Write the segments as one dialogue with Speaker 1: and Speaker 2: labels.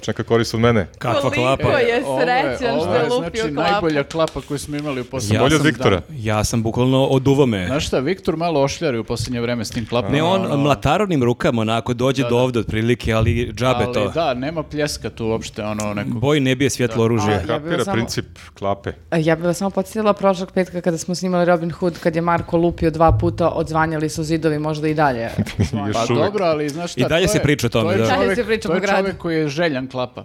Speaker 1: čeka korist od mene.
Speaker 2: Kakva
Speaker 3: Koliko
Speaker 2: klapa.
Speaker 3: je
Speaker 4: Ovo
Speaker 3: srećan
Speaker 4: ovo
Speaker 3: što je
Speaker 4: je,
Speaker 3: lupio
Speaker 4: znači,
Speaker 3: klapu.
Speaker 4: najbolja klapa koju smo imali u posljednjem.
Speaker 1: Ja Bolje od Viktora.
Speaker 2: Ja sam bukvalno od uvame.
Speaker 4: Znaš ono, šta, Viktor malo ošljari u posljednje vreme s tim klapama.
Speaker 2: Ne, on mlatarovnim rukama onako dođe do ovde otprilike, ali džabe
Speaker 4: ali
Speaker 2: to. Hm,
Speaker 4: da, nema pljeska tu uopšte, ono nekog.
Speaker 2: Boj ne bije svjetlo oružje.
Speaker 3: bih vas
Speaker 1: Kapira
Speaker 3: samo-
Speaker 1: princip klape.
Speaker 3: E, Ja bih vas samo podsjetila prošlog petka kada smo snimali Robin Hood, kad je Marko lupio dva puta, odzvanjali su zidovi možda i dalje.
Speaker 1: Još
Speaker 4: Pa
Speaker 1: uvek.
Speaker 4: dobro, ali znaš šta,
Speaker 2: I dalje
Speaker 4: to
Speaker 2: se
Speaker 4: je-
Speaker 2: priča o tome,
Speaker 4: to je
Speaker 2: da.
Speaker 3: Dalje
Speaker 4: čovek-
Speaker 3: se priča
Speaker 4: to je
Speaker 3: po gradu.
Speaker 4: čovek koji je željan klapa.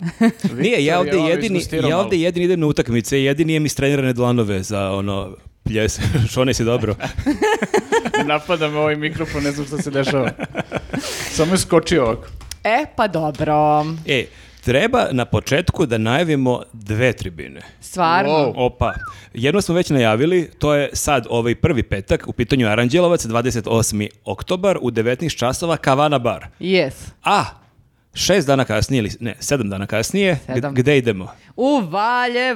Speaker 2: Nije, ja ovdje
Speaker 4: Viktor je ovo
Speaker 2: jedini,
Speaker 4: izgustirao
Speaker 2: ja
Speaker 4: malo.
Speaker 2: ovdje jedini idem na utakmice i jedini imam istrenirane dlanove za ono pljes, šone si dobro.
Speaker 4: Napada me ovaj mikrofon, ne znam šta se dešava. Samo je skočio ovako.
Speaker 3: E, pa dobro.
Speaker 2: E, treba na početku da najavimo dve tribine.
Speaker 3: Stvarno.
Speaker 4: Wow.
Speaker 2: Opa, jedno smo već najavili, to je sad ovaj prvi petak, u pitanju je Aranđelovac, 28. oktobar u 19 časova, Kavana bar.
Speaker 3: Yes.
Speaker 2: A, šest dana kasnije, ili ne, sedam dana kasnije,
Speaker 3: Sedam.
Speaker 2: g- gde idemo?
Speaker 3: U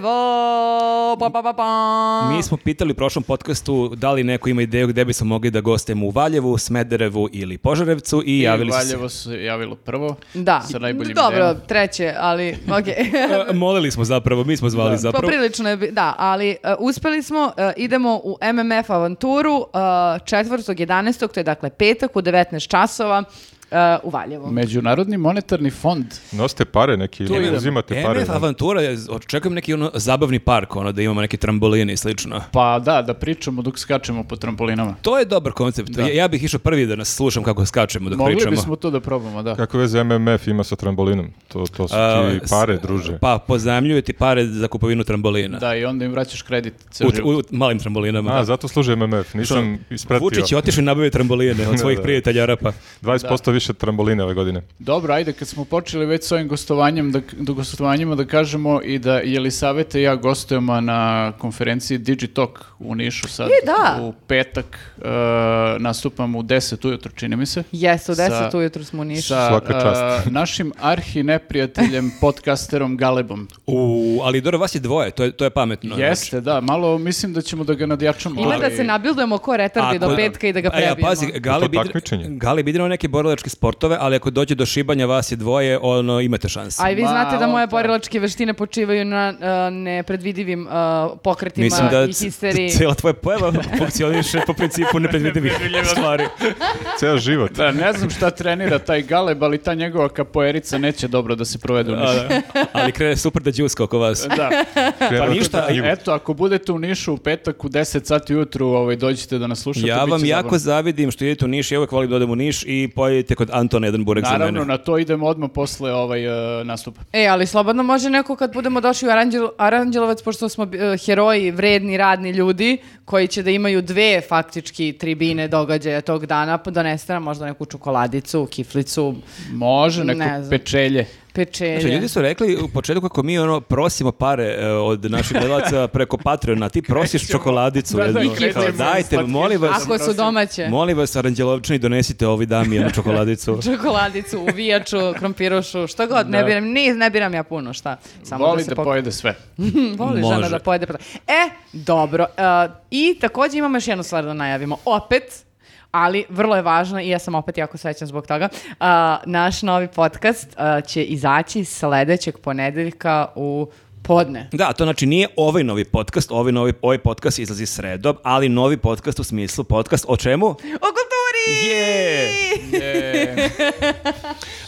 Speaker 3: Valjevo! Pa, pa, pa, pa.
Speaker 2: Mi smo pitali u prošlom podcastu da li neko ima ideju gde bismo mogli da gostujemo u Valjevu, Smederevu ili Požarevcu i, javili
Speaker 4: I
Speaker 2: su se.
Speaker 4: Valjevo se javilo prvo.
Speaker 3: Da.
Speaker 4: Sa najboljim
Speaker 3: Dobro,
Speaker 4: idejama.
Speaker 3: treće, ali okej.
Speaker 2: E, Molili smo zapravo, mi smo zvali zapravo.
Speaker 3: Poprilično je, bi- da, ali e, uspeli smo, e, idemo u MMF avanturu uh, 4.11. to je dakle petak u 19 časova e, u Valjevu.
Speaker 4: Međunarodni monetarni fond.
Speaker 1: Nosite pare neki ili
Speaker 2: idemo.
Speaker 1: uzimate pare.
Speaker 2: MF E, Avantura, je- očekujem neki ono zabavni park, ono da imamo neke tramboline i slično.
Speaker 4: Pa da, da pričamo dok skačemo po trampolinama.
Speaker 2: To je dobar koncept. Ja, ja bih išao prvi da nas slušam kako skačemo dok
Speaker 4: Mogli
Speaker 2: pričamo.
Speaker 4: bismo to da probamo, da.
Speaker 1: Kako veze MMF ima sa trambolinom? To, to su
Speaker 2: A,
Speaker 1: ti
Speaker 2: E, s-
Speaker 1: pare, druže.
Speaker 2: Pa pozajmljuju ti pare za kupovinu trambolina.
Speaker 4: Da, i onda im vraćaš kredit. ceo
Speaker 2: U,
Speaker 4: život.
Speaker 2: u malim trambolinama.
Speaker 1: A, zato služi MMF, nisam ispratio.
Speaker 2: Vučić je otišao i nabavio tramboline od svojih
Speaker 1: da.
Speaker 2: prijatelja Arapa.
Speaker 1: 20% više tramboline ove godine.
Speaker 4: Dobro, ajde, kad smo počeli već s ovim gostovanjem, da, da gostovanjima da kažemo i da Jelisaveta i ja gostujemo na konferenciji Digitalk u Nišu sad.
Speaker 3: E, da.
Speaker 4: U petak e, nastupam u 10 ujutro, čini mi se.
Speaker 3: Jeste, u
Speaker 4: Sa-
Speaker 3: 10 ujutru smo u Nišu.
Speaker 4: Sa
Speaker 1: Svaka
Speaker 4: e,
Speaker 1: čast.
Speaker 4: našim arhi neprijateljem, podcasterom Galebom.
Speaker 2: U, ali dobro, vas je dvoje, to je, to je pametno. znači.
Speaker 4: Jeste, da, malo mislim da ćemo da ga nadjačamo.
Speaker 3: Ima da
Speaker 4: ali-
Speaker 3: se nabildujemo ko retardi do petka i da ga
Speaker 2: A
Speaker 3: prebijemo.
Speaker 2: Ja, pazi, Gali bi,
Speaker 1: takmičenje.
Speaker 2: Gali bi igrao neke borilačke sportove, ali ako dođe do šibanja vas je dvoje, ono, imate šanse.
Speaker 3: A i vi
Speaker 4: Ma,
Speaker 3: znate da moje
Speaker 4: on-
Speaker 3: borilačke veštine počivaju na e, nepredvidivim e, pokretima
Speaker 2: Mislim da
Speaker 3: i histeriji.
Speaker 2: cijela tvoja pojava funkcioniše po principu nepredvidivih stvari.
Speaker 1: Ceo život.
Speaker 4: Da, ne znam šta trenira taj Galeb, ali ta njegova kapoerica neće dobro da se provede u
Speaker 2: A,
Speaker 4: Nišu.
Speaker 2: da. ali krene super da džuska oko vas.
Speaker 4: Da.
Speaker 1: Krenuo je
Speaker 2: pa ništa,
Speaker 1: čitati knjigu.
Speaker 4: Pa Eto, ako budete u Nišu u petak u 10 sati ujutru, ovaj, dođite da nas slušate.
Speaker 2: Ja
Speaker 4: bit će
Speaker 2: vam jako
Speaker 4: zabavno.
Speaker 2: zavidim što idete u Niš, ja uvek volim da odem u Niš i pojedite kod Antona jedan burek za
Speaker 4: Naravno,
Speaker 2: mene.
Speaker 4: na to idemo odmah posle ovaj, e, nastupa.
Speaker 3: E, ali slobodno može neko kad budemo došli u Aranđel, Aranđelovac, pošto smo e, heroji, vredni, radni ljudi, koji će da imaju dve faktički tribine događaja tog dana, pa doneste nam možda neku čokoladicu, kiflicu,
Speaker 4: Može, neko
Speaker 3: Ne znam.
Speaker 4: pečelje.
Speaker 3: pečenje.
Speaker 2: Znači, ljudi su rekli u početku kako mi ono prosimo pare e, od naših gledalaca preko Patreona, ti prosiš čokoladicu.
Speaker 4: Da, da,
Speaker 2: jednu,
Speaker 4: i krećemo
Speaker 2: kao,
Speaker 4: iz
Speaker 2: dajte,
Speaker 4: slatkiša.
Speaker 2: molim vas,
Speaker 3: Ako su domaće.
Speaker 2: molim vas, Aranđelovčani, donesite ovi dami jednu čokoladicu.
Speaker 3: čokoladicu, uvijaču, krompirošu, što god, ne biram, ni, ne biram ja puno, šta. Samo
Speaker 4: Voli
Speaker 3: da se
Speaker 4: da
Speaker 3: pok-
Speaker 4: pojede sve.
Speaker 3: Voli žena
Speaker 2: Može.
Speaker 3: da pojede. pa- E, dobro. e, I također imamo još jednu stvar da najavimo. Opet, ali vrlo je važno i ja sam opet jako srećna zbog toga. a, naš novi podcast a, će izaći sledećeg ponedeljka u podne.
Speaker 2: Da, to znači nije ovaj novi podcast, ovaj novi ovaj podcast izlazi sredom, ali novi podcast u smislu podcast o čemu?
Speaker 3: O kulturi!
Speaker 2: Je!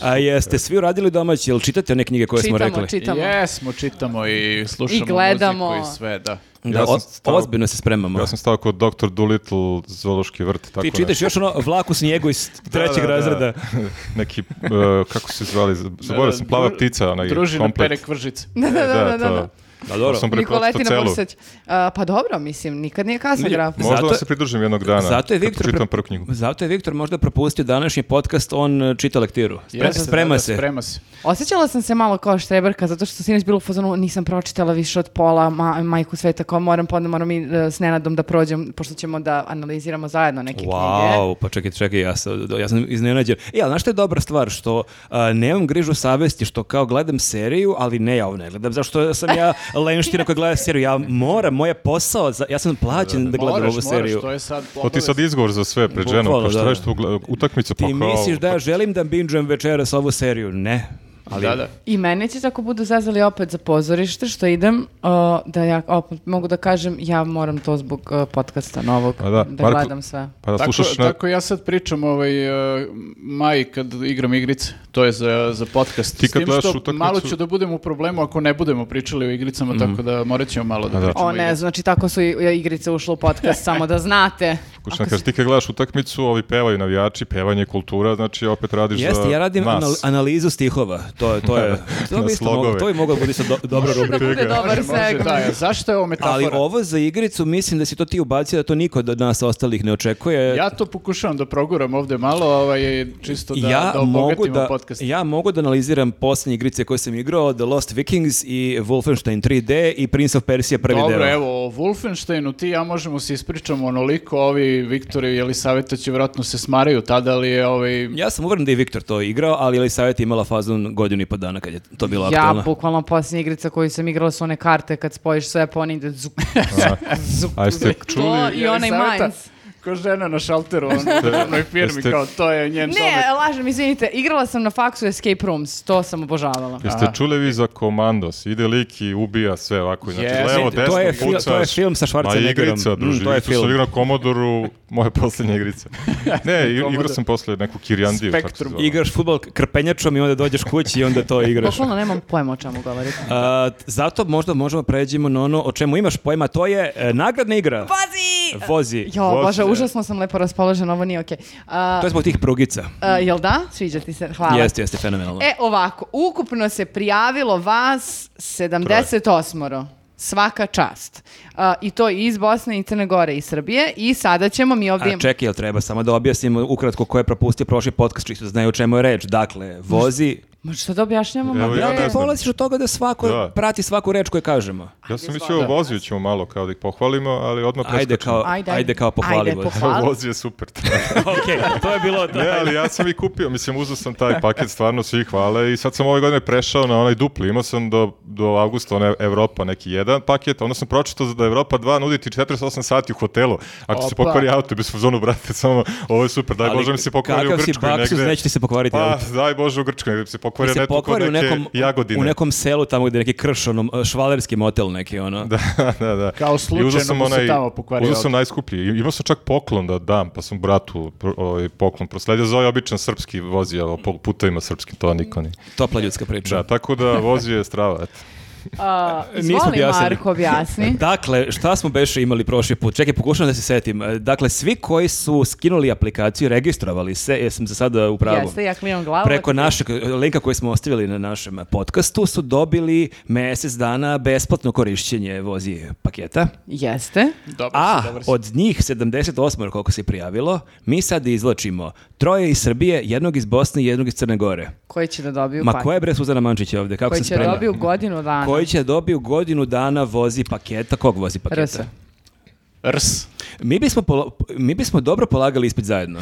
Speaker 2: A jeste svi uradili domaći, jel čitate one knjige koje
Speaker 3: Čitamo,
Speaker 2: smo rekli?
Speaker 3: čitamo.
Speaker 4: Jesmo, čitamo i slušamo
Speaker 3: I gledamo.
Speaker 4: muziku i sve, da.
Speaker 2: Da,
Speaker 1: Ja sam
Speaker 2: o-
Speaker 1: stao-
Speaker 2: ozbiljno se spremamo.
Speaker 1: Ja sam stao kod Dr. Dolittle zoološki vrt. Tako
Speaker 2: Ti čitaš još ono vlaku snijegu iz
Speaker 1: Da,
Speaker 2: trećeg
Speaker 1: da, da.
Speaker 2: razreda.
Speaker 1: Neki, e, kako se zvali, zaboravio sam, plava
Speaker 4: Dru-
Speaker 1: ptica, onaj
Speaker 4: Družina
Speaker 1: Pa komplet.
Speaker 4: pere kvržice.
Speaker 3: Da, da, da, da,
Speaker 1: to-
Speaker 3: da.
Speaker 2: Da, dobro.
Speaker 1: to sam prepročitao
Speaker 3: Nikoletina
Speaker 1: celu.
Speaker 3: Bursać. A, pa dobro, mislim, nikad nije kasno
Speaker 2: Vidi,
Speaker 3: graf.
Speaker 2: mo-
Speaker 1: Možda
Speaker 2: Zato-
Speaker 1: vam se pridružim jednog dana.
Speaker 2: Zato je
Speaker 1: kad
Speaker 2: Viktor
Speaker 1: pročitam
Speaker 2: pre-
Speaker 1: prvu knjigu.
Speaker 2: Zato je Viktor možda propustio današnji podcast, on e, čita lektiru. Spre-
Speaker 4: Jeste,
Speaker 2: sprema
Speaker 4: da, da,
Speaker 2: se.
Speaker 4: Sprema se.
Speaker 3: Osjećala sam se malo kao štreberka, zato što sinoć bilo u fazonu, nisam pročitala više od pola, ma, majku sveta, kao moram, pa onda moram i e, s Nenadom da prođem, pošto ćemo da analiziramo zajedno neke knjige.
Speaker 2: Wow, pa čekaj, čekaj, ja, sam, ja sam iznenađen. E, ali znaš što je dobra stvar? Što a, nemam grižu savesti, što kao gledam seriju, ali ne, ja ovo ne gledam, zašto sam ja lenština koja gleda seriju. Ja moram, moj je posao, za- ja sam plaćen da, gledam
Speaker 4: Moraš,
Speaker 2: ovu
Speaker 4: moraš,
Speaker 2: seriju.
Speaker 4: to je sad
Speaker 1: To ti sad izgovor za sve pred ženom, pa
Speaker 2: Bukvalno, da,
Speaker 1: što
Speaker 2: da.
Speaker 1: radiš tu ugle- utakmicu, pa
Speaker 2: Ti
Speaker 1: kao-
Speaker 2: misliš da ja želim da binđujem večeras ovu seriju? Ne. Ali,
Speaker 4: Da, da.
Speaker 3: I mene će tako budu zazvali opet za pozorište što idem, o, da ja opet mogu da kažem ja moram to zbog o, podcasta novog,
Speaker 1: A
Speaker 3: da,
Speaker 1: da, Marko-
Speaker 3: gledam sve.
Speaker 1: Pa da
Speaker 4: Tako,
Speaker 1: slušaš na...
Speaker 4: tako ja sad pričam ovaj, uh, Maji kad igram igrice, to je za, za podcast.
Speaker 1: Ti
Speaker 4: S
Speaker 1: kad
Speaker 4: tim
Speaker 1: gledaš
Speaker 4: što
Speaker 1: utakmicu-
Speaker 4: Malo ću da budem u problemu ako ne budemo pričali o igricama, tako da morat ćemo malo
Speaker 1: Mhm.
Speaker 4: da,
Speaker 1: A da.
Speaker 4: pričamo.
Speaker 3: O ne, znači tako su i- igrice ušle u podcast, samo da znate.
Speaker 1: Ako
Speaker 3: Ako
Speaker 1: kažeš, ti kad gledaš utakmicu, ovi pevaju navijači, pevanje je kultura, znači opet radiš za
Speaker 2: Jeste, ja radim
Speaker 1: nas.
Speaker 2: anal- analizu stihova. To je to je to bi
Speaker 1: Na
Speaker 2: isto moglo,
Speaker 1: slogove.
Speaker 2: to bi moglo da bude isto do, dobra
Speaker 3: se- da
Speaker 2: rubrika.
Speaker 3: bude dobar
Speaker 4: Može, može,
Speaker 3: segment.
Speaker 4: da, ja, zašto je ovo metafora?
Speaker 2: Ali ovo za igricu mislim da si to ti ubacio da to niko od nas ostalih ne očekuje.
Speaker 4: Ja to pokušavam da proguram ovde malo, ovaj, čisto da,
Speaker 2: ja
Speaker 4: da
Speaker 2: mogu
Speaker 4: obogatimo
Speaker 2: da,
Speaker 4: podcast.
Speaker 2: ja mogu da analiziram posljednje igrice koje sam igrao, The Lost Vikings i Wolfenstein 3D i Prince of Persia prvi deo.
Speaker 4: Dobro, evo, o Wolfensteinu ti i ja možemo se ispričamo onoliko, ovi Viktori i Jelisaveta će vjerojatno se smaraju tada, ali je ovaj...
Speaker 2: Ja sam uveren da je Viktor to igrao, ali Elisaveta je imala fazon godinu i po dana kad je to bilo aktualno.
Speaker 3: Ja, bukvalno posljednja igrica koju sam igrala su one karte kad spojiš sve pa oni ide zuk, zuk,
Speaker 1: A jeste
Speaker 3: zuk.
Speaker 1: čuli-
Speaker 3: To i onaj
Speaker 4: Jelisaveta,
Speaker 3: Mainz.
Speaker 4: Ko žena na šalteru, ono, u onoj firmi,
Speaker 1: jeste-
Speaker 4: kao to je njen domet.
Speaker 3: Ne, lažem, izvinite, igrala sam na faksu Escape Rooms, to sam obožavala.
Speaker 1: Jeste čuli vi za komandos? Ide lik i ubija sve ovako. Znači,
Speaker 4: Jeste.
Speaker 1: levo,
Speaker 2: To
Speaker 1: desno,
Speaker 2: je fil-
Speaker 1: pucaš.
Speaker 2: to je film sa Schwarzeneggerom.
Speaker 1: Ma igrica,
Speaker 2: Mm,
Speaker 1: druži.
Speaker 2: to je
Speaker 1: isto
Speaker 2: film.
Speaker 1: sam igrao na Komodoru, moja posljednja igrica. Ne, i- igrao
Speaker 4: Commodore.
Speaker 1: sam posle neku Kirjandiju. tako se
Speaker 4: Spektrum.
Speaker 1: zove.
Speaker 2: Igraš futbol krpenjačom i onda dođeš kući i onda to igraš.
Speaker 3: Bukvalno nemam pojma o čemu govorite.
Speaker 2: A, t- zato možda možemo pređemo na ono o čemu imaš pojma, to je e, nagradna igra.
Speaker 3: Pazi!
Speaker 2: Vozi.
Speaker 3: Jo,
Speaker 1: Vozi,
Speaker 3: bože,
Speaker 1: da.
Speaker 3: užasno sam lepo raspoložena, ovo nije okej. A,
Speaker 2: To je zbog tih prugica.
Speaker 3: a, jel da? Sviđa ti se, hvala.
Speaker 2: Jeste, jeste, fenomenalno.
Speaker 3: E, ovako, ukupno se prijavilo vas 78 Svaka čast. A, I to i iz Bosne i Crne Gore i Srbije. I sada ćemo mi ovdje...
Speaker 2: A čekaj, jel treba samo da objasnimo ukratko ko je propustio prošli podcast, čisto da znaju o čemu je reč. Dakle, vozi.
Speaker 3: Ma što da objašnjamo? Ma
Speaker 1: Evo, ja
Speaker 3: bre.
Speaker 1: ne
Speaker 2: Ti
Speaker 1: znam.
Speaker 2: polaziš od toga da svako
Speaker 1: Da.
Speaker 2: prati svaku reč koju kažemo.
Speaker 1: Ja sam mislio o Voziju ćemo malo kao da ih pohvalimo, ali odmah preskočimo.
Speaker 2: Ajde kao, ajde,
Speaker 3: Ajde, ajde.
Speaker 2: kao pohvali
Speaker 3: Ajde,
Speaker 2: vozi.
Speaker 3: pohvali.
Speaker 1: Evo,
Speaker 3: Hvala.
Speaker 1: Vozi je super.
Speaker 2: ok, to je bilo to.
Speaker 1: ne, ali ja sam i kupio, mislim, uzeo sam taj paket stvarno svi hvale i sad sam ove godine prešao na onaj dupli. Imao sam do, do avgusta onaj Evropa neki jedan paket, onda sam pročitao da Evropa 2 nudi ti 48 sati u hotelu. Ako se
Speaker 4: Opa.
Speaker 1: pokvari auto, bi smo zonu, brate, samo ovo je super, daj
Speaker 2: Ali
Speaker 1: Bože mi se pokvari u
Speaker 2: kakav si
Speaker 1: Grčkoj
Speaker 2: baksuz,
Speaker 1: negde.
Speaker 2: neće ti se pokvariti
Speaker 1: Pa,
Speaker 2: auto.
Speaker 1: daj Bože u Grčkoj, negde bi se pokvario
Speaker 2: se
Speaker 1: netko kod
Speaker 2: pokvari u
Speaker 1: neke
Speaker 2: nekom,
Speaker 1: jagodine.
Speaker 2: u nekom selu tamo gdje je neki krš, onom e, švalerski motel neki, ono.
Speaker 1: Da, da, da.
Speaker 4: Kao
Speaker 1: I uzeo
Speaker 4: slučajno
Speaker 1: sam
Speaker 4: mu se tamo pokvario
Speaker 1: Uzeo sam najskuplji. I- Imao sam čak poklon da dam, pa sam bratu pro- ovaj, poklon prosledio. Zove običan srpski vozi, a po putovima srpskim, to niko ni.
Speaker 2: Topla ljudska priča.
Speaker 1: Da, tako da vozi je strava, eto.
Speaker 3: A,
Speaker 2: Nismo
Speaker 3: izvoli
Speaker 2: objasnili.
Speaker 3: Marko, objasni.
Speaker 2: Dakle, šta smo beše imali prošli put? Čekaj, pokušavam da se setim. E, Dakle, svi koji su skinuli aplikaciju, registrovali se, jesam se sada u pravu.
Speaker 3: Jeste, ja klimam glavu.
Speaker 2: Preko našeg linka koji smo ostavili na našem podcastu su dobili mjesec dana besplatno korišćenje vozi paketa.
Speaker 3: Jeste.
Speaker 4: Dobro,
Speaker 2: A
Speaker 4: dobro si.
Speaker 2: od njih 78 koliko se prijavilo, mi sad izlačimo troje iz Srbije, jednog iz Bosne i jednog iz Crne Gore.
Speaker 3: Koji će da dobiju
Speaker 2: Ma
Speaker 3: paket?
Speaker 2: koja je bre Suzana Mančić ovdje? Kako
Speaker 3: Koji
Speaker 2: sam
Speaker 3: će
Speaker 2: spremna?
Speaker 3: dobiju godinu dana.
Speaker 2: Koji će dobiju godinu dana vozi paketa? Kog vozi paketa?
Speaker 3: RS.
Speaker 4: Rs.
Speaker 2: Mi bismo, polo- mi bismo dobro polagali ispit zajedno.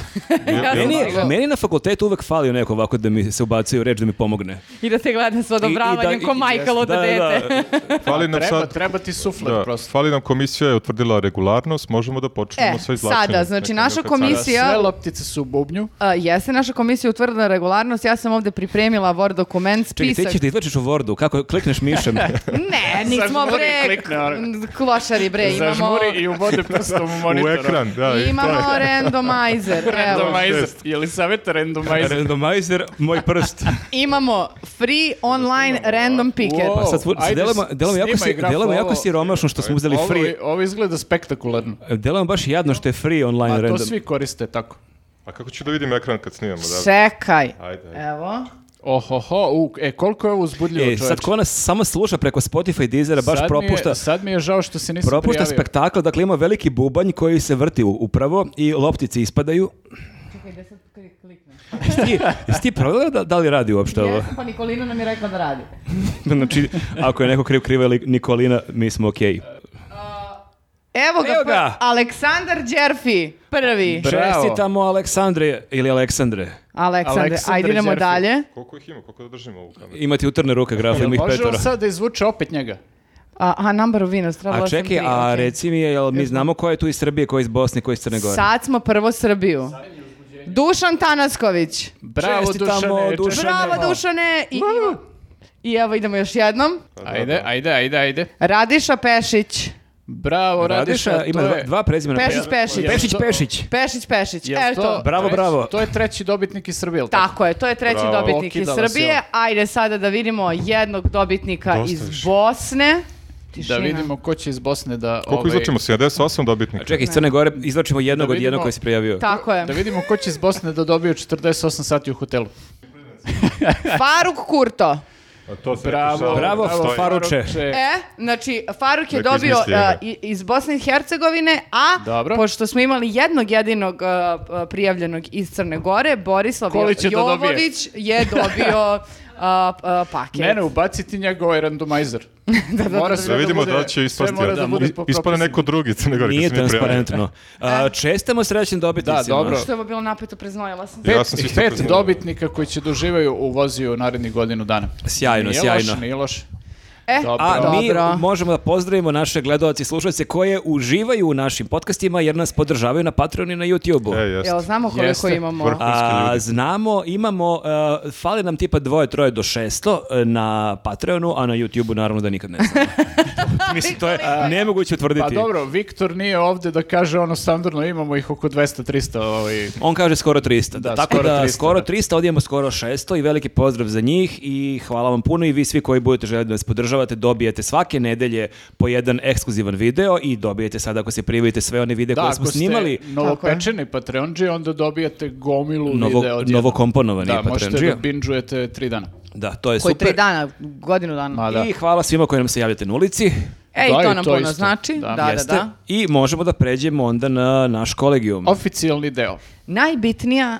Speaker 2: meni, je, meni je na fakultetu uvek falio neko ovako da mi se ubacuje u reč da mi pomogne.
Speaker 3: I da te gleda s
Speaker 2: I- i da-
Speaker 3: odobravanjem ko
Speaker 2: i-
Speaker 3: Michael od
Speaker 2: da, da,
Speaker 3: dete.
Speaker 2: da.
Speaker 1: Fali nam
Speaker 4: Treba,
Speaker 1: sad...
Speaker 4: treba ti suflet
Speaker 1: Da,
Speaker 4: prosto.
Speaker 1: fali nam komisija je utvrdila regularnost, možemo da počnemo
Speaker 3: E,
Speaker 1: sa izvlačenjem.
Speaker 3: sada, znači,
Speaker 1: Neka-
Speaker 3: naša
Speaker 1: neka
Speaker 3: komisija-
Speaker 4: Da, Sve loptice su u bubnju.
Speaker 3: A, jeste naša komisija utvrdila regularnost, ja sam ovdje pripremila Word dokument,
Speaker 2: Čekaj,
Speaker 3: spisak.
Speaker 2: ti ćeš da izvlačiš u Wordu, kako klikneš mišem.
Speaker 3: Ne, nismo
Speaker 4: Zažmuri,
Speaker 3: bre,
Speaker 4: klikne, ono.
Speaker 3: klošari bre, imamo,
Speaker 4: Zažmuri i uvode prstom u
Speaker 1: cara- U
Speaker 4: monitor.
Speaker 1: ekran, da. i to
Speaker 3: imamo
Speaker 1: je.
Speaker 3: randomizer, evo.
Speaker 4: Randomizer. Jelisaveta randomizer.
Speaker 2: Randomizer, moj prst.
Speaker 3: Imamo free online random picker.
Speaker 2: Pa sad,
Speaker 4: Ajde,
Speaker 2: sad delamo, delamo, jako, si,
Speaker 4: snimaj grafu,
Speaker 2: delamo jako
Speaker 4: ovo-
Speaker 2: siromašno što smo uzeli
Speaker 4: Ovo,
Speaker 2: free.
Speaker 4: ovo izgleda spektakularno.
Speaker 2: Delamo baš jadno što je free online
Speaker 4: A to
Speaker 2: random.
Speaker 4: svi koriste tako.
Speaker 1: A kako ću da vidim ekran kad snimamo? Da?
Speaker 3: Čekaj,
Speaker 1: Ajde, ajde.
Speaker 3: evo.
Speaker 4: Ohoho, u, e, koliko je ovo uzbudljivo
Speaker 2: E,
Speaker 4: čovječe.
Speaker 2: sad ko nas samo sluša preko Spotify i Deezera, baš
Speaker 4: Sad mi je-
Speaker 2: propušta...
Speaker 4: sad mi je žao što se nisam
Speaker 2: Propušta
Speaker 4: prijavio.
Speaker 2: spektakl, dakle ima veliki bubanj koji se vrti u- upravo i loptice ispadaju. Jesi ti, jesi ti provjela da, da li radi uopšte ovo?
Speaker 3: Jesam, pa Nikolina nam je rekla da radi.
Speaker 2: Znači, ako je neko kriv kriva ili Nikolina, mi smo okej.
Speaker 3: Evo ga,
Speaker 2: Evo
Speaker 3: pr-
Speaker 2: ga.
Speaker 3: Aleksandar Đerfi, prvi.
Speaker 4: Bravo.
Speaker 2: Čestitamo Aleksandre ili Aleksandre.
Speaker 3: Aleksandar,
Speaker 4: Aleksandar
Speaker 3: ajde idemo
Speaker 4: Đerfi.
Speaker 3: dalje.
Speaker 1: Koliko ih ima? Koliko da držimo ovu kameru?
Speaker 2: Imati utrne ruke, graf, ima ih
Speaker 4: Može on
Speaker 2: petoro.
Speaker 4: sad da izvuče opet njega?
Speaker 3: A, a number of winners, trebala
Speaker 2: A
Speaker 3: sam
Speaker 2: čekaj,
Speaker 3: tri,
Speaker 2: a
Speaker 3: okej.
Speaker 2: reci mi, je, jel mi znamo ko je tu iz Srbije, ko je iz Bosne, ko je iz Crne Gore?
Speaker 3: Sad smo prvo Srbiju. Dušan Tanacković.
Speaker 4: Bravo,
Speaker 2: Čestitamo,
Speaker 4: Dušane,
Speaker 2: Dušane.
Speaker 4: čestitamo.
Speaker 3: Bravo Dušane. I, evo- I evo idemo još jednom.
Speaker 4: Ajde, ajde, ajde, ajde.
Speaker 3: Radiša Pešić.
Speaker 4: Bravo, Radiša,
Speaker 2: Radiša, ima
Speaker 4: to
Speaker 2: dva,
Speaker 4: je-
Speaker 2: dva prezimena.
Speaker 3: Pešić,
Speaker 2: Pe-
Speaker 3: Pešić.
Speaker 2: Pešić,
Speaker 4: Jel to-
Speaker 2: Pešić.
Speaker 3: Pešić Pešić.
Speaker 4: jel
Speaker 3: Eto.
Speaker 4: to
Speaker 2: Bravo,
Speaker 4: treći-
Speaker 2: bravo.
Speaker 4: To je treći dobitnik iz Srbije, jel tako?
Speaker 3: Tako je, to je treći
Speaker 1: Bravo.
Speaker 3: dobitnik iz
Speaker 4: Okidala si
Speaker 3: Srbije.
Speaker 4: ovo.
Speaker 3: Ajde sada da vidimo jednog dobitnika
Speaker 1: Dosta
Speaker 3: iz
Speaker 1: više.
Speaker 3: Bosne. Tišina.
Speaker 4: Da vidimo ko će iz Bosne da...
Speaker 1: Koliko
Speaker 4: ovaj,
Speaker 1: izlačimo? 78
Speaker 2: A
Speaker 1: dobitnika.
Speaker 2: čekaj, iz Crne Gore izvlačimo jednog
Speaker 4: Da
Speaker 2: od jednog
Speaker 4: vidimo-
Speaker 2: koji se prijavio.
Speaker 3: Tako je.
Speaker 4: Da vidimo ko će iz Bosne da dobije 48 sati u hotelu.
Speaker 3: Faruk Kurto.
Speaker 1: A to se
Speaker 4: Bravo,
Speaker 1: rešava.
Speaker 2: Bravo,
Speaker 1: Stoji.
Speaker 2: Faruk. Faruče.
Speaker 3: E, znači, Faruk je
Speaker 1: Neko
Speaker 3: dobio
Speaker 1: izmisli
Speaker 3: uh,
Speaker 1: ga.
Speaker 3: i- iz Bosne i Hercegovine, a
Speaker 4: Dobro.
Speaker 3: pošto smo imali jednog jedinog uh, prijavljenog iz Crne Gore, Borislav
Speaker 4: Kolić je to dobio.
Speaker 3: Jovović je dobio uh, uh, paket.
Speaker 4: Mene ubaciti njega ovaj randomizer.
Speaker 3: da, da,
Speaker 4: Mora
Speaker 3: da.
Speaker 4: sve
Speaker 1: Da vidimo
Speaker 4: bude-
Speaker 1: da će
Speaker 4: sve
Speaker 1: ispasti.
Speaker 4: mora da
Speaker 1: Da,
Speaker 4: bude
Speaker 1: is-
Speaker 4: po
Speaker 1: Ispane
Speaker 4: propisima.
Speaker 1: neko drugi Crne Gore. kad
Speaker 2: Nije
Speaker 1: se mi prijavimo.
Speaker 2: transparentno.
Speaker 3: E.
Speaker 2: A, čestamo srećnim dobitnicima.
Speaker 4: Da, dobro.
Speaker 3: Što je ovo bilo napeto, preznojala sam se.
Speaker 1: Ja sam se
Speaker 4: Pet,
Speaker 1: isto
Speaker 4: pet
Speaker 1: priznao.
Speaker 4: dobitnika koji će doživaju u voziju u narednih godinu dana.
Speaker 2: Sjajno,
Speaker 4: nije
Speaker 2: sjajno.
Speaker 4: Loš, nije loš.
Speaker 3: E,
Speaker 4: Dobro.
Speaker 2: A mi
Speaker 3: Dobro.
Speaker 2: možemo da pozdravimo naše gledaoci i slušalce koje uživaju u našim podcastima jer nas podržavaju na Patreon i na
Speaker 1: E,
Speaker 2: YouTubeu.
Speaker 1: jeste.
Speaker 3: Jel znamo koliko
Speaker 4: Jeste.
Speaker 3: imamo?
Speaker 1: Vrhu. vrhunski
Speaker 2: A,
Speaker 1: ljudi.
Speaker 2: znamo, imamo, e, fali nam tipa dvoje, troje do šesto e, na Patreonu, a na YouTubeu naravno da nikad ne znamo. Mislim, to je nemoguće utvrditi.
Speaker 4: Pa dobro, Viktor nije ovdje da kaže ono standardno, imamo ih oko 200-300. Ovaj.
Speaker 2: On kaže skoro 300.
Speaker 4: Da,
Speaker 2: Tako
Speaker 4: skoro
Speaker 2: da
Speaker 4: 300,
Speaker 2: skoro
Speaker 4: da.
Speaker 2: 300, ovdje imamo skoro 600 i veliki pozdrav za njih i hvala vam puno i vi svi koji budete željeli da nas podržavate dobijete svake nedelje po jedan ekskluzivan video i dobijete sad ako se prijavite sve one videe koje smo snimali.
Speaker 4: ste novopečeni Patreonđi, onda dobijete gomilu
Speaker 2: Novo-
Speaker 4: videa od
Speaker 2: novokomponovani
Speaker 4: Da, možete da
Speaker 2: Patreonđija.
Speaker 4: binžujete tri dana.
Speaker 2: Da, to je
Speaker 3: Koji
Speaker 2: super.
Speaker 3: tri dana, godinu dana.
Speaker 4: Ma da.
Speaker 2: I hvala svima koji nam se javljate na ulici.
Speaker 3: E, i
Speaker 4: Da,
Speaker 3: to
Speaker 4: i
Speaker 3: nam
Speaker 4: to
Speaker 3: puno
Speaker 4: isto.
Speaker 3: znači.
Speaker 4: Da.
Speaker 3: Da, da,
Speaker 2: Jeste.
Speaker 3: da.
Speaker 2: I možemo da pređemo onda na naš kolegijum.
Speaker 4: Oficijalni deo.
Speaker 3: Najbitnija,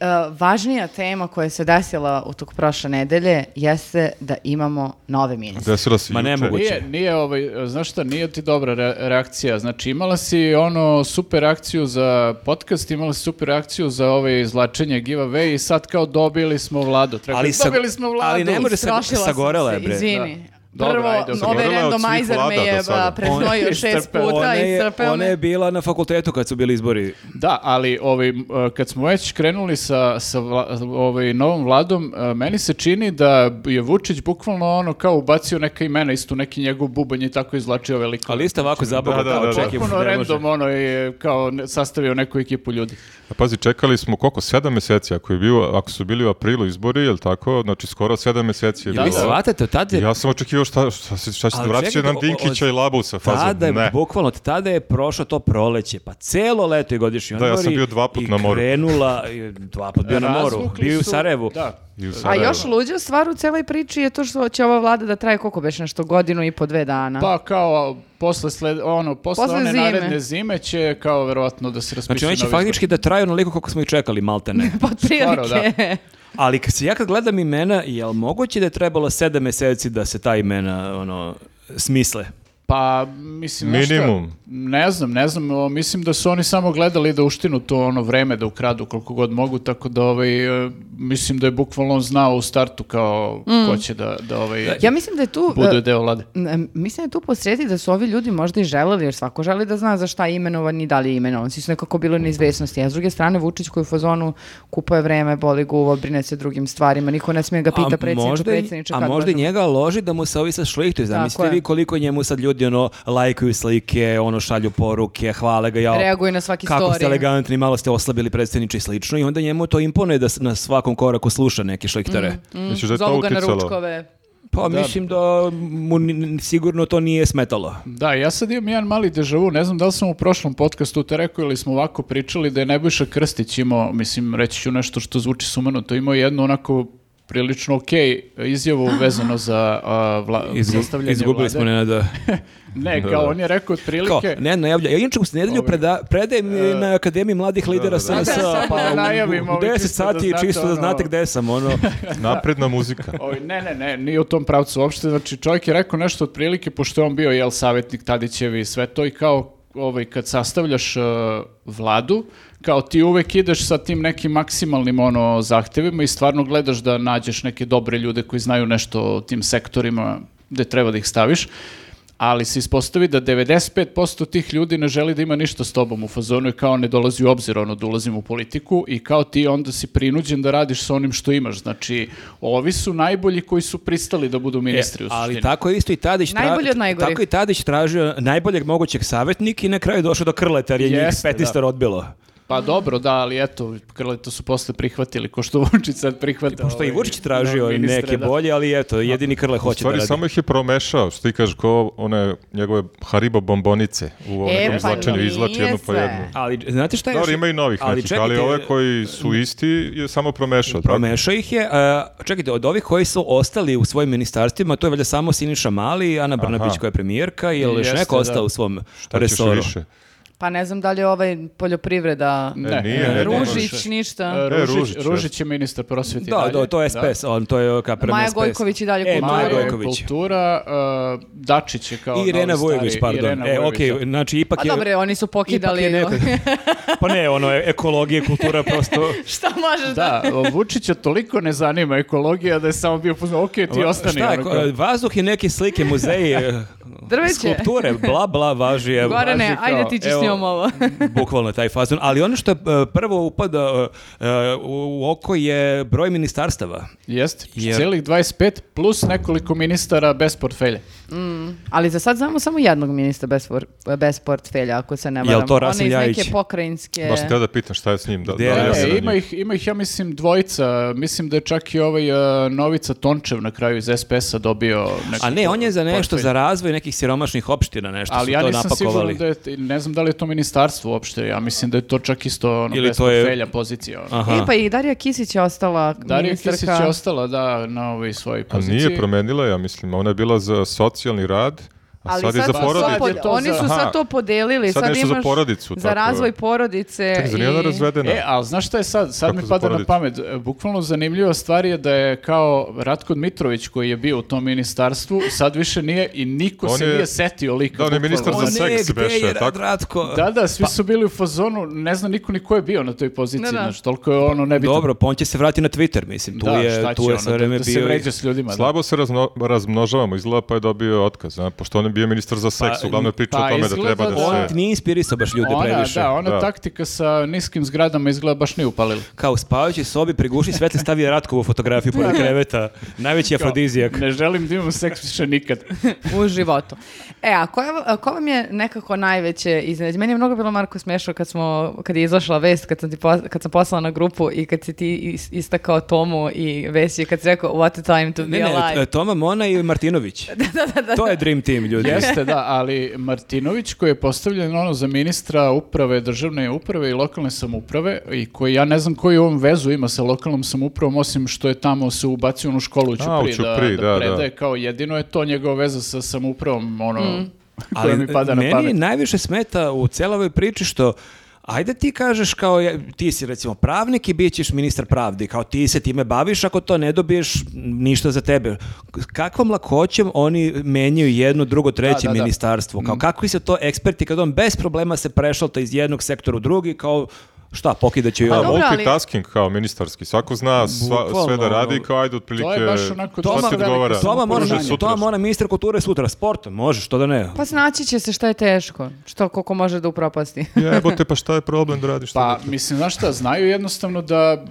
Speaker 3: najvažnija tema koja se desila u tog prošle nedelje jeste da imamo nove ministre.
Speaker 1: Desilo se
Speaker 2: Ma ne
Speaker 1: juče.
Speaker 2: mogu. Moguće.
Speaker 4: Nije, nije ovaj, znaš šta, nije ti dobra re- reakcija. Znači imala si ono super akciju za podcast, imala si super akciju za ove izlačenje giveaway i sad kao dobili smo vladu. Treba,
Speaker 2: Ali sa-
Speaker 4: dobili smo vladu.
Speaker 2: ali ne može-
Speaker 3: Istrošila sam
Speaker 2: sagorela
Speaker 3: se,
Speaker 2: je, bre.
Speaker 3: Izvini.
Speaker 4: Da. Dobro,
Speaker 3: Prvo,
Speaker 4: ajde, ok.
Speaker 3: ovaj
Speaker 1: Sagorela je od svih
Speaker 3: randomizer me
Speaker 1: vlada do
Speaker 3: je
Speaker 1: sada.
Speaker 3: a, preznojio
Speaker 4: Ona-
Speaker 3: šest
Speaker 4: Istrpeo.
Speaker 3: puta,
Speaker 2: Ona je,
Speaker 3: istrpeo
Speaker 2: ona je
Speaker 3: me.
Speaker 2: bila na fakultetu kad su bili izbori.
Speaker 4: Da, ali ovaj, m, e, kad smo već krenuli sa, sa vla- ovaj, novom vladom, e, meni se čini da je Vučić bukvalno ono kao ubacio neka imena, isto neki njegov bubanj i tako izlačio veliko.
Speaker 2: Ali isto ovako zabavno
Speaker 1: da,
Speaker 2: kao
Speaker 1: da, da.
Speaker 2: čekaj,
Speaker 4: Potpuno
Speaker 2: ne može.
Speaker 4: random ono je kao ne- sastavio neku ekipu ljudi.
Speaker 1: A Pazi, čekali smo koliko? Sedam meseci. Ako, je bio, ako su bili u aprilu izbori, jel tako? Znači, skoro sedam meseci je
Speaker 4: Ja
Speaker 2: Vi
Speaker 1: bilo.
Speaker 4: mislim-
Speaker 2: shvatate, tad je
Speaker 1: Ja sam očekivao šta, šta, se- šta će
Speaker 2: Ali
Speaker 1: se vratiti
Speaker 2: čekajte,
Speaker 1: na
Speaker 2: o-
Speaker 1: Dinkića
Speaker 2: od-
Speaker 1: i Labusa fazom.
Speaker 2: Tada je,
Speaker 1: ne.
Speaker 2: bukvalno, od tada je prošlo to proleće, pa celo leto i godišnji
Speaker 1: Da, ja
Speaker 2: odmori.
Speaker 1: sam bio dva put
Speaker 2: i
Speaker 1: na moru.
Speaker 2: krenula, i dva put bio na moru,
Speaker 4: Razvukli
Speaker 2: bio i u
Speaker 4: su-
Speaker 2: Sarajevu.
Speaker 4: Da.
Speaker 1: I u
Speaker 3: A
Speaker 1: Sarajevo.
Speaker 3: još luđa stvar u celoj priči je to što će ova vlada da traje koliko beš nešto, godinu i po dve dana.
Speaker 4: Pa kao posle sled, ono posle,
Speaker 3: Posle
Speaker 4: one
Speaker 3: zime.
Speaker 4: naredne zime će kao verovatno da se raspišu
Speaker 2: Znači, oni će
Speaker 4: novi izbori.
Speaker 2: faktički da traju onoliko koliko smo i čekali, malte ne.
Speaker 3: Pa otprilike.
Speaker 4: Skoro,
Speaker 2: Ali kad se ja kad gledam imena, je li moguće da je trebalo sedam meseci da se ta imena ono, smisle?
Speaker 4: Pa, mislim, znaš šta,
Speaker 1: Minimum.
Speaker 4: ne znam, ne znam, o, mislim da su oni samo gledali da uštinu to ono vreme, da ukradu koliko god mogu, tako da ovaj, e, mislim da je bukvalno on znao u startu kao ko će da, da ovaj,
Speaker 3: Mm. Ja mislim da je tu...
Speaker 4: bude
Speaker 3: e,
Speaker 4: deo vlade.
Speaker 3: Ne, Mislim da je tu posredi da su ovi ljudi možda i želeli, jer svako želi da zna za šta je imenovan i da li je imenovan. Svi su nekako bili u neizvesnosti. A s druge strane, Vučić koji u fazonu kupuje vreme, boli guvo, brine se drugim stvarima, niko ne smije ga pita predsjedniče,
Speaker 2: i-
Speaker 3: predsjedniče.
Speaker 2: a
Speaker 3: kad
Speaker 2: možda i
Speaker 3: možemo.
Speaker 2: njega loži da mu se ovi sad šlihtuju. Zamislite
Speaker 3: je.
Speaker 2: vi koliko njemu sad ljudi ono lajkuju slike, ono šalju poruke, hvale ga, jao,
Speaker 3: Reaguju na svaki
Speaker 2: kako ste
Speaker 3: story.
Speaker 2: elegantni, malo ste oslabili predsjedniče i slično i onda njemu to imponuje da s- na svakom koraku sluša neke šlihtare.
Speaker 3: Mhm.
Speaker 1: Misliš da je to
Speaker 3: Mm, Zovu ga na
Speaker 1: uticalo?
Speaker 3: ručkove.
Speaker 2: Pa mislim da mu ni- sigurno to nije smetalo.
Speaker 4: Da, ja sad imam jedan mali dežavu, ne znam da li sam u prošlom podcastu te rekao ili smo ovako pričali da je Nebojša Krstić imao, mislim, reći ću nešto što zvuči sumanuto, imao je jednu onako prilično okej izjavu vezano za a, vla, sastavljanje
Speaker 2: izgubili
Speaker 4: vlade.
Speaker 2: smo Nenada.
Speaker 4: Ne, kao on je rekao
Speaker 2: Kao,
Speaker 4: otprilike... Ovaj. E,
Speaker 2: ne, najavlja. Ja inače u snedelju preda, predajem i na Akademiji mladih lidera
Speaker 1: da.
Speaker 2: SNS,
Speaker 4: Da, da,
Speaker 2: pa
Speaker 4: da
Speaker 2: u-
Speaker 4: najavimo,
Speaker 2: u,
Speaker 4: ali
Speaker 2: 10
Speaker 4: čisto da
Speaker 2: sati
Speaker 4: znate,
Speaker 2: čisto da
Speaker 4: ono-
Speaker 2: znate gde sam, ono.
Speaker 1: Napredna muzika.
Speaker 4: Oj, ne, ne, ne, nije u tom pravcu uopšte. Znači, čovjek je rekao nešto otprilike, pošto je on bio, jel, savjetnik Tadićevi i sve to, i kao, ovaj, kad sastavljaš eh, vladu, kao ti uvek ideš sa tim nekim maksimalnim ono zahtevima i stvarno gledaš da nađeš neke dobre ljude koji znaju nešto o tim sektorima gde treba da ih staviš. ali se ispostavi da 95% tih ljudi ne želi da ima ništa s tobom u fazonu i kao ne dolazi u obzir ono da ulazim u politiku i kao ti onda si prinuđen da radiš sa onim što imaš. Znači, ovi su najbolji koji su pristali da budu ministri u
Speaker 2: E, Ali
Speaker 4: suštini.
Speaker 2: tako je isto i Tadić tra-
Speaker 3: Najbolji od najgorih.
Speaker 2: Tako je i Tadić tražio najboljeg mogućeg savjetnika i na kraju je došao do Krleta jer je njih
Speaker 4: Jeste,
Speaker 2: 15 odbilo.
Speaker 4: Pa dobro, da, ali eto, Krleto su posle prihvatili, ko što Vučić sad prihvata.
Speaker 2: Pošto Ono je i
Speaker 4: ovaj,
Speaker 2: Vučić tražio
Speaker 4: novog ministra,
Speaker 2: neke
Speaker 4: da.
Speaker 2: bolje, ali eto, jedini Krle
Speaker 1: U
Speaker 2: hoće da
Speaker 1: stvari
Speaker 2: radi.
Speaker 1: samo ih je promešao, što ti kažeš, ko one njegove Haribo bombonice u ovom
Speaker 3: E,
Speaker 1: nekom
Speaker 3: pa
Speaker 1: izlačenju,
Speaker 3: nije
Speaker 1: izlači jednu po
Speaker 3: sve.
Speaker 1: jednu.
Speaker 2: Ali znate šta je? još-
Speaker 1: Dobro, ima i novih
Speaker 2: ali
Speaker 1: nekih,
Speaker 2: čekajte,
Speaker 1: ali ove koji su isti je samo promešao. tako?
Speaker 2: Promešao ih je. a, čekajte, od ovih koji su ostali u svojim ministarstvima, to je valjda samo Siniša Mali i Ana Brnabić koja je premijerka ili još
Speaker 4: Jeste,
Speaker 2: neko
Speaker 4: da.
Speaker 2: ostao u svom
Speaker 1: Šta ćeš
Speaker 2: resoru.
Speaker 1: više?
Speaker 3: Pa ne znam da li je ovaj poljoprivreda...
Speaker 1: E, nije, ne, ne,
Speaker 3: Ružić,
Speaker 1: može.
Speaker 3: ništa.
Speaker 4: E, Ružić,
Speaker 1: Ružić, ja.
Speaker 4: Ružić je ministar prosvjeti.
Speaker 2: Da,
Speaker 4: dalje.
Speaker 2: da, to je SPS, on to je ka prema
Speaker 3: Maja
Speaker 2: SPS.
Speaker 3: Gojković i dalje
Speaker 2: E,
Speaker 3: kultura.
Speaker 2: Maja
Speaker 4: Maja
Speaker 2: Gojković.
Speaker 4: Kultura, e, Dačić je kao
Speaker 2: I Irena
Speaker 4: novi
Speaker 2: Vujović,
Speaker 4: stari,
Speaker 2: pardon.
Speaker 4: Irena
Speaker 2: e,
Speaker 4: Vujović,
Speaker 2: okej,
Speaker 4: da.
Speaker 2: znači ipak
Speaker 3: A
Speaker 2: je...
Speaker 3: dobre, Pa oni su pokidali...
Speaker 2: je neko- Pa ne, ono, e- ekologija, kultura, prosto...
Speaker 3: Šta možeš da...
Speaker 4: Da, o, Vučića toliko ne zanima ekologija da je samo bio poznan, okej, ti ostani.
Speaker 2: Šta,
Speaker 4: ono
Speaker 2: ko-
Speaker 4: kao-
Speaker 2: vazduh i neke slike, muzeji, e,
Speaker 3: Drveće.
Speaker 2: skulpture, bla, bla, važi, evo.
Speaker 3: Gorane,
Speaker 4: važi kao,
Speaker 3: ajde ti ćeš s
Speaker 2: evo,
Speaker 3: njom ovo.
Speaker 2: Bukvalno taj fazon. Ali ono što e, prvo upada e, e, u oko je broj ministarstava.
Speaker 4: Jeste,
Speaker 2: Jer-
Speaker 4: cijelih 25 plus nekoliko ministara bez portfelja.
Speaker 3: Ali za sad znamo samo jednog ministra bez, for- bez portfelja, ako se ne varam.
Speaker 2: to Rasim
Speaker 3: Ona iz
Speaker 2: Ljajić?
Speaker 3: neke pokrajinske...
Speaker 1: Baš sam teo da pitam šta je s njim. Da,
Speaker 2: Gde
Speaker 1: da li
Speaker 2: je?
Speaker 1: je
Speaker 4: E,
Speaker 1: sada
Speaker 4: ima,
Speaker 1: njih?
Speaker 4: ih, ima ih, ja mislim, dvojica. Mislim da je čak i ovaj e, Novica Tončev na kraju iz SPS-a dobio
Speaker 3: Znači,
Speaker 4: neki
Speaker 2: A ne, on je za nešto,
Speaker 4: portfelj.
Speaker 2: za razvoj nekih siromašnih opština, nešto su
Speaker 4: Ali ja
Speaker 2: to
Speaker 4: nisam
Speaker 2: napakovali.
Speaker 4: siguran da je, ne znam da li je to ministarstvo uopšte, ja mislim da je to čak isto ono,
Speaker 2: Ili
Speaker 4: bez
Speaker 2: to je-
Speaker 4: portfelja pozicija. Ono.
Speaker 2: Aha.
Speaker 3: E, pa i Darija Kisić je ostala
Speaker 4: Darija
Speaker 3: ministarka.
Speaker 4: Kisić je ostala da, na ovoj svojoj
Speaker 1: A
Speaker 4: poziciji.
Speaker 1: nije promenila, ja mislim. Ona je bila za socijalni rad, a
Speaker 3: Ali
Speaker 1: sad, je za
Speaker 3: su to
Speaker 1: porodicu.
Speaker 4: sad
Speaker 3: pod-
Speaker 4: je to
Speaker 3: Oni su
Speaker 1: za-
Speaker 3: sad
Speaker 1: Aha.
Speaker 3: to podelili.
Speaker 1: Sad
Speaker 3: Sad,
Speaker 1: nešto za
Speaker 3: imaš
Speaker 1: porodicu,
Speaker 3: Za
Speaker 1: tako.
Speaker 3: razvoj porodice.
Speaker 1: Čekaj, zar nije ona
Speaker 3: i-
Speaker 1: razvedena?
Speaker 4: E, ali znaš šta je sad? Sad
Speaker 1: Kako
Speaker 4: mi
Speaker 1: za
Speaker 4: pada na
Speaker 1: porodicu?
Speaker 4: pamet. E, Bukvalno zanimljiva stvar je da je kao Ratko Dmitrović koji je bio u tom ministarstvu, sad više nije i niko
Speaker 1: On
Speaker 4: se
Speaker 1: je-
Speaker 4: nije setio lika.
Speaker 1: Da, on je
Speaker 4: bukvalno.
Speaker 1: ministar
Speaker 2: O
Speaker 1: za Pa-
Speaker 2: ne,
Speaker 1: seks
Speaker 2: gde
Speaker 1: beše,
Speaker 2: je
Speaker 1: tako?
Speaker 2: Radratko?
Speaker 4: Da, da, svi su bili u fazonu, ne zna niko ni ko je bio na toj poziciji,
Speaker 3: Da, da.
Speaker 4: znaš, toliko je ono nebitno.
Speaker 2: Dobro, pa on će se vratiti na Twitter, mislim. Tu
Speaker 4: da, šta
Speaker 2: je,
Speaker 4: će
Speaker 2: tu je
Speaker 4: ono,
Speaker 2: sve vreme
Speaker 4: da, da se
Speaker 2: bio i-
Speaker 4: vređa s ljudima. da.
Speaker 1: Slabo se razno- razmnožavamo, izgleda pa je dobio otkaz, a? pošto on je bio ministar za seks,
Speaker 2: Pa,
Speaker 1: uglavnom je pričao
Speaker 4: pa
Speaker 1: o tome da
Speaker 4: izgleda
Speaker 1: treba da
Speaker 4: da-
Speaker 2: On
Speaker 1: se...
Speaker 2: nije inspirisao baš ljude
Speaker 4: ona,
Speaker 2: previše.
Speaker 4: Da, ona
Speaker 1: da.
Speaker 4: taktika sa niskim zgradama izgleda baš nije upalila.
Speaker 2: Kao u spavajućoj sobi priguši svetle stavi Ratkovu fotografiju pored kreveta. Najveći afrodizijak.
Speaker 4: Ne želim da imam seks više nikad.
Speaker 3: u životu. E, a koja, a ko vam je nekako najveće iznenađenje? Meni je mnogo bilo Marko smešno kad, smo, kad je izašla vest, kad sam, ti pos- kad sam poslala na grupu i kad si ti is- istakao Tomu i Vesi, kad si rekao what a time to be
Speaker 2: Ne, ne,
Speaker 3: alive.
Speaker 2: t- Toma Mona i Martinović. To je dream team, ljudi.
Speaker 4: Jeste, da, ali Martinović koji je postavljen ono za ministra uprave, državne uprave i lokalne samuprave i koji ja ne znam koju on vezu ima sa lokalnom samupravom osim što je tamo se ubacio u onu školu u Ćupri,
Speaker 1: A, u Ćupri,
Speaker 4: da,
Speaker 1: da, da.
Speaker 4: predaje, kao jedino je to njegova veza sa samupravom, ono, koja
Speaker 2: Ali
Speaker 4: mi pada na
Speaker 2: meni
Speaker 4: pamet.
Speaker 2: najviše smeta u cijeloj ovoj priči što Ajde ti kažeš kao ja- ti si recimo pravnik i bit ćeš ministar pravde, kao ti se time baviš, ako to ne dobiješ ništa za tebe. Kakvom lakoćem oni menjaju jedno, drugo, treće
Speaker 4: da, Mm. da.
Speaker 2: ministarstvo? Kao kakvi su to eksperti kad on bez problema se prešalta iz jednog sektora u drugi, kao šta, pokida će i
Speaker 3: Pa
Speaker 1: Da,
Speaker 2: ovo.
Speaker 3: dobro, ali-
Speaker 1: multitasking kao ministarski, svako zna sva- sve
Speaker 2: Bukvalno,
Speaker 1: da radi,
Speaker 2: ono,
Speaker 1: kao ajde otprilike...
Speaker 4: to je baš onako
Speaker 1: šta
Speaker 4: dosta
Speaker 1: ti
Speaker 4: velika
Speaker 1: odgovara?
Speaker 2: Toma mora,
Speaker 1: Može
Speaker 4: samoporučanje.
Speaker 1: sutra.
Speaker 2: Toma mora ministar kulture sutra, sportom, možeš, što da ne.
Speaker 3: Pa snaći će se šta je teško, što koliko može da upropasti.
Speaker 1: Jebote, pa šta je problem da radiš?
Speaker 4: Pa,
Speaker 1: to?
Speaker 4: mislim, znaš šta, znaju jednostavno da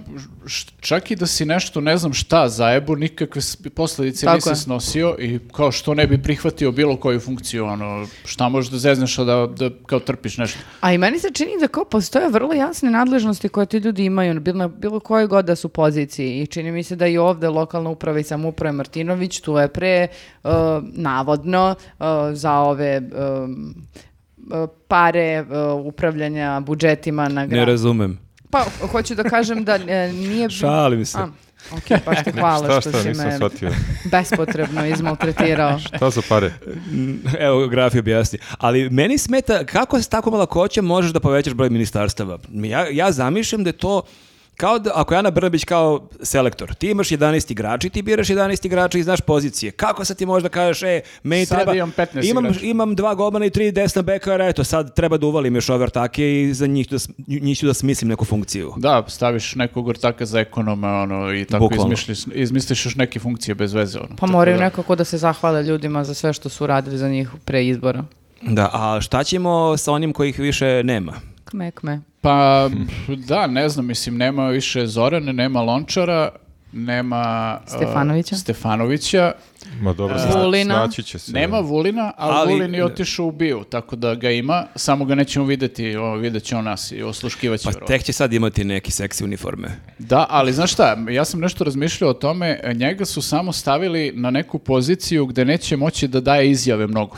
Speaker 4: š- čak i da si nešto, ne znam šta, zajebu, nikakve s- posledice
Speaker 3: Tako je.
Speaker 4: nisi snosio i kao što ne bi prihvatio bilo koju funkciju, ono, šta možeš da zezneš, a da, da kao trpiš nešto.
Speaker 3: A i meni se čini da kao postoje vrlo jasne nadležnosti koje ti ljudi imaju na bilo, na bilo kojoj god da su poziciji i čini mi se da i ovde lokalna uprava i samouprava Martinović tu je pre uh, navodno uh, za ove um, uh, pare uh, upravljanja budžetima na
Speaker 2: Ne
Speaker 3: grad.
Speaker 2: razumem.
Speaker 3: Pa hoću da kažem da e, nije... bi-
Speaker 2: Šalim se.
Speaker 3: A, ok, baš te hvala
Speaker 1: šta,
Speaker 3: što
Speaker 1: šta,
Speaker 3: si
Speaker 1: nisam
Speaker 3: me
Speaker 1: shvatio.
Speaker 3: bespotrebno izmaltretirao.
Speaker 1: Šta za pare?
Speaker 2: Evo, grafi objasni. Ali meni smeta kako s tako malo koće možeš da povećaš broj ministarstava. Ja, ja zamišljam da je to Kao da, ako je Ana Brnabić kao selektor, ti imaš 11 igrača i ti biraš 11 igrača i znaš pozicije. Kako sad ti možda kažeš, e, meni
Speaker 4: Sad
Speaker 2: treba...
Speaker 4: imam 15
Speaker 2: imam,
Speaker 4: igrača.
Speaker 2: imam dva golmana i tri desna bekara, eto, sad treba da uvalim još ove ortake i za njih, ću da, sm- njih ću da smislim neku funkciju.
Speaker 4: Da, staviš nekog ortaka za ekonoma ono, i tako
Speaker 2: Bukvalno.
Speaker 4: izmišljiš, izmisliš još neke funkcije bez veze. Ono.
Speaker 3: Pa
Speaker 4: Tako
Speaker 3: moraju
Speaker 4: da-
Speaker 3: nekako da se zahvale ljudima za sve što su radili za njih pre izbora.
Speaker 2: Da, a šta ćemo sa onim kojih više nema?
Speaker 3: Kme, kme.
Speaker 4: Pa da, ne znam, mislim, nema više Zorane, nema Lončara, nema... uh,
Speaker 3: Stefanovića.
Speaker 4: Stefanovića.
Speaker 1: Ma dobro,
Speaker 3: E,
Speaker 1: sna-
Speaker 3: Vulina.
Speaker 1: snaći će se.
Speaker 4: Nema Vulina, ali,
Speaker 2: Ali-
Speaker 4: Vulin je otišao u biju, tako da ga ima, samo ga nećemo videti, o, vidjet će on nas i osluškivaće.
Speaker 2: Pa
Speaker 4: verovatno.
Speaker 2: tek će sad imati neki seksi uniforme.
Speaker 4: Da, ali znaš šta, ja sam nešto razmišljao o tome, njega su samo stavili na neku poziciju gde neće moći da daje izjave mnogo.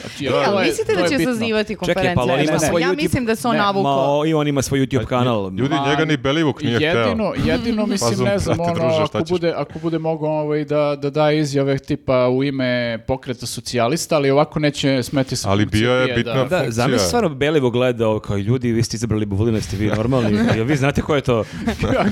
Speaker 4: Znači,
Speaker 3: E,
Speaker 4: to
Speaker 3: ali
Speaker 4: je-
Speaker 3: mislite
Speaker 4: to
Speaker 3: da
Speaker 4: je
Speaker 3: će
Speaker 4: bitno.
Speaker 3: sazivati
Speaker 2: Čekaj, pa ali
Speaker 3: konferencije?
Speaker 2: on
Speaker 4: ima
Speaker 3: Ne, ne,
Speaker 4: svoj
Speaker 3: ja
Speaker 2: YouTube-
Speaker 3: mislim da se on
Speaker 4: Ne, ma,
Speaker 3: navukao.
Speaker 2: Ma, i on ima svoj
Speaker 4: Pa,
Speaker 2: YouTube kanal.
Speaker 1: Ljudi,
Speaker 4: Ma,
Speaker 1: njega ni Belivuk nije
Speaker 4: Jedino,
Speaker 1: hteo.
Speaker 4: jedino mislim,
Speaker 1: Pazom,
Speaker 4: ne znam,
Speaker 1: brate,
Speaker 4: ono,
Speaker 1: druže, šta
Speaker 4: ako,
Speaker 1: ćeš?
Speaker 4: bude, ako bude mogao ovaj, da, da daje izjave tipa u ime pokreta socijalista, ali ovako neće smeti se.
Speaker 1: Ali bio je bitna-
Speaker 2: Da,
Speaker 1: funkcija.
Speaker 2: zamisli stvarno Belivo gleda ovo kao ljudi, vi ste izabrali Buvulina, ste vi normalni, jel vi znate ko je to?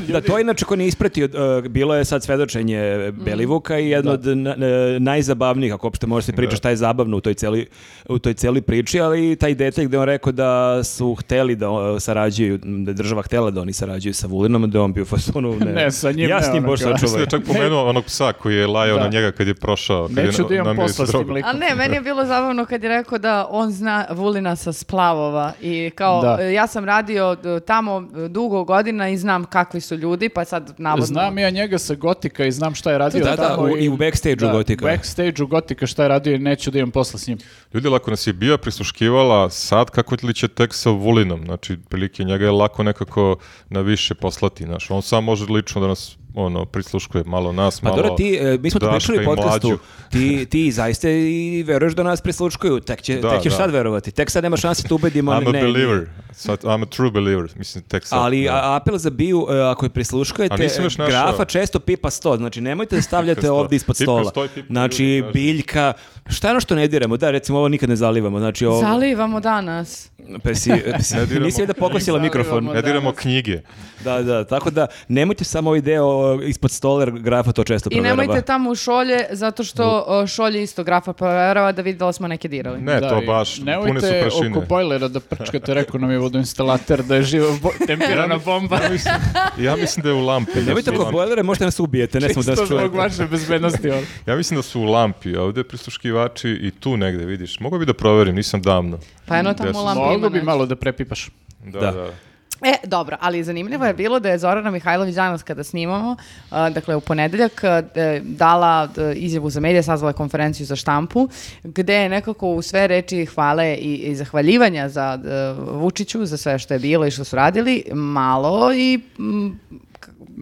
Speaker 2: da, to je inače ko nije ispratio, e, bilo je sad svedočenje Belivuka i jedno od na- e, najzabavnijih, ako uopšte može se priča šta je zabavno u toj, celi, u toj celi priči, ali i taj detalj gde on rekao da su hteli da e, sarađuju, da je država htela da oni sarađuju sa Vulinom, da je on bio u fazonu, ne,
Speaker 4: Ne, sa njim
Speaker 2: ja
Speaker 4: ne,
Speaker 2: s njim
Speaker 4: ono
Speaker 2: bož
Speaker 4: kao.
Speaker 1: Mislim da
Speaker 2: sačuvaj.
Speaker 1: je čak pomenuo onog psa koji je lajao
Speaker 4: Da.
Speaker 1: na njega kad je prošao. kad je
Speaker 4: Neću
Speaker 1: na-
Speaker 4: da imam
Speaker 1: namirio
Speaker 4: posla s
Speaker 1: drogu.
Speaker 4: tim likom.
Speaker 3: Ali ne, meni je bilo zabavno kad je rekao da on zna Vulina sa splavova i kao
Speaker 4: Da.
Speaker 3: e, ja sam radio e, tamo e, dugo godina i znam kakvi su ljudi, pa sad navodno...
Speaker 4: Znam ja njega sa Gotika i znam šta je radio
Speaker 2: Da, da,
Speaker 4: tamo
Speaker 2: u- i u backstage-u Gotika.
Speaker 4: u backstage-u Gotika šta je radio i neću da imam posla s njim.
Speaker 1: Ljudi, lako nas je bio prisluškivala sad kako li će tek sa Vulinom. Znači, prilike njega je lako nekako na više poslati. Znaš. On sam može lično da nas ono, prisluškuje malo nas,
Speaker 2: Pa
Speaker 1: malo...
Speaker 2: dobro, ti, e, mi smo te
Speaker 1: Daška
Speaker 2: pričali u
Speaker 1: i
Speaker 2: podcastu,
Speaker 1: Mlađu.
Speaker 2: ti, ti zaista i veruješ da nas prislučkuju, tek, će,
Speaker 1: Da,
Speaker 2: tek ćeš
Speaker 1: da.
Speaker 2: sad verovati, tek sad nema šanse da ubedimo, ali
Speaker 1: I'm a
Speaker 2: ne,
Speaker 1: believer.
Speaker 2: nije.
Speaker 1: Sad, I'm a true believer. Mislim, tek sad.
Speaker 2: Ali
Speaker 1: da.
Speaker 2: a, apel za biju, e, ako je
Speaker 1: A
Speaker 2: prisluškujete,
Speaker 1: nisam još našao.
Speaker 2: grafa često pipa sto, znači nemojte da
Speaker 1: Pipa
Speaker 2: stavljate
Speaker 1: sto.
Speaker 2: ovdje ispod
Speaker 1: Pipa
Speaker 2: stola.
Speaker 1: sto i pipa ljudi,
Speaker 2: Znači,
Speaker 1: kaže.
Speaker 2: biljka, šta je ono što ne diramo? Da, recimo ovo nikad ne zalivamo, znači ovo...
Speaker 3: Zalivamo danas.
Speaker 2: Pa si, si-
Speaker 1: Ne diramo.
Speaker 2: nisi da pokosila
Speaker 4: Zalivamo,
Speaker 2: mikrofon.
Speaker 1: Ne diramo knjige.
Speaker 2: Da, da, tako da nemojte samo ovaj deo e, ispod stola, jer grafa to često
Speaker 3: I
Speaker 2: proverava.
Speaker 3: nemojte tamo u šolje, zato što o, šolje isto grafa proverava da vidi da li smo neke dirali.
Speaker 1: Ne, E, to
Speaker 4: i
Speaker 1: baš. Pune su
Speaker 4: nemojte
Speaker 1: prašine.
Speaker 4: oko bojlera da prčkate, rekao nam je vodoinstalater da je živa bo- tempirana bomba.
Speaker 1: Ja mislim da je u lampi. da
Speaker 2: Nemojte
Speaker 1: su u
Speaker 2: oko
Speaker 1: lampi.
Speaker 2: bojlere, možete nas ubijete, ne smo da
Speaker 4: Isto
Speaker 2: nas
Speaker 4: zbog
Speaker 2: čujete.
Speaker 4: vaše bezbednosti. ono.
Speaker 1: Ja mislim da su u lampi ovde prisluškivači i tu negde, vidiš. Mogu bi da proverim, nisam davno.
Speaker 3: Pa eno tamo
Speaker 1: Gde
Speaker 3: u
Speaker 1: su-
Speaker 3: lampi ima
Speaker 4: Mogu bi
Speaker 3: nešto.
Speaker 4: malo da prepipaš.
Speaker 1: Da,
Speaker 2: Da.
Speaker 1: da.
Speaker 3: E, dobro, ali zanimljivo
Speaker 2: Mm.
Speaker 3: je bilo da je Zorana Mihajlović danas kada snimamo, a, dakle u ponedeljak, a, e, dala e, izjavu za medije, sazvala je konferenciju za štampu, gde je nekako u sve reči hvale i, i zahvaljivanja za e, Vučiću, za sve što je bilo i što su radili, malo i... mm,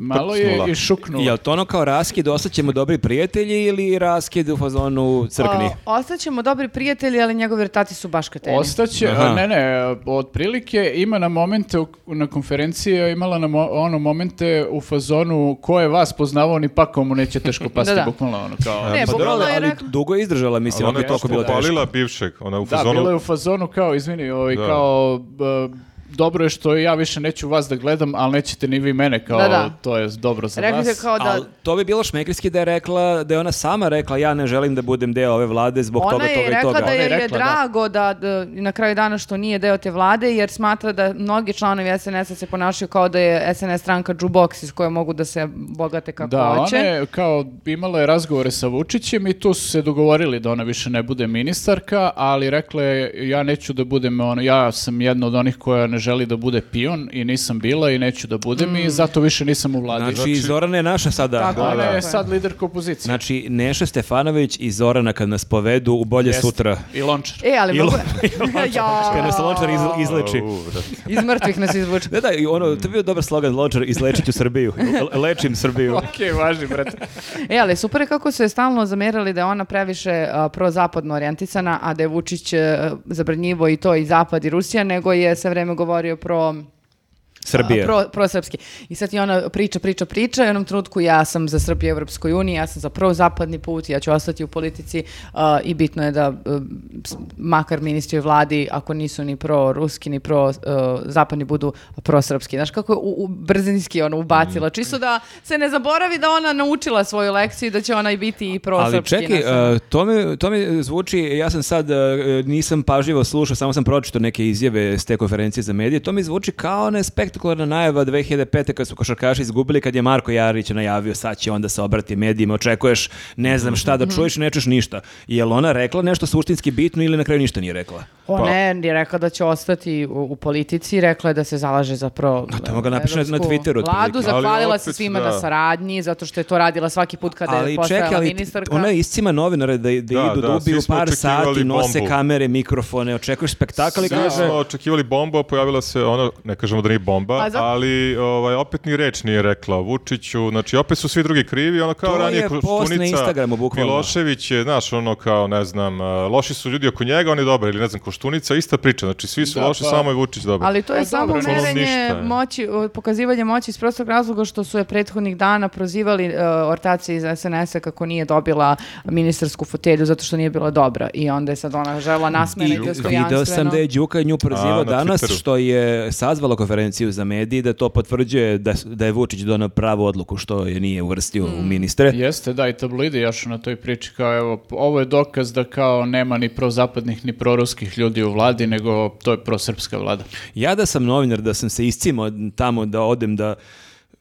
Speaker 4: Malo je
Speaker 1: Trpsnula.
Speaker 4: i šuknuo.
Speaker 2: Jel to ono kao raskid, ostaćemo dobri prijatelji ili raskid u fazonu crkni?
Speaker 3: o, ostaćemo dobri prijatelji, ali njegovi retati su baš kateni.
Speaker 4: Ostaće,
Speaker 2: Aha.
Speaker 4: a, ne, ne, otprilike ima na momente, u- na konferenciji je imala na mo- ono momente u fazonu ko je vas poznavao, ni pakom mu neće teško pasti,
Speaker 3: Da, da.
Speaker 4: bukvalno ono kao...
Speaker 3: Ne,
Speaker 2: Pa dobro,
Speaker 3: bukvalno
Speaker 2: ali,
Speaker 3: e, je
Speaker 2: ali
Speaker 3: rekla-
Speaker 2: dugo je izdržala, mislim,
Speaker 1: Ali ona
Speaker 2: ako
Speaker 1: je
Speaker 2: je toliko
Speaker 1: to
Speaker 2: bilo teško.
Speaker 1: popalila bivšeg, ona u
Speaker 4: Da,
Speaker 1: fazonu...
Speaker 4: bilo je u fazonu kao, izvini, ovaj,
Speaker 1: Da.
Speaker 4: kao, b- dobro je što ja više neću vas da gledam, ali nećete ni vi mene, kao,
Speaker 3: Da, da.
Speaker 4: to je dobro za
Speaker 3: Rekli
Speaker 4: vas.
Speaker 3: se kao da...
Speaker 2: Ali to bi bilo šmekrijski da je rekla, da je ona sama rekla ja ne želim da budem deo ove vlade zbog
Speaker 3: Ona
Speaker 2: toga,
Speaker 3: je
Speaker 2: toga i
Speaker 3: rekla
Speaker 2: toga.
Speaker 3: da
Speaker 4: Ona
Speaker 3: joj
Speaker 4: je
Speaker 3: je,
Speaker 4: rekla, da.
Speaker 3: drago da. d- na kraju dana što nije deo te vlade, jer smatra da mnogi članovi SNS-a se ponašaju kao da je SNS stranka džuboks iz koje mogu da se bogate kako
Speaker 4: Da,
Speaker 3: hoće.
Speaker 4: ona je kao imala je razgovore sa Vučićem i tu su se dogovorili da ona više ne bude ministarka, ali rekla je ja neću da budem ono, ja sam jedna od onih koja ne želi da bude pion i nisam bila i neću da budem
Speaker 3: Mm.
Speaker 4: i zato više nisam u vladi.
Speaker 2: Znači, Zorana je naša sada.
Speaker 3: Tako
Speaker 4: Ona
Speaker 3: Da, da.
Speaker 4: je sad liderka opozicije.
Speaker 2: Znači, Neša Stefanović i Zorana kad nas povedu u bolje
Speaker 4: Jeste.
Speaker 2: sutra.
Speaker 4: I Lončar.
Speaker 3: E, ali
Speaker 2: I
Speaker 3: mogu...
Speaker 2: Kad nas Lončar iz, izleči.
Speaker 1: U, brate.
Speaker 3: Iz mrtvih nas izvuče.
Speaker 2: Da, da, i ono, to je bio dobar slogan Lončar, izlečit ću Srbiju. Le- Lečim Srbiju.
Speaker 4: Ok, važi, brate.
Speaker 3: E, ali super je kako su je stalno zamerali da je ona previše a, prozapadno orijentisana, a da je Vučić e, zabranjivo i to i Zapad i Rusija, nego je sve vreme govorio pro
Speaker 2: Srbije.
Speaker 3: a, pro, prosrpski. I sad je ona priča, priča, priča i u jednom trenutku ja sam za Srbiju i Evropskoj uniji, ja sam za prozapadni put, ja ću ostati u politici a, i bitno je da e, s- makar ministri u vladi, ako nisu ni pro-ruski, ni pro-zapadni, budu prosrpski. Znaš kako je u, u brzinski ona
Speaker 2: Mm.
Speaker 3: ubacila, čisto da se ne zaboravi da ona naučila svoju lekciju i da će ona i biti i prosrpski.
Speaker 2: Ali čekaj,
Speaker 3: znaš, ono.
Speaker 2: e, to, me, to me zvuči, ja sam sad, e, nisam pažljivo slušao, samo sam pročitao neke izjave s te konferencije za medije, to mi zvuči kao ona spektakularna najava 2005. kad su košarkaši izgubili, kad je Marko Jarić najavio sad će onda se obrati medijima, očekuješ ne znam šta da
Speaker 3: Mhm.
Speaker 2: čuješ, ne čuješ ništa. Je li ona rekla nešto suštinski bitno ili na kraju ništa nije rekla?
Speaker 3: Ona je, je rekla da će ostati u, u politici, rekla je da se zalaže za pro...
Speaker 2: A to mogu napiše na- na
Speaker 3: evropsku
Speaker 2: Twitteru otprilike.
Speaker 3: Vladu,
Speaker 2: Ali
Speaker 3: zahvalila se
Speaker 1: opet,
Speaker 3: svima
Speaker 1: da.
Speaker 3: na saradnji, zato što je to radila svaki put kada Pa je
Speaker 2: ali
Speaker 3: postajala
Speaker 2: čekaj, ali ti-
Speaker 3: ministarka.
Speaker 2: ona je iscima novinare da, da,
Speaker 1: Da,
Speaker 2: idu, da,
Speaker 1: da,
Speaker 2: ubiju
Speaker 1: svi smo
Speaker 2: par
Speaker 1: očekivali
Speaker 2: sati, nose
Speaker 1: bombu.
Speaker 2: kamere, mikrofone, očekuješ spektakl i
Speaker 1: Svi
Speaker 2: kaže...
Speaker 1: smo očekivali bombu, a pojavila se ona, ne kažemo da nije bomba,
Speaker 3: A zato-
Speaker 1: ali ovaj, opet ni reč nije rekla o Vučiću, znači opet su svi drugi krivi, ono kao
Speaker 2: To
Speaker 1: ranije
Speaker 2: je post na
Speaker 1: Koštunica,
Speaker 2: Instagramu, bukvalno.
Speaker 1: Milošević je, znaš, ono kao, ne znam, eh, loši su ljudi oko njega, on je dobar, ili ne znam, Koštunica, ista priča, znači svi su
Speaker 4: Da,
Speaker 1: loši,
Speaker 4: pa-
Speaker 1: samo je Vučić dobar.
Speaker 3: Ali to je
Speaker 4: Pa
Speaker 3: samo
Speaker 4: dobro,
Speaker 1: ono
Speaker 3: merenje
Speaker 1: ništa je.
Speaker 3: moći, o, pokazivanje moći iz prostog razloga što su je prethodnih dana prozivali e, ortaci iz SNS-a kako nije dobila ministarsku fotelju zato što nije bila dobra i onda je sad ona žela
Speaker 2: I
Speaker 3: nasmene dostojanstveno.
Speaker 2: video sam da je Đuka nju prozivao
Speaker 1: A, na
Speaker 2: danas
Speaker 1: Twitteru.
Speaker 2: što je sazvala konferenciju za medije da to potvrđuje da, s- da je Vučić donao pravu odluku što je nije uvrstio u ministre.
Speaker 4: Jeste, da, i tabloidi jašu na toj priči kao evo, ovo je dokaz da kao nema ni prozapadnih ni proruskih ljudi u vladi, nego to je prosrpska vlada.
Speaker 2: Ja da sam novinar, da sam se iscimo tamo da odem da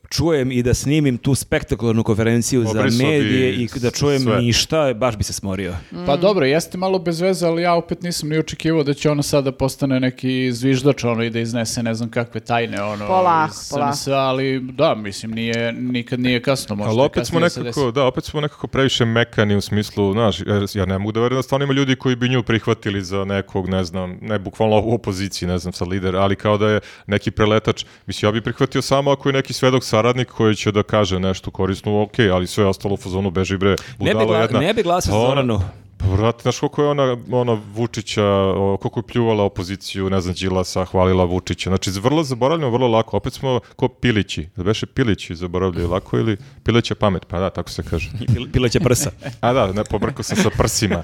Speaker 2: čujem i da snimim tu spektakularnu konferenciju za
Speaker 1: Obrisao bi
Speaker 2: medije i da čujem
Speaker 1: sve.
Speaker 2: ništa, baš bi se smorio.
Speaker 4: Pa
Speaker 3: Mm.
Speaker 4: dobro, jeste malo bez veze, ali ja opet nisam ni očekivao da će ona sada postane neki zviždač ono i da iznese ne znam kakve tajne ono
Speaker 3: Polako,
Speaker 4: iz
Speaker 3: polako.
Speaker 4: SNS-a, ali da, mislim nije nikad nije kasno možda.
Speaker 1: Ali opet smo
Speaker 4: kasnije se
Speaker 1: nekako, da, opet smo nekako previše mekani u smislu, znaš, jer ja ne mogu da verujem da stvarno ima ljudi koji bi nju prihvatili za nekog, ne znam, ne bukvalno u opoziciji, ne znam, sa lider, ali kao da je neki preletač. Mislim, ja bi prihvatio samo ako je neki svedok saradnik koji će da kaže nešto korisno, ok, ali sve ostalo u fazonu beži bre,
Speaker 2: Ne bi,
Speaker 1: budala
Speaker 2: gla-
Speaker 1: jedna.
Speaker 2: ne bi glasao
Speaker 1: Pa
Speaker 2: za
Speaker 1: ona-
Speaker 2: Zoranu.
Speaker 1: Pa vrati, znaš koliko je ona, ona Vučića, o, koliko je pljuvala opoziciju, ne znam, Đilasa, hvalila Vučića. Znači, vrlo zaboravljamo, vrlo lako. Opet smo ko pilići. Jel Beše pilići zaboravljaju lako ili pileća pamet, pa da, tako se kaže.
Speaker 2: Pil- Pileće prsa.
Speaker 1: A da, ne, pobrkao sam sa prsima.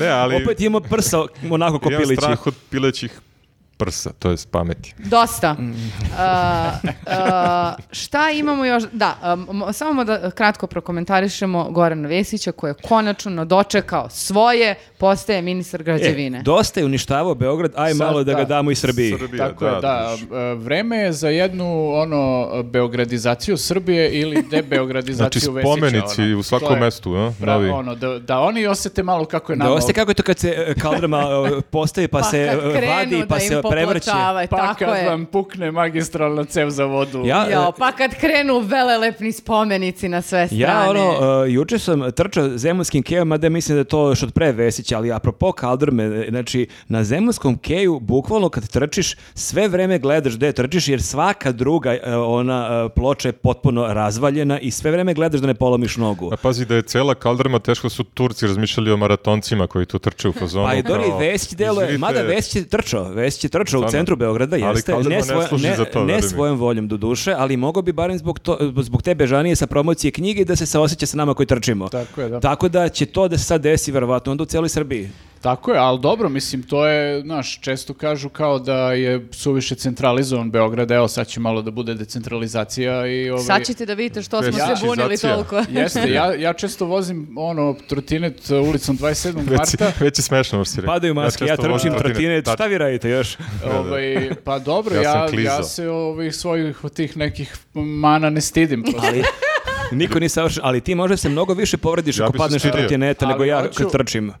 Speaker 1: ne, ali...
Speaker 2: Opet imamo prsa onako ko E,
Speaker 1: imam
Speaker 2: pilići.
Speaker 1: strah od pilećih prsa, to jest pameti.
Speaker 3: Dosta.
Speaker 2: Mm.
Speaker 3: A, a, šta imamo još? Da, a, mo- samo da kratko prokomentarišemo Gorana Vesića koji je konačno dočekao svoje, postaje ministar građevine.
Speaker 2: E, dosta je uništavao Beograd, aj
Speaker 4: Sad
Speaker 2: malo da ga
Speaker 4: da.
Speaker 2: damo i Srbiji.
Speaker 1: Srbija,
Speaker 4: Tako je, da.
Speaker 1: druže.
Speaker 4: e, Vreme je za jednu ono beogradizaciju Srbije ili
Speaker 1: Znači,
Speaker 4: debeogradizaciju Vesića.
Speaker 1: spomenici u
Speaker 4: ono. To
Speaker 1: svakom
Speaker 4: je
Speaker 1: mestu, a?
Speaker 4: pra-
Speaker 1: Novi.
Speaker 4: ono, da, da oni osete malo kako je nama.
Speaker 2: Da ostaje kako je to kad se e, kaldrma e, postavi pa, se
Speaker 3: kad
Speaker 2: e,
Speaker 3: krenu
Speaker 2: vadi pa
Speaker 3: da
Speaker 2: se
Speaker 3: im
Speaker 2: prevrće.
Speaker 3: popločavaju,
Speaker 4: Pa
Speaker 3: tako
Speaker 4: kad
Speaker 3: je.
Speaker 4: vam pukne magistralna cev za vodu.
Speaker 2: Ja, e,
Speaker 3: Jao, pa kad krenu velelepni spomenici na sve strane.
Speaker 2: ja ono, e, juče sam trčao zemunskim kejom, mada mislim da je to još od pre Vesića, ali apropo kaldrme, e, znači na zemunskom keju bukvalno kad trčiš, sve vreme gledaš gde trčiš jer svaka druga e, ona e, ploča je potpuno razvaljena i sve vreme gledaš da ne polomiš nogu.
Speaker 1: A pazi da je cela kaldrma, teško su Turci razmišljali o maratoncima koji tu trče u fazonu.
Speaker 2: Pa i Dori
Speaker 1: Ono kao,
Speaker 2: Vesić deluje,
Speaker 1: izvinite,
Speaker 2: mada Vesić je trčao, Vesić je trčao u
Speaker 1: Stvarno.
Speaker 2: centru Beograda,
Speaker 1: Ali
Speaker 2: jeste,
Speaker 1: Kalderman
Speaker 2: ne,
Speaker 1: ne
Speaker 2: svoja-
Speaker 1: služi
Speaker 2: ne,
Speaker 1: za to,
Speaker 2: ne
Speaker 1: veruj mi.
Speaker 2: svojom voljom do duše, ali mogao bi barem zbog, to, zbog te bežanije sa promocije knjige da se saoseća sa nama koji trčimo.
Speaker 4: Tako je, da.
Speaker 2: Tako da će to da se sad desi verovatno onda u cijeloj Srbiji.
Speaker 4: Tako je, ali dobro, mislim, to je, znaš, često kažu kao da je suviše centralizovan Beograd, evo sad će malo da bude decentralizacija i ovaj...
Speaker 3: Sad ćete da vidite što smo se
Speaker 1: Vesićizacija.
Speaker 3: bunili toliko.
Speaker 4: Jeste, ja, ja često vozim ono trotinet uh, ulicom 27.
Speaker 1: Već,
Speaker 4: marta.
Speaker 1: već je smešno, možeš ti reći.
Speaker 2: Padaju maske, ja,
Speaker 1: često vozim
Speaker 2: trčim trotinet,
Speaker 1: tačno.
Speaker 2: šta vi radite još?
Speaker 4: ovaj, pa dobro,
Speaker 1: Ja sam
Speaker 4: ja, ja,
Speaker 1: klizo.
Speaker 4: se ovih svojih tih nekih mana ne stidim. prosto.
Speaker 2: Ali, niko nije savršen, ali ti možda se mnogo više povrediš
Speaker 1: Ja
Speaker 2: ako
Speaker 1: bi se
Speaker 2: padneš od
Speaker 1: stidio.
Speaker 2: trotineta nego
Speaker 4: Ali
Speaker 2: ja
Speaker 4: hoću-
Speaker 2: kad trčim.
Speaker 4: E,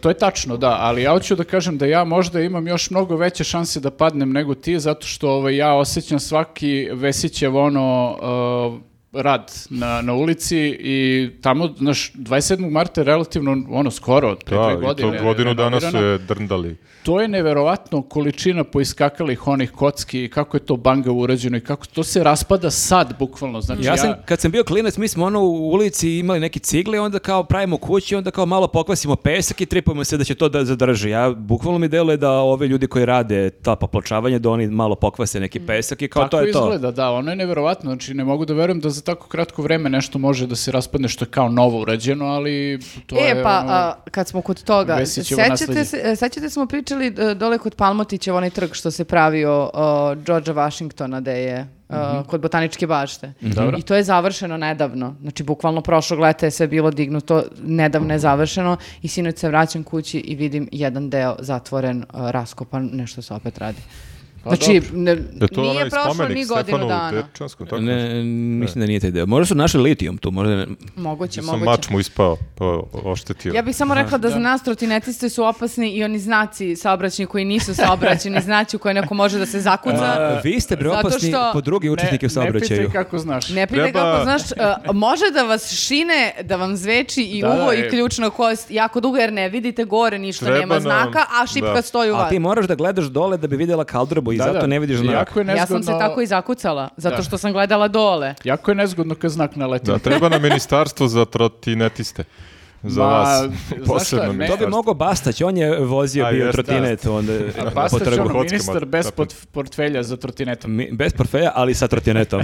Speaker 4: to je tačno, da, ali ja hoću da kažem da ja možda imam još mnogo veće šanse da padnem nego ti, zato što ovaj, ja osjećam svaki Vesićev ono... e, rad na, na ulici i tamo, znaš, 27. marta je relativno, ono, skoro, od pre dve
Speaker 1: Da, i
Speaker 4: godine.
Speaker 1: to godinu dana su
Speaker 4: renovirano.
Speaker 1: je drndali.
Speaker 4: To je neverovatno količina poiskakalih onih kocki i kako je to banga urađeno i kako to se raspada sad, bukvalno. Znači,
Speaker 2: Ja sam, kad sam bio klinac, mi smo ono u ulici imali neke cigle, onda kao pravimo kući, onda kao malo pokvasimo pesak i tripamo se da će to da zadrži. Ja, bukvalno mi deluje da ove ljudi koji rade ta popločavanje, da oni malo pokvase neki pesak i kao
Speaker 4: Mm. Tako
Speaker 2: to je to.
Speaker 4: izgleda, da, ono je neverovatno, znači ne mogu da verujem da za tako kratko vreme nešto može da se raspadne što je kao novo urađeno, ali to
Speaker 3: e,
Speaker 4: je
Speaker 3: pa,
Speaker 4: ono...
Speaker 3: a, kad smo kod toga,
Speaker 4: Vesićevo
Speaker 3: sećate
Speaker 4: nasleđe.
Speaker 3: se, e, sećate smo pričali e, dole kod Palmotićev onaj trg što se pravio o, George'a Washingtona da je e,
Speaker 4: Mhm.
Speaker 3: kod botaničke bašte.
Speaker 4: Dobro.
Speaker 3: I to je završeno nedavno. Znači, bukvalno prošlog leta je sve bilo dignuto, nedavno je završeno i sinoć se vraćam kući i vidim jedan deo zatvoren, e, raskopan, nešto se opet radi.
Speaker 4: Pa
Speaker 3: znači, ne-
Speaker 1: Je E, to
Speaker 3: nije
Speaker 1: onaj
Speaker 3: prošlo
Speaker 1: spomenik
Speaker 3: ni godinu
Speaker 1: Stefanu
Speaker 3: dana.
Speaker 1: Dečanskom, tako ne,
Speaker 2: Ne, mislim da nije taj deo. Možda su našli litijum tu, možda ne-
Speaker 3: Moguće,
Speaker 1: sam
Speaker 3: moguće.
Speaker 1: mač mu ispao, pa o- oštetio.
Speaker 3: Ja bih samo rekla da za nas trotinetisti su opasni i oni znaci saobraćeni koji nisu saobraćeni, znaci u koje neko može da se zakuca.
Speaker 2: A, Pa, vi ste bre
Speaker 3: Zato
Speaker 2: opasni
Speaker 3: što-
Speaker 2: po druge učesnike u
Speaker 4: Pa, Ne
Speaker 2: saobraćaju.
Speaker 4: pitaj kako znaš.
Speaker 3: Ne pitaj
Speaker 1: Treba-
Speaker 3: kako, znaš, uh, može da vas šine, da vam zveči i
Speaker 4: Da,
Speaker 3: uvo
Speaker 4: da,
Speaker 3: i
Speaker 4: e.
Speaker 3: ključna kost jako dugo jer ne vidite gore ništa,
Speaker 1: Treba
Speaker 3: nema
Speaker 1: nam-
Speaker 3: znaka, a šipka
Speaker 1: da.
Speaker 3: stoji u
Speaker 2: A
Speaker 3: vas.
Speaker 2: ti moraš da gledaš dole da bi vidjela kaldrbu i
Speaker 4: Da,
Speaker 2: zato
Speaker 4: da,
Speaker 2: ne vidiš znak.
Speaker 4: Jako je nezgodno,
Speaker 3: Ja sam se tako i zakucala, zato što sam gledala dole.
Speaker 4: Jako je nezgodno kad znak naleti.
Speaker 1: Da, treba nam ministarstvo za trotinetiste. Za
Speaker 4: Ma,
Speaker 1: vas.
Speaker 4: znaš šta,
Speaker 1: Posebno
Speaker 4: ne-
Speaker 2: To bi
Speaker 1: ministarstvo.
Speaker 2: mogao Bastać, on je vozio
Speaker 1: A,
Speaker 2: bio
Speaker 1: jest,
Speaker 2: trotinet onda
Speaker 4: A
Speaker 2: po
Speaker 4: Bastać je
Speaker 2: trgu.
Speaker 4: ono
Speaker 1: kockama,
Speaker 4: ministar bez
Speaker 1: tako.
Speaker 4: pot- portfelja za trotinetom.
Speaker 2: Mi- Bez portfelja, ali sa trotinetom.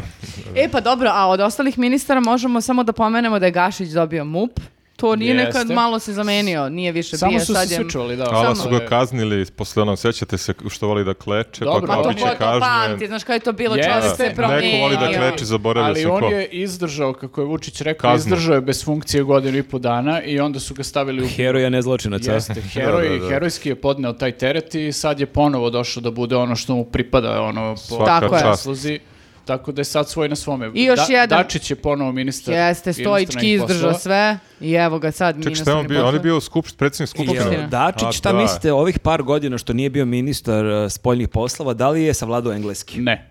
Speaker 3: E pa dobro, a od ostalih ministara možemo samo da pomenemo da je Gašić dobio MUP. To nije
Speaker 4: Jeste.
Speaker 3: nekad malo se zamenio, nije više
Speaker 4: Samo
Speaker 3: bio
Speaker 4: su se
Speaker 3: sad je-
Speaker 4: svi čuvali, da. E,
Speaker 1: Ala
Speaker 4: Samo
Speaker 1: su ga
Speaker 4: je-
Speaker 1: kaznili, posle onog, sećate se što voli da kleče,
Speaker 4: Dobro,
Speaker 1: pa
Speaker 3: Ma
Speaker 1: kao
Speaker 3: to
Speaker 1: bit
Speaker 3: ko
Speaker 1: će
Speaker 4: Običaj
Speaker 3: to pamti, znači,
Speaker 1: kažnjen.
Speaker 3: znaš kada je to bilo,
Speaker 4: Jeste.
Speaker 3: čovjek se ono.
Speaker 4: Neko
Speaker 3: promijenio.
Speaker 1: voli da
Speaker 4: promenio.
Speaker 1: kleči, zaboravio
Speaker 4: Ali
Speaker 1: sam
Speaker 4: on
Speaker 1: ko.
Speaker 4: je izdržao, kako je Vučić rekao,
Speaker 1: Kaznu.
Speaker 4: izdržao je bez funkcije godinu i po dana i onda su ga stavili u...
Speaker 2: Heroja ne zločinaca.
Speaker 4: Jeste, heroj,
Speaker 1: Da, da, da.
Speaker 4: herojski je podneo taj teret i sad je ponovo došao da bude ono što mu pripada, ono, po
Speaker 1: Svaka
Speaker 3: Tako je.
Speaker 1: čast.
Speaker 4: zasluzi. Tako da je sad svoj na svome.
Speaker 3: I još jedan.
Speaker 4: Dačić je ponovo ministar.
Speaker 3: Jeste, stoički
Speaker 4: inostranih
Speaker 3: izdržao
Speaker 4: poslova.
Speaker 3: sve i evo ga sad
Speaker 1: Ček, šta je on
Speaker 3: ministar
Speaker 1: bio? On je
Speaker 3: poslova.
Speaker 1: bio skupšt, predsjednik
Speaker 2: Jel
Speaker 1: skupštine. A,
Speaker 2: Dačić, šta
Speaker 1: da.
Speaker 2: mislite ovih par godina što nije bio ministar eh, spoljnih poslova, da li je savladao engleski?
Speaker 4: Ne.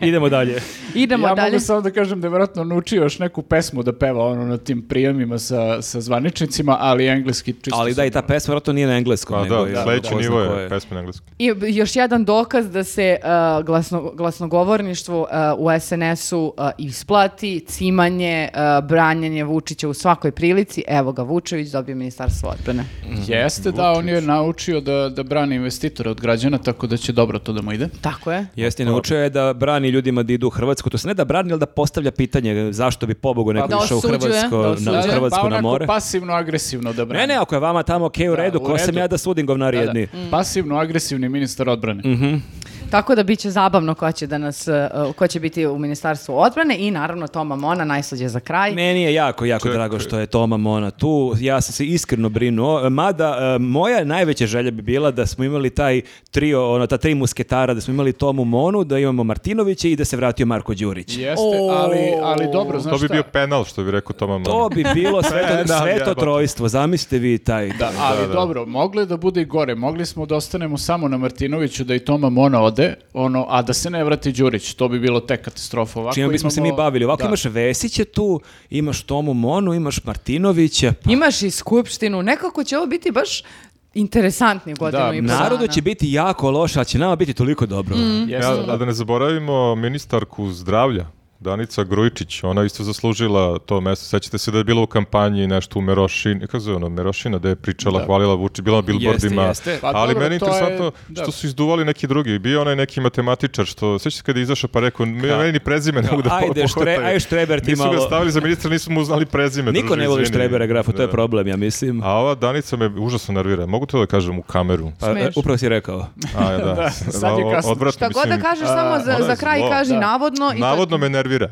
Speaker 2: Idemo dalje.
Speaker 3: Idemo
Speaker 4: ja
Speaker 3: dalje.
Speaker 4: mogu samo da kažem da je vjerojatno naučio još neku pesmu da peva ono na tim prijemima sa, sa zvaničnicima, ali engleski čisto.
Speaker 2: Ali da, i ta pesma vratno nije na engleskom.
Speaker 1: Pa
Speaker 2: nego je-
Speaker 1: da, sledeći
Speaker 2: ko zna
Speaker 1: nivo
Speaker 2: ko
Speaker 1: je pesma na engleskom.
Speaker 3: I b- još jedan dokaz da se uh, glasno, glasnogovorništvo uh, u SNS-u uh, isplati, cimanje, uh, branjanje Vučića u svakoj prilici. Evo ga, Vučević dobio ministarstvo odbrane.
Speaker 4: Jeste, da, on je naučio da, da brani investitore od građana, tako da će dobro to da mu ide.
Speaker 3: Tako je.
Speaker 2: Jeste, naučio je da brani ljudima da idu u Hrvatsku. To se ne da brani, ali da postavlja pitanje zašto bi pobogu neko
Speaker 4: Da
Speaker 2: išao u
Speaker 3: osuđuje, da
Speaker 2: Hrvatsko, na,
Speaker 3: osuđuje.
Speaker 2: Hrvatsku
Speaker 4: pa
Speaker 2: na
Speaker 4: onako
Speaker 2: more.
Speaker 4: pasivno-agresivno da brani.
Speaker 2: Ne, ne, ako je vama tamo okej u
Speaker 4: Da,
Speaker 2: redu,
Speaker 4: u
Speaker 2: ko sam
Speaker 4: redu.
Speaker 2: ja da sudim govnari
Speaker 4: Da, da.
Speaker 2: jedni.
Speaker 4: Mm. Pasivno-agresivni ministar odbrane.
Speaker 2: Mhm.
Speaker 3: Tako da bit će zabavno ko će, da nas, uh, ko će biti u ministarstvu odbrane i naravno Toma Mona, najslađe za kraj.
Speaker 2: Meni je jako, jako
Speaker 1: Čekaj.
Speaker 2: drago što je Toma Mona tu. Ja sam se iskreno brinuo. Mada, e, moja najveća želja bi bila da smo imali taj trio, ono, ta tri musketara, da smo imali Tomu Monu, da imamo Martinovića i da se vratio Marko Đurić.
Speaker 4: Jeste, ali, ali dobro, znaš
Speaker 1: To bi
Speaker 4: šta?
Speaker 1: bio penal, što bi rekao Toma Mona.
Speaker 2: To bi bilo sveto,
Speaker 1: Penal,
Speaker 2: sveto
Speaker 1: jebote.
Speaker 2: trojstvo. Zamislite vi taj.
Speaker 4: Da, ali
Speaker 1: Da, da.
Speaker 4: dobro, moglo je da bude i gore. Mogli smo da ostanemo samo na Martinoviću, da i Toma Mona ode, ono, a da se ne vrati Đurić. To bi bilo tek katastrofa. Ovako
Speaker 2: Čime bismo se mi
Speaker 4: imamo-
Speaker 2: bavili. Ovako
Speaker 4: Da.
Speaker 2: imaš Vesića tu, imaš Tomu Monu, imaš Martinovića. Pa,
Speaker 3: Imaš i skupštinu, nekako će ovo biti baš interesantni godinu
Speaker 4: Da,
Speaker 3: i pol
Speaker 2: Narodu
Speaker 3: dana.
Speaker 2: će biti jako loše, a će nama biti toliko dobro.
Speaker 4: Jeste,
Speaker 1: Ja,
Speaker 4: da.
Speaker 1: a da ne zaboravimo ministarku zdravlja, Danica Grujičić, ona je isto zaslužila to mesto. Sećate se da je bila u kampanji nešto u Merošini, kako se zove ono, Merošina, da je pričala, hvalila Vuči, bila na bilbordima.
Speaker 2: Jeste, jeste.
Speaker 4: Pa
Speaker 1: Ali
Speaker 4: dobro,
Speaker 1: meni je
Speaker 4: to je-
Speaker 1: interesantno
Speaker 4: da.
Speaker 1: što su izduvali neki drugi. Bio onaj neki matematičar što, sećate se kada je izašao pa rekao, "Mi- meni ni prezime ne mogu da po-
Speaker 2: ajde, štre-
Speaker 1: pohvataju."
Speaker 2: ajde, Štreber ti
Speaker 1: Nisu ga
Speaker 2: malo-
Speaker 1: stavili za ministra, nisu mu znali prezime.
Speaker 2: Niko
Speaker 1: druže,
Speaker 2: ne voli
Speaker 1: izvini.
Speaker 2: Štrebera grafa, to je
Speaker 1: Da.
Speaker 2: problem, ja mislim.
Speaker 1: A ova Danica me užasno nervira. Mogu to da kažem u kameru?
Speaker 2: Pa, e,
Speaker 3: Smeš.
Speaker 2: upravo si rekao.
Speaker 1: A, da.
Speaker 4: sad je
Speaker 1: O-
Speaker 4: kasno.
Speaker 1: odvratno,
Speaker 3: Šta god da
Speaker 1: mislim,
Speaker 3: kažeš, samo za,
Speaker 1: ona je
Speaker 3: za kraj
Speaker 1: zlo.
Speaker 3: kaži
Speaker 4: Da.
Speaker 3: navodno. I to-
Speaker 1: Navodno me nervira.
Speaker 4: Da.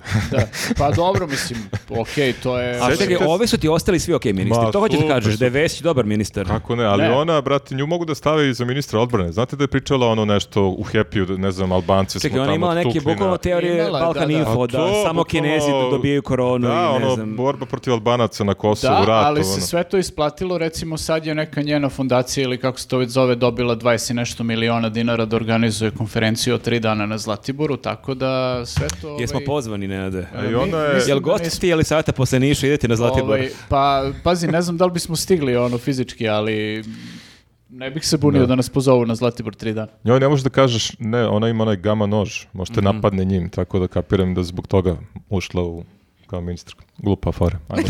Speaker 4: Pa dobro, mislim, okej, to je...
Speaker 2: A
Speaker 1: Sećate
Speaker 2: čekaj,
Speaker 1: se-
Speaker 2: ovi su ti ostali svi ok ministri.
Speaker 1: Ma,
Speaker 2: to hoćeš da
Speaker 1: super
Speaker 2: kažeš,
Speaker 1: su.
Speaker 2: da je Vesić dobar ministar.
Speaker 1: Kako ne, ali
Speaker 4: Ne.
Speaker 1: ona, brate, nju mogu da stave i za ministra odbrane. Znate da je pričala ono nešto u Happy-u, da, ne znam, Albanci
Speaker 2: Čekaj,
Speaker 1: smo
Speaker 2: ona je
Speaker 1: tamo
Speaker 2: imala neke
Speaker 1: tukli na-
Speaker 2: bukvalno teorije
Speaker 4: Imala je,
Speaker 2: Balkan
Speaker 4: da, da.
Speaker 2: Info,
Speaker 1: A
Speaker 2: da,
Speaker 1: to,
Speaker 2: samo
Speaker 1: bukvalno-
Speaker 2: Kinezi da dobijaju koronu
Speaker 1: da,
Speaker 2: i ne
Speaker 1: ono,
Speaker 2: znam.
Speaker 1: borba protiv Albanaca na Kosovu,
Speaker 4: Da,
Speaker 1: rat,
Speaker 4: ali
Speaker 1: ono.
Speaker 4: se sve to isplatilo, recimo sad je neka njena fondacija ili kako se to već zove dobila 20 i nešto miliona dinara da organizuje konferenciju od tri dana na Zlatiboru, tako da sve to...
Speaker 2: Jesmo
Speaker 4: ovaj,
Speaker 2: pozvani, Nenade.
Speaker 1: A i onda je...
Speaker 4: Mislim
Speaker 2: Jel
Speaker 4: da
Speaker 2: gost
Speaker 4: nismo.
Speaker 2: ti ili sata posle Niša idete na Zlatibor?
Speaker 4: Ovaj, pa, pazi, ne znam da li bismo stigli ono fizički, ali ne bih se bunio da nas pozovu na Zlatibor tri dana.
Speaker 1: Njoj ne možeš da kažeš, ne, ona ima onaj gama nož, možete
Speaker 2: Mhm.
Speaker 1: napadne njim, tako da kapiram da zbog toga ušla u kao ministarka. Glupa fora. Ajmo.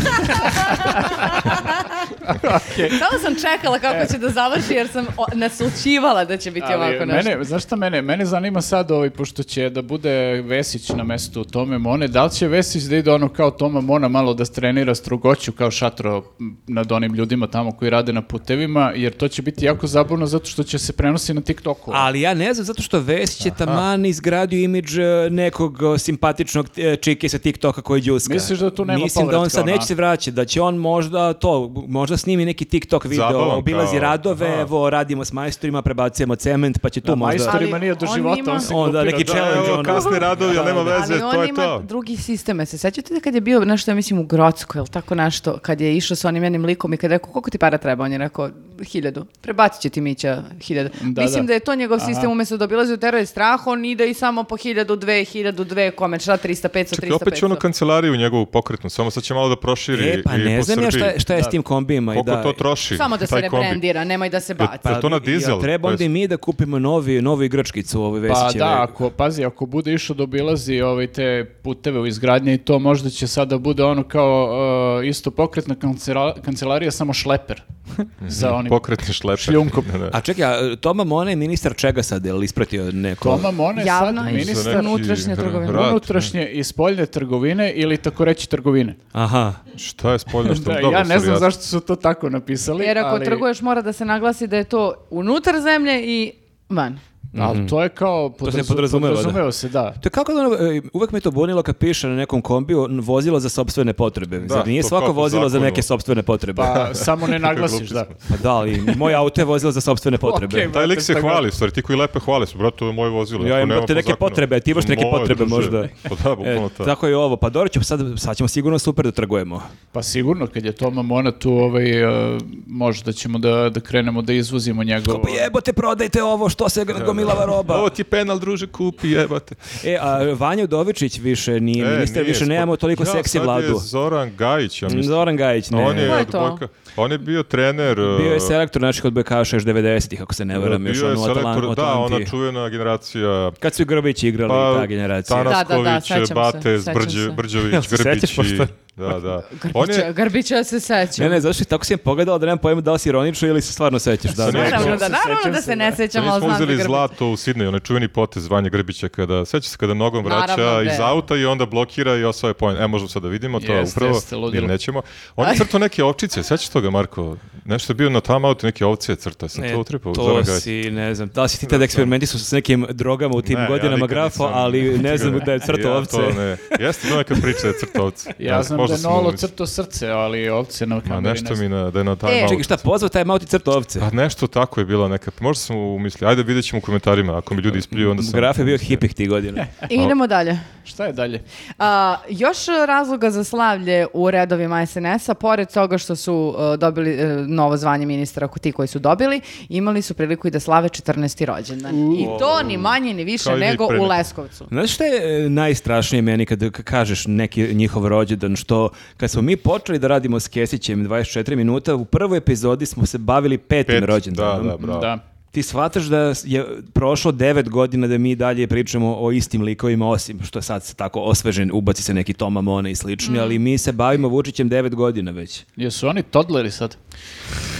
Speaker 3: Samo sam čekala kako će da završi jer sam o- naslućivala da će biti ovako nešto.
Speaker 4: mene, znaš šta mene, mene zanima sad, ovaj, pošto će da bude Vesić na mestu Tome Mone, da li će Vesić da ide ono kao Toma Mona malo da strenira strugoću kao šatro m, nad onim ljudima tamo koji rade na putevima, jer to će biti jako zabavno zato što će se prenosi na TikToku.
Speaker 2: Ali ja ne znam, zato što Vesić je taman izgradio imidž e, nekog e, simpatičnog e, čike sa TikToka koji džuska.
Speaker 4: Misliš da tu nema
Speaker 2: Mislim da on
Speaker 4: povratka,
Speaker 2: sad
Speaker 4: ona?
Speaker 2: neće se vraćati, da će on možda to, možda snimi neki TikTok video,
Speaker 1: Zabavan
Speaker 2: obilazi
Speaker 1: kao,
Speaker 2: radove,
Speaker 1: aha.
Speaker 2: evo radimo s majstorima, prebacujemo cement, pa će tu
Speaker 4: Da,
Speaker 2: možda...
Speaker 3: majstori-
Speaker 4: majstorima
Speaker 3: Ali
Speaker 4: nije do
Speaker 3: on
Speaker 4: života,
Speaker 3: ima-
Speaker 4: on se
Speaker 2: On, da,
Speaker 4: kopira,
Speaker 2: neki
Speaker 4: da.
Speaker 2: challenge,
Speaker 1: Evo,
Speaker 2: ono.
Speaker 1: kasni radovi, a nema veze,
Speaker 3: Ali on
Speaker 1: to je
Speaker 3: ima
Speaker 1: to.
Speaker 3: drugi sisteme. Se sećate da kad je bio nešto, ja mislim, u Grocku, ili tako nešto, kad je išao sa onim jednim likom i kad je rekao, koliko ti para treba? On je rekao, hiljadu. Prebacit će ti Mića hiljadu.
Speaker 4: Da,
Speaker 3: mislim
Speaker 4: da.
Speaker 3: da. je to njegov sistem, umjesto da obilazi u teror i strah, on ide i samo po hiljadu, dve, hiljadu, dve, kome, šta, 300, 500, 300,
Speaker 1: Čekaj, opet će ono
Speaker 3: 500.
Speaker 1: kancelariju njegovu pokretnu, samo sad će malo da proširi
Speaker 2: E, pa
Speaker 1: i
Speaker 2: ne
Speaker 1: po
Speaker 2: znam ja šta,
Speaker 1: Srbiji.
Speaker 2: je- šta je s tim kombijima. i
Speaker 1: Koliko
Speaker 2: da,
Speaker 1: to troši,
Speaker 3: Samo da se
Speaker 1: taj kombi?
Speaker 3: rebrandira, nemoj da se baci.
Speaker 1: Pa- Jel to na
Speaker 2: jel
Speaker 1: dizel?
Speaker 2: Treba
Speaker 1: To
Speaker 2: onda i
Speaker 1: jest-
Speaker 2: mi da kupimo novi, novu igračkicu u ovoj
Speaker 4: Pa
Speaker 2: Vesićevoj.
Speaker 4: da, ako, pazi, ako bude išao da obilazi ovaj, te puteve u izgradnje i to možda će sada bude ono kao uh, isto pokretna kancela- kancelarija, samo šleper
Speaker 1: Mhm.
Speaker 4: za onim
Speaker 1: Pokretni šleper.
Speaker 4: šljunkom.
Speaker 1: Da, da.
Speaker 2: A čekaj, a, Toma Mona je ministar čega sad, je li ispratio neko?
Speaker 4: Toma Mone je sad
Speaker 3: Javno i
Speaker 1: Za
Speaker 4: ministar
Speaker 1: neki
Speaker 3: unutrašnje trgovine.
Speaker 1: rat.
Speaker 4: unutrašnje i spoljne trgovine ili tako reći trgovine.
Speaker 2: Aha.
Speaker 1: Šta je spoljno Pa što
Speaker 4: Da,
Speaker 1: dobro,
Speaker 4: ja ne
Speaker 1: sorry,
Speaker 4: znam
Speaker 1: ja-
Speaker 4: zašto su to tako napisali.
Speaker 3: Jer ako
Speaker 4: ali,
Speaker 3: trguješ mora da se naglasi da je to unutar zemlje i van.
Speaker 1: Mhm.
Speaker 4: Ali to je kao
Speaker 2: se
Speaker 4: podrazu-
Speaker 2: podrazumeva, da.
Speaker 4: podrazumeva se, da.
Speaker 2: To je kako da ono, e, uvek me to bunilo kad piše na nekom kombiju n- vozilo za sobstvene potrebe.
Speaker 1: Da,
Speaker 2: Zar nije
Speaker 1: to
Speaker 2: svako
Speaker 1: kao po
Speaker 2: vozilo za
Speaker 1: zakonu.
Speaker 2: neke sobstvene potrebe?
Speaker 4: Pa samo ne naglasiš, da.
Speaker 2: Pa da, ali moj auto je vozilo za sobstvene potrebe.
Speaker 4: Okej,
Speaker 1: Taj lik se
Speaker 4: Tako-
Speaker 1: hvali, u stvari ti koji lepe hvale su, brate, ovo je moje vozilo.
Speaker 2: Ja
Speaker 1: to
Speaker 2: imam,
Speaker 1: nema
Speaker 2: brate,
Speaker 1: po
Speaker 2: neke
Speaker 1: zakonu.
Speaker 2: potrebe, a ti imaš neke
Speaker 1: Moje,
Speaker 2: potrebe,
Speaker 1: druže.
Speaker 2: možda.
Speaker 1: Pa da,
Speaker 2: E,
Speaker 1: bukvalno to.
Speaker 2: tako je i ovo. Pa dobro ćemo sad, sad ćemo sigurno super da trgujemo.
Speaker 4: Pa sigurno, kad je Toma Mona tu, ovaj, e, možda ćemo da, da krenemo da izvozimo njegovo...
Speaker 2: Pa jebote, prodajte ovo, što se gomilava roba.
Speaker 1: Ovo ti je penal, druže, kupi, jebate.
Speaker 2: E, a Vanja Udovičić više nije
Speaker 1: E,
Speaker 2: ministar,
Speaker 1: nije,
Speaker 2: više
Speaker 1: spod-
Speaker 2: nemamo toliko
Speaker 1: ja,
Speaker 2: seksi
Speaker 1: sad je
Speaker 2: vladu. Mm,
Speaker 1: Zoran Gajić, ja mislim.
Speaker 2: Zoran Gajić, ne.
Speaker 1: On je,
Speaker 3: Ko je
Speaker 1: od
Speaker 3: to?
Speaker 1: Bojka- on je bio trener...
Speaker 2: Bio je
Speaker 1: uh,
Speaker 2: selektor naših odbojkaša još 90-ih, ako se ne varam, još
Speaker 1: bio je
Speaker 2: ono
Speaker 1: selektor-
Speaker 2: Atalan,
Speaker 1: Da, ona
Speaker 2: Atalanti.
Speaker 1: čuvena generacija...
Speaker 2: Kad su i Grbić igrali,
Speaker 1: Pa,
Speaker 2: ta generacija.
Speaker 1: Tanasković,
Speaker 3: Da, da, da, sećam se,
Speaker 1: Bate,
Speaker 3: sećam
Speaker 1: Brđe-
Speaker 3: se.
Speaker 2: Jel
Speaker 1: Brđević,
Speaker 2: se
Speaker 1: Grbić
Speaker 2: sećaš
Speaker 1: i...
Speaker 2: pošto-
Speaker 1: Da, da. On
Speaker 3: Grbića,
Speaker 1: je,
Speaker 3: Grbića se sećam.
Speaker 2: Ne, ne, zašto tako si je pogledala da nemam pojma da li si ironično ili se stvarno sećaš. Da,
Speaker 1: Sa
Speaker 2: da.
Speaker 1: nekim.
Speaker 3: Naravno da,
Speaker 4: se
Speaker 3: naravno
Speaker 4: sećam
Speaker 3: da
Speaker 4: se,
Speaker 3: se ne
Speaker 4: da.
Speaker 3: sećam,
Speaker 1: Mi
Speaker 3: ali
Speaker 1: smo
Speaker 3: znam da
Speaker 1: uzeli
Speaker 3: Grbić.
Speaker 1: zlato u Sidneju, onaj čuveni potez Vanja Grbića kada, seća se kada nogom vraća
Speaker 3: Naravno, bre.
Speaker 1: iz auta i onda blokira i osvaja poen. E, možemo sad da vidimo to
Speaker 4: Jeste,
Speaker 1: upravo,
Speaker 4: jeste, ludilo.
Speaker 1: ili nećemo. On je crtao neke ovčice, sećaš toga Marko? Nešto je bio na tam autu, neke ovce je crtao, sam
Speaker 2: E,
Speaker 1: to utripao.
Speaker 2: to
Speaker 1: Zoran Gajić.
Speaker 2: si, ne znam, da li si ti tada eksperimentisao sa nekim drogama u tim
Speaker 1: Ne, ja
Speaker 2: godinama
Speaker 1: nikad
Speaker 2: grafo,
Speaker 1: nisam-
Speaker 2: ali ne znam da je
Speaker 1: Ja
Speaker 2: crto
Speaker 1: to
Speaker 2: ovce.
Speaker 1: ne. Jeste, to neka priča da je crtao ovce.
Speaker 4: Ja znam da
Speaker 1: možda
Speaker 4: je
Speaker 1: sam
Speaker 4: Nolo
Speaker 1: umislio.
Speaker 4: crto srce, ali ovce na
Speaker 1: Ma
Speaker 4: kameri ne
Speaker 1: nešto
Speaker 4: znam.
Speaker 1: mi na, da je na time
Speaker 3: E,
Speaker 1: outu.
Speaker 2: Čekaj, šta, pozvao taj mauti crto ovce?
Speaker 1: Pa nešto tako je bila neka. pa Možda sam umislio. Ajde vidjet ćemo u komentarima. Ako mi ljudi ispljuju, onda sam...
Speaker 2: Graf je bio hipih tih godina.
Speaker 3: I idemo dalje.
Speaker 4: Šta je dalje?
Speaker 3: A, još razloga za slavlje u redovima SNS-a, pored toga što su e, dobili e, novo zvanje ministra, ako ti koji su dobili, imali su priliku i da slave 14. rođendan. I to ni manje ni više
Speaker 1: Kao i vi
Speaker 3: nego
Speaker 1: pre
Speaker 3: u
Speaker 1: neki-
Speaker 3: Leskovcu.
Speaker 2: Znaš šta je e, najstrašnije meni kad k- kažeš neki njihov rođendan, što kad smo mi počeli da radimo s Kesićem 24 minuta, u prvoj epizodi smo se bavili petim
Speaker 1: Pet, da,
Speaker 2: rođendanom.
Speaker 1: da, bravo.
Speaker 4: Da.
Speaker 2: Ti shvataš da je prošlo devet godina da mi dalje pričamo o istim likovima, osim što je sad se tako osvežen, ubaci se neki Toma Mona i
Speaker 3: Mm.
Speaker 2: slični, ali mi se bavimo Vučićem devet godina već.
Speaker 4: Jesu oni toddleri sad?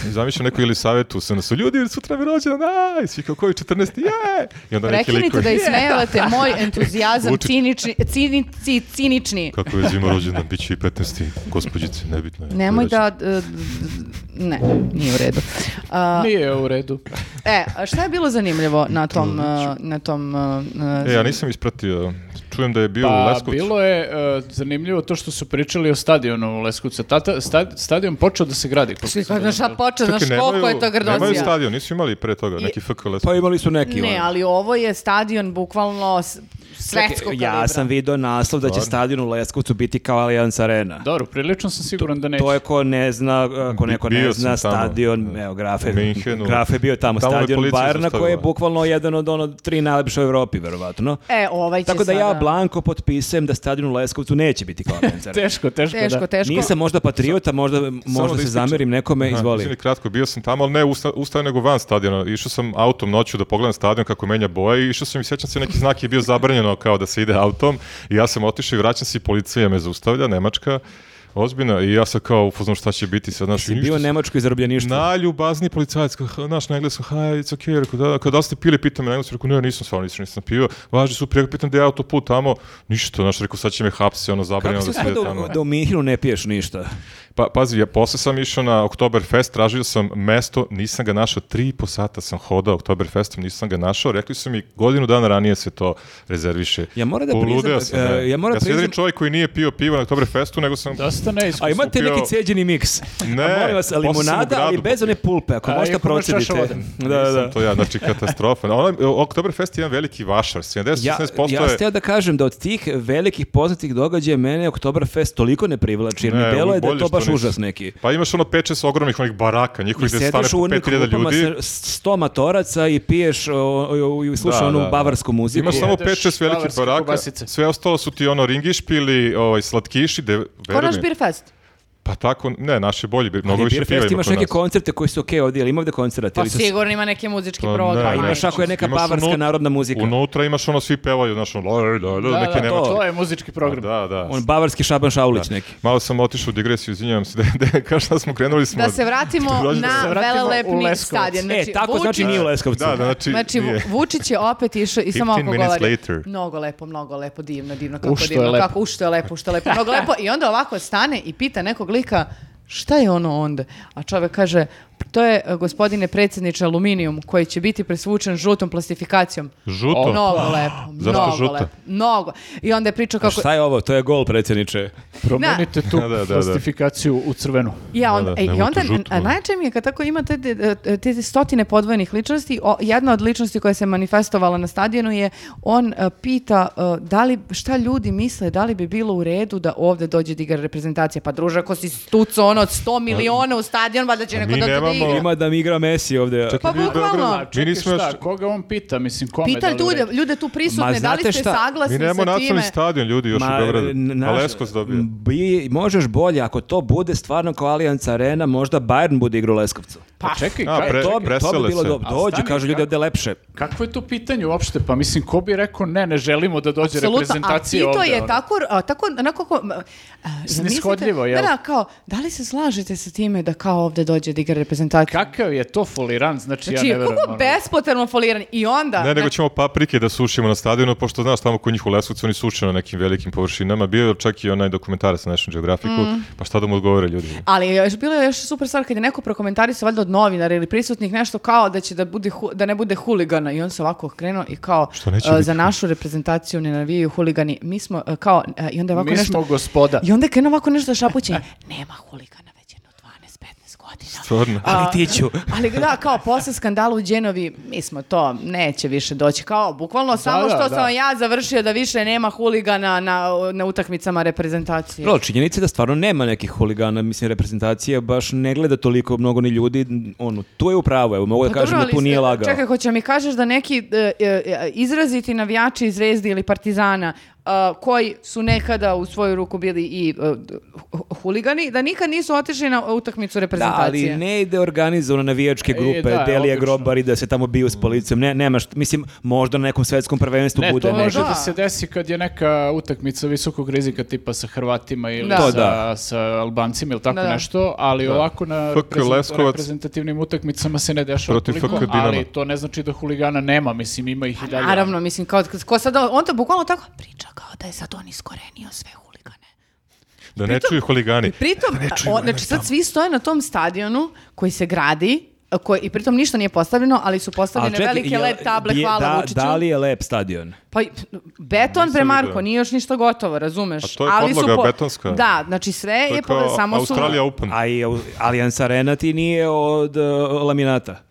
Speaker 1: I zamišljam neku ili savjetu se nas ljudi, sutra mi rođena, aj, svi kao koji 14. je! I onda neki lik
Speaker 3: Prekinite
Speaker 1: koji,
Speaker 3: da ismejavate moj entuzijazam
Speaker 1: Vučić.
Speaker 3: cinični, cinici, cinični.
Speaker 1: Kako je zima rođena, bit će i 15. Gospodjice, nebitno je.
Speaker 3: Nemoj
Speaker 1: To je
Speaker 3: da... e, d- ne, nije u redu. A,
Speaker 4: Nije u redu.
Speaker 3: e, a šta je bilo zanimljivo na tom... e, na tom
Speaker 1: već-
Speaker 3: e,
Speaker 1: E, ja nisam ispratio. Čujem da je bio u
Speaker 4: Pa
Speaker 1: Leskovcu.
Speaker 4: bilo je e, zanimljivo to što su pričali o stadionu u Leskovcu. Tata, sta- stadion počeo da se gradi. koliko sam
Speaker 3: Znaš šta
Speaker 4: razumeo.
Speaker 3: počeo,
Speaker 1: Čekaj,
Speaker 3: znaš koliko je to
Speaker 1: Nemaju
Speaker 3: grdosija.
Speaker 1: stadion, nisu imali pre toga neki FK Leskovcu.
Speaker 2: Pa imali su neki.
Speaker 3: Ne,
Speaker 2: ono.
Speaker 3: ali ovo je stadion bukvalno s- svetskog
Speaker 2: Čekaj,
Speaker 3: kalibra.
Speaker 2: Ja sam video naslov da će
Speaker 1: Stvarno?
Speaker 2: stadion u Leskovcu biti kao Allianz Arena.
Speaker 4: Dobro, prilično sam siguran da neće.
Speaker 2: To je ko ne zna, ako
Speaker 1: Bi-
Speaker 2: neko ne
Speaker 1: bio sam
Speaker 2: zna,
Speaker 1: tamo.
Speaker 2: stadion, evo, Graf
Speaker 1: U
Speaker 2: je,
Speaker 1: Minhenu.
Speaker 2: Graf je bio tamo,
Speaker 1: Tamo me
Speaker 2: stadion
Speaker 1: policija
Speaker 2: Bajerna koji je
Speaker 1: zaustavila.
Speaker 2: bukvalno jedan od ono tri najlepše u Evropi, verovatno.
Speaker 3: E, ovaj će
Speaker 2: Tako da ja
Speaker 3: sada-
Speaker 2: blanko potpisujem da stadion u Leskovcu neće biti kao koncert.
Speaker 4: Teško, teško,
Speaker 3: Teško,
Speaker 4: da.
Speaker 3: teško.
Speaker 2: Nisam možda patriota, možda, možda se
Speaker 1: ističem.
Speaker 2: zamerim nekome,
Speaker 1: Aha,
Speaker 2: izvoli.
Speaker 1: izvini, kratko, bio sam tamo, ali ne usta, ustao nego van stadiona. Išao sam autom noću da pogledam stadion kako menja boje i išao sam i sjećam se neki znak je bio zabranjeno kao da se ide autom i ja sam otišao i vraćam se i policija me zaustavlja, Nemačka, ozbiljna i ja sam kao upoznam šta će biti sad. Znaš,
Speaker 2: Si
Speaker 1: ništa
Speaker 2: bio
Speaker 1: se-
Speaker 2: nemačko izrobljeništvo.
Speaker 1: Najljubazniji policajac, kao, "Ha, znaš, na engleskom, hi, it's okay, rekao, da, da, kao, da li ste pili, pitam me na engleskom, rekao, ne, nisam, stvarno nisam, nisam pio, važi, super, rekao, pitam gde je autoput tamo, ništa, znaš, rekao, sad će me hapse, ono,
Speaker 2: Kako
Speaker 1: zabranjeno
Speaker 2: se
Speaker 1: da se ide
Speaker 2: uspio da,
Speaker 1: tamo.
Speaker 2: u- da u Minhinu ne piješ ništa?
Speaker 1: Pa, pazi, ja posle sam išao na Oktoberfest, tražio sam mesto, nisam ga našao, tri i po sata sam hodao Oktoberfestom, nisam ga našao, rekli su mi, godinu dana ranije se to rezerviše.
Speaker 2: Ja moram da
Speaker 1: Poludeo
Speaker 2: priznam,
Speaker 1: sam,
Speaker 2: e,
Speaker 1: da.
Speaker 2: ja moram
Speaker 1: sam jedini
Speaker 2: priznam-
Speaker 1: čovjek koji nije pio pivo na Oktoberfestu, nego sam...
Speaker 4: Dosta
Speaker 2: A
Speaker 4: neiskusno.
Speaker 2: imate
Speaker 1: Skupio-
Speaker 2: neki cijeđeni miks?
Speaker 1: Ne,
Speaker 2: A molim vas,
Speaker 1: posle sam u
Speaker 2: limonada, ali
Speaker 1: gradu
Speaker 2: bez one pulpe, ako
Speaker 4: A,
Speaker 2: možete
Speaker 4: iako ima čaša
Speaker 2: procedite.
Speaker 4: vode.
Speaker 2: Da, da, da.
Speaker 1: To ja, znači katastrofa. Na Onaj, Oktoberfest je jedan veliki vašar, 70-16%
Speaker 2: Ja, ja
Speaker 1: je...
Speaker 2: steo da kažem da od tih velikih poznatih događaja mene Oktoberfest toliko ne privlači, jer mi
Speaker 1: Ne,
Speaker 2: delo je da je
Speaker 1: bolje
Speaker 2: to
Speaker 1: što
Speaker 2: baš
Speaker 1: nisi.
Speaker 2: užas neki.
Speaker 1: Pa imaš ono 5-6 ogromnih onih baraka, njihovih gde stane
Speaker 2: Sediš
Speaker 1: po
Speaker 2: u pa onim
Speaker 1: 5000
Speaker 2: klupama
Speaker 1: ljudi.
Speaker 2: sa s- sto matoraca i piješ o, o, o, i slušaš
Speaker 1: Da,
Speaker 2: onu
Speaker 1: da, da.
Speaker 2: bavarsku muziku. E,
Speaker 1: Imaš samo
Speaker 4: Jedeš
Speaker 1: 5-6 velikih
Speaker 4: bavarske
Speaker 1: baraka,
Speaker 4: kobasice.
Speaker 1: sve ostalo su ti ono ringišpili, ovaj, slatkiši, de,
Speaker 3: Ko
Speaker 1: veruj
Speaker 3: naš
Speaker 1: mi.
Speaker 3: beer fest?
Speaker 1: Pa tako, ne, naši bolji, bi- mnogo
Speaker 2: Ali
Speaker 1: više
Speaker 2: Beer
Speaker 1: piva
Speaker 2: Fest
Speaker 1: ima
Speaker 2: imaš
Speaker 1: kod
Speaker 2: neke
Speaker 1: nas.
Speaker 2: koncerte koji su okej ovdje, ili ima ovdje koncerte?
Speaker 3: Pa
Speaker 2: ili su-
Speaker 3: sigurno ima neki muzički
Speaker 1: Pa
Speaker 3: program.
Speaker 1: ne,
Speaker 3: Pa
Speaker 1: ne.
Speaker 2: imaš ako je neka
Speaker 1: Imaš
Speaker 2: bavarska
Speaker 1: unut-
Speaker 2: narodna muzika.
Speaker 1: Unutra imaš ono, svi pevaju, znaš, ono, loj, loj, loj,
Speaker 4: Da,
Speaker 1: neke
Speaker 4: da,
Speaker 1: nemačke.
Speaker 4: to je muzički program.
Speaker 1: Da, da.
Speaker 2: On bavarski Šaban Šaulić neki.
Speaker 1: Malo sam otišao u digresiju, izvinjavam se, da, da kažem da smo krenuli smo...
Speaker 3: Da
Speaker 1: od-
Speaker 3: se vratimo
Speaker 1: Dođe da
Speaker 3: na
Speaker 1: se
Speaker 4: vratimo u
Speaker 3: velelepni
Speaker 4: Leskovac.
Speaker 3: stadion.
Speaker 2: e, tako znači
Speaker 3: Vučić-
Speaker 2: nije u Leskovcu.
Speaker 1: Da, da, znači...
Speaker 3: Znači, Vu-
Speaker 1: nije.
Speaker 3: Vučić je opet išao i samo
Speaker 1: 15
Speaker 3: ako
Speaker 1: minutes
Speaker 3: govori.
Speaker 1: later.
Speaker 3: Mnogo lepo, mnogo lepo, divno, divno, kako
Speaker 4: što je
Speaker 3: divno,
Speaker 4: lepo.
Speaker 3: kako, u što je lepo, u što je lepo, mnogo lepo. I onda ovako stane i pita nekog lika, šta je ono onda? A čovek kaže, to je, e, gospodine predsjedniče, aluminijum koji će biti presvučen žutom plastifikacijom.
Speaker 1: Žuto.
Speaker 3: Mnogo lepo,
Speaker 1: Zašto
Speaker 3: mnogo
Speaker 1: žuto?
Speaker 3: lepo, mnogo. I onda je pričao kako...
Speaker 2: Šta je ovo? To je gol, predsjedniče.
Speaker 4: Promenite tu
Speaker 1: Da, da, da, da.
Speaker 4: plastifikaciju u crvenu.
Speaker 3: Ja on,
Speaker 1: Da, da,
Speaker 3: e,
Speaker 1: nego
Speaker 3: I
Speaker 1: to
Speaker 3: onda,
Speaker 1: žuto,
Speaker 3: a
Speaker 1: da.
Speaker 3: najjače mi je kad tako ima te, te- te stotine podvojenih ličnosti, o, jedna od ličnosti koja se manifestovala na stadionu je, on e, pita e, da li, šta ljudi misle, da li bi bilo u redu da ovde dođe da igra reprezentacija, pa druže, ako si stuco ono od 100 miliona u stadion, valjda će
Speaker 1: A
Speaker 3: neko
Speaker 1: Pa, mi
Speaker 3: doći da
Speaker 1: nemamo-
Speaker 3: igra.
Speaker 2: Ima da mi igra Messi ovdje.
Speaker 1: Čekaj,
Speaker 3: Pa
Speaker 1: mi u Beogradu-
Speaker 3: bukvalno.
Speaker 1: Mi
Speaker 4: Čekaj,
Speaker 1: nismo još...
Speaker 4: šta, koga on pita, mislim, kome?
Speaker 3: Pita
Speaker 4: da li u
Speaker 3: ljude,
Speaker 4: redu?
Speaker 3: ljude tu
Speaker 2: Ma,
Speaker 3: prisutne, da
Speaker 2: znate
Speaker 3: li ste
Speaker 2: šta?
Speaker 1: Mi
Speaker 3: saglasni
Speaker 1: nemamo
Speaker 3: sa time?
Speaker 1: nacionalni stadion ljudi još u Beogradu. Pa
Speaker 2: n-
Speaker 1: Na
Speaker 2: naš-
Speaker 1: Leskovac dobio.
Speaker 2: Bi, možeš bolje, ako to bude stvarno kao Allianz Arena, možda Bayern bude igra u Leskovcu.
Speaker 4: Pa čekaj,
Speaker 1: A,
Speaker 4: kaj-
Speaker 1: pre-
Speaker 2: To, bi- to
Speaker 1: presele
Speaker 2: bi bilo
Speaker 1: se.
Speaker 2: dobro.
Speaker 4: A
Speaker 2: Dođu,
Speaker 4: stani,
Speaker 2: kažu ljudi
Speaker 4: kako?
Speaker 2: ovdje je lepše.
Speaker 4: Kakvo je to pitanje uopšte? Pa mislim, ko bi rekao ne, ne želimo da dođe
Speaker 3: Apsolutno, a
Speaker 4: reprezentacija
Speaker 3: Tito
Speaker 4: ovde?
Speaker 3: je
Speaker 4: ono?
Speaker 3: tako, a, tako onako ko, a, a,
Speaker 4: Snishodljivo,
Speaker 3: zamislite- Da,
Speaker 4: jel?
Speaker 3: da, kao, da li se slažete sa time da kao ovde dođe da igra reprezentacija?
Speaker 4: Kakav je to foliran, znači,
Speaker 3: Znači,
Speaker 4: ja ne verujem.
Speaker 3: kako
Speaker 4: ono.
Speaker 3: bespotrebno foliran i onda...
Speaker 1: Ne, nego
Speaker 3: na-
Speaker 1: ćemo paprike da sušimo na stadionu, pošto znaš tamo kod njih u Leskovcu oni suše na nekim velikim površinama. Bio je čak i onaj dokumentarac na National Geographicu,
Speaker 3: Mm.
Speaker 1: pa šta da mu odgovore ljudi?
Speaker 3: Ali je još bilo je još super stvar kad je neko prokomentarisao valjda od novinara ili prisutnih nešto kao da će da bude hu- da ne bude huligana i on se ovako okrenuo i kao
Speaker 1: Što neće
Speaker 3: e,
Speaker 1: biti?
Speaker 3: za našu reprezentaciju ne navijaju huligani. Mi smo e, kao e, i onda je ovako
Speaker 4: Mi
Speaker 3: nešto
Speaker 4: smo gospoda.
Speaker 3: i onda je krenuo ovako nešto šapuće. Nema huligana već jedno 12-15 godina.
Speaker 1: Stvarno.
Speaker 2: Ali ti ću.
Speaker 3: Ali da, kao posle skandala u Đenovi, mi smo to, neće više doći. Kao, bukvalno samo
Speaker 4: da,
Speaker 3: što
Speaker 4: da.
Speaker 3: sam ja završio da više nema huligana na, na utakmicama reprezentacije.
Speaker 2: Bro, činjenica je da stvarno nema nekih huligana, mislim, reprezentacija baš ne gleda toliko mnogo ni ljudi, ono, tu je upravo, evo, mogu da
Speaker 3: Pa
Speaker 2: kažem
Speaker 3: dobro,
Speaker 2: da tu
Speaker 3: ali,
Speaker 2: nije
Speaker 3: e,
Speaker 2: lagao.
Speaker 3: Čekaj, hoće mi kažeš da neki e, e, e, izraziti navijači iz Zvezde ili Partizana e, koji su nekada u svoju ruku bili i e, d- hu- huligani, da nikad nisu otišli na utakmicu
Speaker 2: Da, ali
Speaker 3: reprezentacije. E,
Speaker 2: ne ide organizovano navijačke grupe,
Speaker 4: da,
Speaker 2: Delija
Speaker 4: odlično.
Speaker 2: Grobari da se tamo biju s policijom. Ne, nema št- mislim, možda na nekom svetskom prvenstvu
Speaker 4: Ne,
Speaker 2: bude
Speaker 4: to može
Speaker 2: nešto.
Speaker 4: da se desi kad je neka utakmica visokog rizika tipa sa Hrvatima ili
Speaker 3: Da.
Speaker 2: To
Speaker 4: sa,
Speaker 2: da.
Speaker 4: sa Albancima ili tako
Speaker 3: Da, da.
Speaker 4: nešto, ali ovako na
Speaker 1: FK
Speaker 4: reprezent-
Speaker 1: Leskovac.
Speaker 4: reprezentativnim utakmicama se ne dešava
Speaker 1: Protiv
Speaker 4: toliko,
Speaker 1: FK Dinama.
Speaker 4: ali to ne znači da huligana nema, mislim ima ih i dalje.
Speaker 3: Pa Naravno, mislim, kao, ko sad, on to bukvalno tako priča kao da je sad on iskorenio sve huligane.
Speaker 1: Da ne čuju huligani.
Speaker 3: Pritom,
Speaker 2: Pa
Speaker 3: o, znači sad svi stoje na tom stadionu koji se gradi, a koji, i pritom ništa nije postavljeno, ali su
Speaker 2: Ali
Speaker 3: postavljene
Speaker 2: čekaj,
Speaker 3: velike
Speaker 2: jel-
Speaker 3: led table,
Speaker 2: je-
Speaker 3: hvala
Speaker 2: da,
Speaker 3: Vučiću.
Speaker 2: da li je lep stadion?
Speaker 3: Pa i- beton
Speaker 1: Nisam
Speaker 3: pre Marko,
Speaker 1: video.
Speaker 3: nije još ništa gotovo, razumeš?
Speaker 1: A to je podloga betonska.
Speaker 3: Da, znači sve je,
Speaker 1: To je
Speaker 3: po-
Speaker 1: kao
Speaker 3: samo su...
Speaker 1: Australija Open.
Speaker 2: A i Au- Allianz Arena ti nije od e, laminata.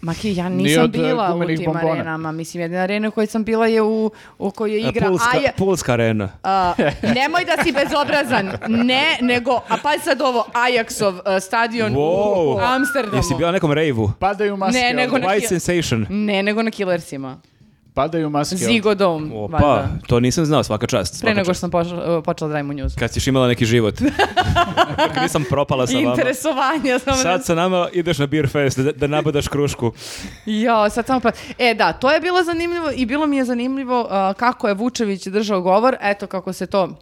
Speaker 3: Maki, ja
Speaker 4: Nije
Speaker 3: nisam
Speaker 4: od, e,
Speaker 3: bila u tim
Speaker 4: gumenih bombona.
Speaker 3: arenama. Mislim, jedna arena u kojoj sam bila je u, u kojoj
Speaker 2: E,
Speaker 3: igra
Speaker 2: Pulska,
Speaker 3: Aja...
Speaker 2: Pulska Arena.
Speaker 3: A, nemoj da si bezobrazan. Ne, nego... A pa sad ovo, Ajaxov e, stadion u Amsterdamu.
Speaker 2: Jesi bio na nekom rejvu?
Speaker 4: Padaju maske.
Speaker 3: Ne,
Speaker 4: ovdje.
Speaker 3: nego na
Speaker 2: White
Speaker 3: Killer-
Speaker 2: Sensation.
Speaker 3: Ne, nego na Killersima.
Speaker 4: padaju maske.
Speaker 3: Zigodom,
Speaker 2: Opa,
Speaker 3: Mm, valjda.
Speaker 2: to nisam znao, svaka čast.
Speaker 3: Pre
Speaker 2: svaka
Speaker 3: nego što
Speaker 2: čast.
Speaker 3: sam počela, počela da radimo news.
Speaker 2: Kad si imala neki život. Kad nisam propala sa vama.
Speaker 3: Interesovanja. samo
Speaker 2: Sad sa nama ideš na beer fest da, da nabadaš krušku.
Speaker 3: Jo, sad samo pa... E da, to je bilo zanimljivo i bilo mi je zanimljivo a, kako je Vučević držao govor, eto kako se to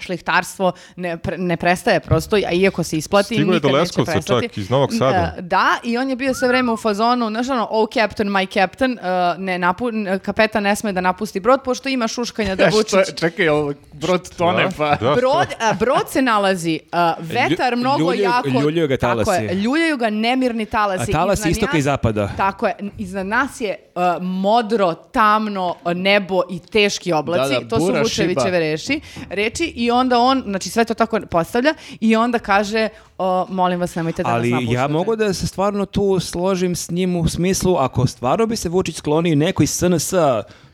Speaker 3: šlihtarstvo ne, pre- ne prestaje prosto, a iako se isplati,
Speaker 1: Stigao je do
Speaker 3: nikad neće
Speaker 1: Leskovca
Speaker 3: prestati.
Speaker 1: čak, iz Novog Sada.
Speaker 3: Da, da, i on je bio sve vreme u fazonu, znaš ono, oh captain, my captain, a, ne napu, n- kapetan ne sme da napusti brod, pošto ima šuškanja da
Speaker 4: E, što je-
Speaker 3: Vučić...
Speaker 4: čekaj, jel brod tone,
Speaker 1: Da,
Speaker 4: pa...
Speaker 1: da.
Speaker 3: Brod, a, brod se nalazi, a, vetar
Speaker 2: Lju-
Speaker 3: mnogo
Speaker 2: ljuljaju-
Speaker 3: jako...
Speaker 2: ljuljaju ga
Speaker 3: Tako je,
Speaker 2: talasi.
Speaker 3: ljuljaju ga nemirni talasi.
Speaker 2: A talasi
Speaker 3: Iznad
Speaker 2: istoka
Speaker 3: nja-
Speaker 2: i zapada.
Speaker 3: Tako je, iznad nas je uh, modro, tamno uh, nebo i teški oblaci,
Speaker 4: Da, da,
Speaker 3: to su
Speaker 4: bura,
Speaker 3: Vučevićeve
Speaker 4: šiba.
Speaker 3: reši, reči i onda on, znači sve to tako postavlja i onda kaže, uh, molim vas nemojte da nas
Speaker 2: Ali
Speaker 3: napuštate.
Speaker 2: ja mogu da se stvarno tu složim s njim u smislu, ako stvarno bi se Vučić sklonio i neko iz SNS,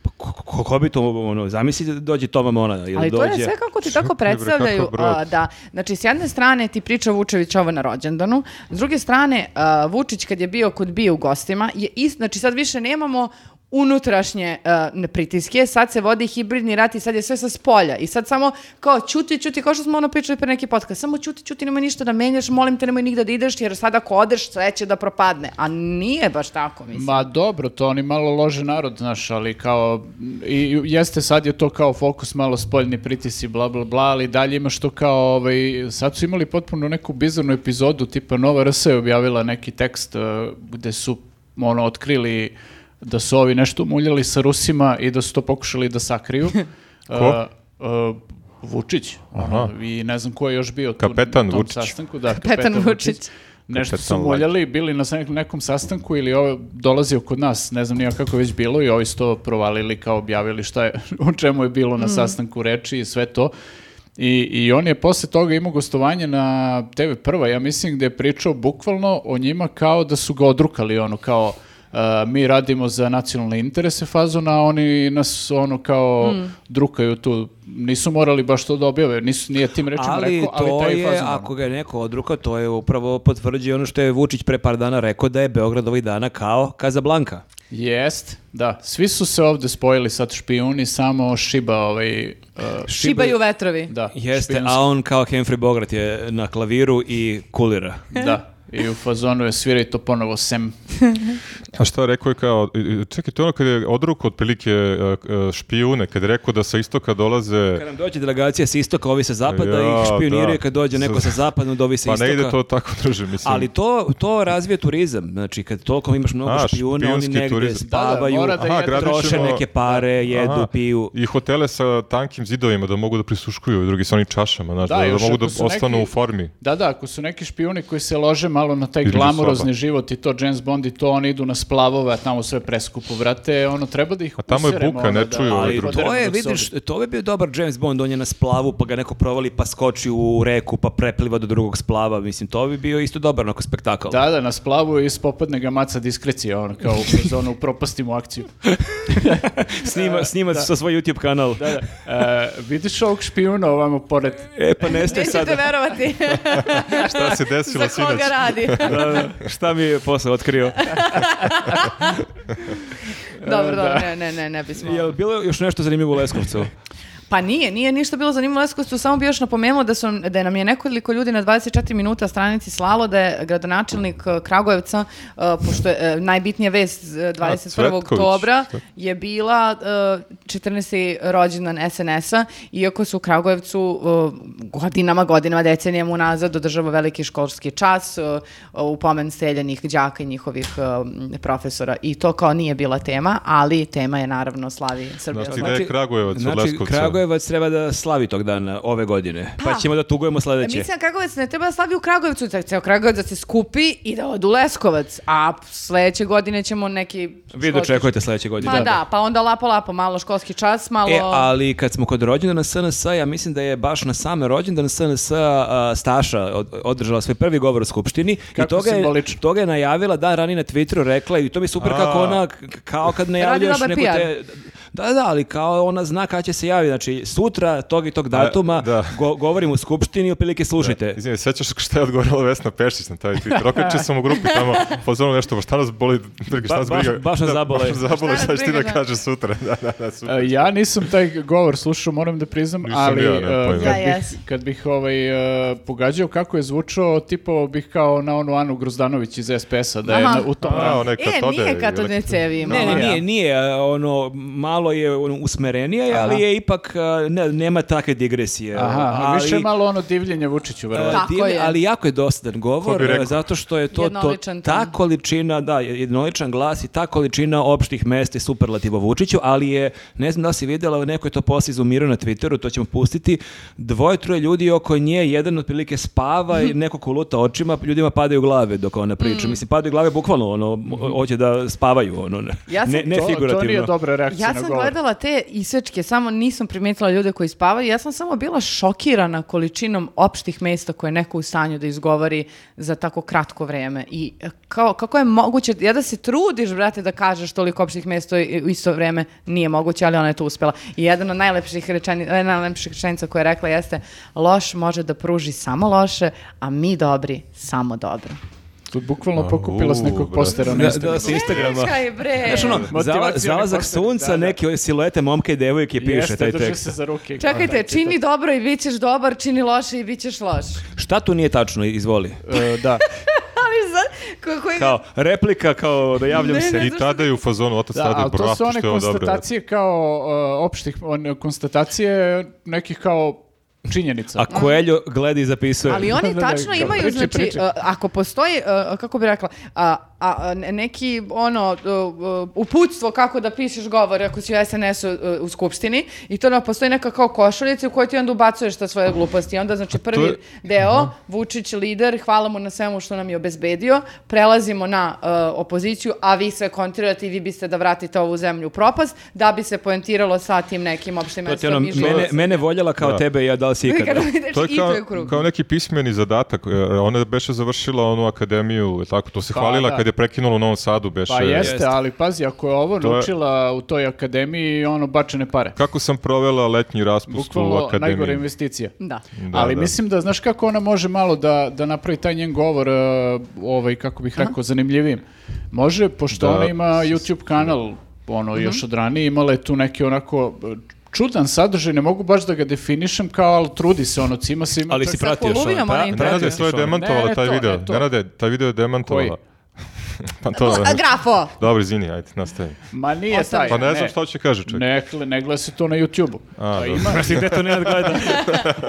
Speaker 2: pa ko, ko- ko bi to, ono, zamisli da dođe Toma Mona ili
Speaker 3: Ali to
Speaker 2: dođe...
Speaker 3: je sve kako ti tako
Speaker 1: Čekaj, bre,
Speaker 3: predstavljaju,
Speaker 1: kakav brod?
Speaker 3: a, da, znači s jedne strane ti priča Vučević ovo na rođendanu, s druge strane a, Vučić kad je bio kod bio u gostima, je ist, znači sad više nemamo unutrašnje a, ne pritiske, sad se vodi hibridni rat i sad je sve sa spolja i sad samo kao ćuti, ćuti, kao što smo ono pričali pre neki podcast, samo ćuti, ćuti, nemoj ništa da menjaš, molim te nemoj nigda da ideš jer sad ako odeš sve će da propadne, a nije baš tako mislim.
Speaker 4: Ma dobro, to oni malo lože narod, znaš, ali kao, i jeste sad je to kao fokus, malo spoljni pritisi, bla, bla, bla, ali dalje imaš to kao, ovaj, sad su imali potpuno neku bizarnu epizodu, tipa Nova RS je objavila neki tekst eh, gde su, ono, otkrili da su ovi nešto muljali sa Rusima i da su to pokušali da sakriju.
Speaker 1: Ko?
Speaker 4: Eh, eh, Vučić. Ono, I ne znam ko je još bio tu
Speaker 1: Kapetan
Speaker 4: na tom
Speaker 1: Vučić.
Speaker 4: sastanku. Da,
Speaker 3: Kapetan Vučić.
Speaker 4: Nešto
Speaker 1: Kapetan
Speaker 4: su muljali, bili na nek- nekom sastanku ili ovo dolazio kod nas, ne znam nija kako je već bilo i ovi su to provalili kao objavili šta je, o čemu je bilo na sastanku reči i sve to. I, I on je posle toga imao gostovanje na TV Prva, ja mislim gde je pričao bukvalno o njima kao da su ga odrukali, ono kao uh, mi radimo za nacionalne interese fazona, a oni nas ono kao drukaju tu. Nisu morali baš to da objave, nisu, nije tim rečima
Speaker 2: ali
Speaker 4: rekao, ali
Speaker 2: to
Speaker 4: taj
Speaker 2: je,
Speaker 4: fazon. ono.
Speaker 2: ako ga je neko odrukao, to je upravo potvrđuje ono što je Vučić pre par dana rekao da je Beograd ovih dana kao Kazablanka.
Speaker 4: Jest, da. Svi su se ovde spojili sad špijuni, samo šiba ovaj... eh,
Speaker 3: Šibaju vetrovi.
Speaker 4: Da,
Speaker 2: Jeste,
Speaker 4: špijunski.
Speaker 2: a on kao Henry Bogart je na klaviru i kulira.
Speaker 4: Da, i u fazonu je sviraj to ponovo sem.
Speaker 1: A šta rekao je kao, i- i- čekaj, to je ono kad je odruku otprilike e, e, špijune, kad je rekao da sa istoka dolaze,
Speaker 2: Kad nam dođe delegacija sa istoka, ovi sa zapada
Speaker 1: Ja,
Speaker 2: ih
Speaker 1: da.
Speaker 2: špioniraju kad dođe neko sa zapadnog, da ovi sa
Speaker 1: pa
Speaker 2: istoka.
Speaker 1: ne ide to tako drže, mislim.
Speaker 2: Ali to, to razvije turizam. Znači, kad toliko imaš mnogo
Speaker 1: A,
Speaker 2: špijuna, oni
Speaker 1: špijunski
Speaker 2: negde
Speaker 1: turizam.
Speaker 4: Da, da,
Speaker 2: spavaju,
Speaker 4: mora da
Speaker 1: Aha,
Speaker 4: jedu.
Speaker 1: gradišemo-
Speaker 2: troše neke pare, jedu,
Speaker 1: Aha,
Speaker 2: piju.
Speaker 1: I hotele sa tankim zidovima da mogu da prisuškuju drugi sa onim čašama, znaš,
Speaker 4: Da,
Speaker 1: da, da
Speaker 4: još
Speaker 1: mogu da
Speaker 4: ako su
Speaker 1: ostanu
Speaker 4: neki-
Speaker 1: u formi.
Speaker 4: Da, da, ako su neki špijuni koji se lože malo na taj
Speaker 1: Između
Speaker 4: glamurozni
Speaker 1: soba.
Speaker 4: život i to James Bond i to, oni idu na splavove, a tamo sve preskupo, vrate, ono, treba da ih
Speaker 1: A tamo je
Speaker 4: useremo,
Speaker 1: buka,
Speaker 4: ono,
Speaker 1: ne
Speaker 4: da-
Speaker 1: čuju ovi
Speaker 4: da
Speaker 2: Ali
Speaker 1: drugi.
Speaker 4: ih
Speaker 2: to
Speaker 4: oderemo
Speaker 2: je,
Speaker 4: dok se
Speaker 2: vidiš,
Speaker 4: odu.
Speaker 2: to bi bio dobar James Bond, on je na splavu, pa ga neko provali, pa skoči u reku, pa prepliva do drugog splava. Mislim, to bi bio isto dobar onako spektakl.
Speaker 4: Da, da, na splavu i ispopadne ga maca diskrecija, ono, kao u fazonu, upropastimo akciju.
Speaker 2: snima, snima sa svoj YouTube kanal.
Speaker 4: Da, da. E, vidiš ovog špijuna ovamo pored?
Speaker 2: E, pa nestaje
Speaker 3: Nećete
Speaker 2: sada.
Speaker 3: verovati
Speaker 1: Šta se desilo
Speaker 3: za koga
Speaker 1: sinoć?
Speaker 3: radi.
Speaker 2: Da, da. Šta mi je posle otkrio?
Speaker 3: Dobro, dobro, ne, ne, ne, ne bismo.
Speaker 2: Jel bilo još nešto zanimljivo u Leskovcu?
Speaker 3: Pa nije, nije ništa bilo zanimljivo Leskovcu, samo bi još napomenula da, su, da nam je nekoliko ljudi na 24 minuta stranici slalo da je gradonačelnik eh, Kragujevca, eh, pošto je eh, najbitnija vest eh, 21.
Speaker 1: Cvetković,
Speaker 3: oktobra
Speaker 1: šta?
Speaker 3: je bila eh, 14. rođendan SNS-a, iako su u Kragujevcu eh, godinama, godinama, decenijama unazad održava veliki školski čas eh, u pomen streljanih đaka i njihovih eh, profesora i to kao nije bila tema, ali tema je naravno slavi Srbija.
Speaker 1: Znači, Gde je Kragujevac od
Speaker 2: znači,
Speaker 1: Leskovca?
Speaker 2: Kragujevac treba da slavi tog dana ove godine. Pa,
Speaker 3: Pa.
Speaker 2: ćemo da tugujemo sledeće.
Speaker 3: Mislim, Kragovac ne treba da slavi u Kragovicu, da ceo Kragovac da se skupi i da odu Leskovac, a sledeće godine ćemo neki...
Speaker 2: Vi dočekujete sledeće godine.
Speaker 3: Ma da, pa onda lapo lapo, malo školski čas, malo...
Speaker 2: E, ali kad smo kod rođendana SNS, ja mislim da je baš na same rođendan SNS a, Staša od- održala svoj prvi govor u Skupštini.
Speaker 4: Kako
Speaker 2: I toga je,
Speaker 4: simbolično.
Speaker 2: toga je najavila dan ranije na Twitteru, rekla i to mi je super kako
Speaker 1: A.
Speaker 2: ona, k- kao kad najavljaš
Speaker 3: dobar
Speaker 2: neku
Speaker 3: PR.
Speaker 2: te... Da, da, ali kao ona zna kada će se javiti. Znači, sutra tog i tog datuma
Speaker 1: da.
Speaker 2: go- govorim u skupštini, otprilike slušajte.
Speaker 1: E, Izvini, sećaš šta je odgovorila Vesna Pešić na taj tweet? Rokače sam u grupi tamo, pozvano nešto, pa šta nas boli, drugi, šta
Speaker 2: Ba-
Speaker 1: nas
Speaker 2: baš-
Speaker 1: briga?
Speaker 2: baš nas
Speaker 1: Da,
Speaker 2: zabole.
Speaker 1: Baš nas zabole,
Speaker 3: Šta nas
Speaker 1: šta ćeš ti da
Speaker 3: briga, da.
Speaker 1: kažeš sutra? Da, da, da, super.
Speaker 4: E, Ja nisam taj govor slušao, moram da priznam,
Speaker 1: Nisam
Speaker 4: ali
Speaker 1: ja, nemam
Speaker 4: e,
Speaker 1: pojma.
Speaker 3: Ja
Speaker 4: kad, bih,
Speaker 3: jesam.
Speaker 4: kad bih ovaj, e, pogađao kako je zvučao, tipovao bih kao na onu Anu Gruzdanović iz SPS-a, da je
Speaker 3: Aha.
Speaker 4: na- u tom
Speaker 1: A,
Speaker 4: rangu.
Speaker 1: one
Speaker 3: E,
Speaker 1: katode
Speaker 3: nije
Speaker 1: ili-
Speaker 3: katodne cevi imala.
Speaker 2: Ne, ne,
Speaker 4: Mala, ja.
Speaker 2: nije, nije, e, ono, malo je ono, usmerenija, je, ali
Speaker 4: Aha.
Speaker 2: je ipak, e, ne, nema takve digresije.
Speaker 4: Aha,
Speaker 2: ali,
Speaker 4: više malo ono divljenje Vučiću,
Speaker 2: e,
Speaker 4: verovatno.
Speaker 3: Tako
Speaker 2: divne-
Speaker 3: je.
Speaker 2: Ali jako je dosadan
Speaker 1: Ko
Speaker 2: govor,
Speaker 1: bi
Speaker 2: e,
Speaker 1: rekao?
Speaker 2: zato što je to, to
Speaker 3: Jednoličan ton.
Speaker 2: ta količina, da, jednoličan glas i ta količina opštih mesta i superlativa Vučiću, ali je, ne znam da li si vidjela, neko je to posle izumirao na Twitteru, to ćemo pustiti, dvoje, troje ljudi oko nje, jedan otprilike spava i neko koluta očima, ljudima padaju glave dok ona priča. Mislim, padaju glave bukvalno, ono, mo- hoće da spavaju, ono, ne,
Speaker 3: Ja sam
Speaker 2: ne, ne
Speaker 4: To-
Speaker 2: figurativno.
Speaker 4: To nije dobra reakcija
Speaker 3: Ja
Speaker 4: na
Speaker 3: sam
Speaker 4: govor.
Speaker 3: gledala te isečke, samo nisam primetila ljude koji spavaju. Ja sam samo bila šokirana količinom opštih mesta koje je neko u stanju da izgovori za tako kratko vreme. I e, kao, kako je moguće, ja da se trudiš, brate, da kažeš toliko opštih mesta i- u isto vreme, nije moguće, ali ona je to uspela. I jedan od najlepših, rečeni, jedna od najlepših rečenica koja je rekla jeste loš može da pruži samo loše, a mi dobri samo dobro.
Speaker 4: To je Bukvalno pokupila s
Speaker 1: u,
Speaker 4: nekog
Speaker 1: brate.
Speaker 4: postera na
Speaker 2: Da,
Speaker 4: Instagramu.
Speaker 2: da, sa Instagrama.
Speaker 3: Čekaj, bre.
Speaker 2: Znaš ono, zala,
Speaker 4: Motivacioni
Speaker 2: zalazak
Speaker 4: poster,
Speaker 2: sunca,
Speaker 4: da, da.
Speaker 2: neke siluete momke i devojke piše
Speaker 4: Jeste,
Speaker 2: taj
Speaker 4: drže
Speaker 2: tekst.
Speaker 4: se za ruke. i kao
Speaker 3: Čekajte,
Speaker 4: taj
Speaker 3: čini dobro i bit ćeš dobar, čini loše i bit ćeš loš.
Speaker 2: Šta tu nije tačno, izvoli?
Speaker 4: tekst. E, da.
Speaker 3: Ali za, ko, koji
Speaker 2: Kao, replika, kao da javljam
Speaker 3: Ne,
Speaker 2: se.
Speaker 3: ne,
Speaker 1: I tada je u fazonu otac
Speaker 4: Da,
Speaker 1: tada je
Speaker 4: ali to
Speaker 1: bravo,
Speaker 4: su one
Speaker 1: što je ovo dobro.
Speaker 4: konstatacije kao e, opštih, one konstatacije nekih kao činjenica.
Speaker 2: A Coelho gleda i zapisuje.
Speaker 3: Ali oni
Speaker 4: Da, da,
Speaker 3: tačno
Speaker 4: da,
Speaker 3: imaju,
Speaker 4: priči,
Speaker 3: znači,
Speaker 4: priči.
Speaker 3: uh, ako postoji, uh, kako bi rekla, a, a, a, ne- neki, ono, uh, uh, uputstvo kako da pišeš govor, ako si u SNS-u uh, u skupštini, i to da postoji neka kao košuljica u kojoj ti onda ubacuješ ta svoje gluposti. I onda, znači, prvi
Speaker 1: je-
Speaker 3: deo, Vučić lider, hvala mu na svemu što nam je obezbedio, prelazimo na uh, opoziciju, a vi sve kontirate i vi biste da vratite ovu zemlju u propast, da bi se poentiralo sa tim nekim opštim
Speaker 2: To ti ono,
Speaker 3: mestom i životom.
Speaker 2: mene, mene voljela kao
Speaker 1: Da.
Speaker 2: tebe i ja da li si ikada.
Speaker 1: To
Speaker 4: Znači,
Speaker 1: je kao,
Speaker 3: I to je krug.
Speaker 1: kao neki pismeni zadatak. E, Ona beše završila onu akademiju, je tako, to se
Speaker 4: Pa,
Speaker 1: hvalila
Speaker 4: da.
Speaker 1: kad je prekinula u Novom Sadu, beše.
Speaker 4: Pa jeste,
Speaker 2: Jeste.
Speaker 4: ali pazi, ako je ovo
Speaker 1: To je-
Speaker 4: naučila u toj akademiji, ono, bačene pare.
Speaker 1: Kako sam provela letnji raspust u
Speaker 4: Bukvalno
Speaker 1: akademiji.
Speaker 4: najgore investicija.
Speaker 3: Da.
Speaker 1: Da,
Speaker 4: ali
Speaker 1: da.
Speaker 4: mislim da, znaš kako ona može malo da, da napravi taj njen govor, e, ovaj, kako bih rekao, zanimljivijim. Može, pošto
Speaker 1: Da.
Speaker 4: ona ima YouTube kanal, ono,
Speaker 1: Mhm.
Speaker 4: još od ranije, imala je tu neke onako e, čudan sadržaj, ne mogu baš da ga definišem kao, ali trudi se, ono, cima se ima
Speaker 2: Ali
Speaker 4: čak-
Speaker 2: si pratio što?
Speaker 3: Koluvijom ona
Speaker 2: pra-
Speaker 3: im
Speaker 1: Nenade,
Speaker 2: pratiš
Speaker 1: to je
Speaker 2: ono?
Speaker 1: demantovala
Speaker 4: E, Ne,
Speaker 1: taj
Speaker 4: to,
Speaker 1: video.
Speaker 4: ne, to.
Speaker 1: Nenade, taj video je demantovala. pa to,
Speaker 3: Oh, A, grafo!
Speaker 1: Dobro, izvini, ajde, nastavi.
Speaker 4: Ma nije taj.
Speaker 3: Ostavi.
Speaker 1: Pa ne znam šta će kaže čovjek.
Speaker 4: E, Ne, gle- ne gleda se to na YouTube-u.
Speaker 1: A,
Speaker 4: Pa
Speaker 1: dobro.
Speaker 4: ima,
Speaker 2: Mislim, gde to Nenad gleda?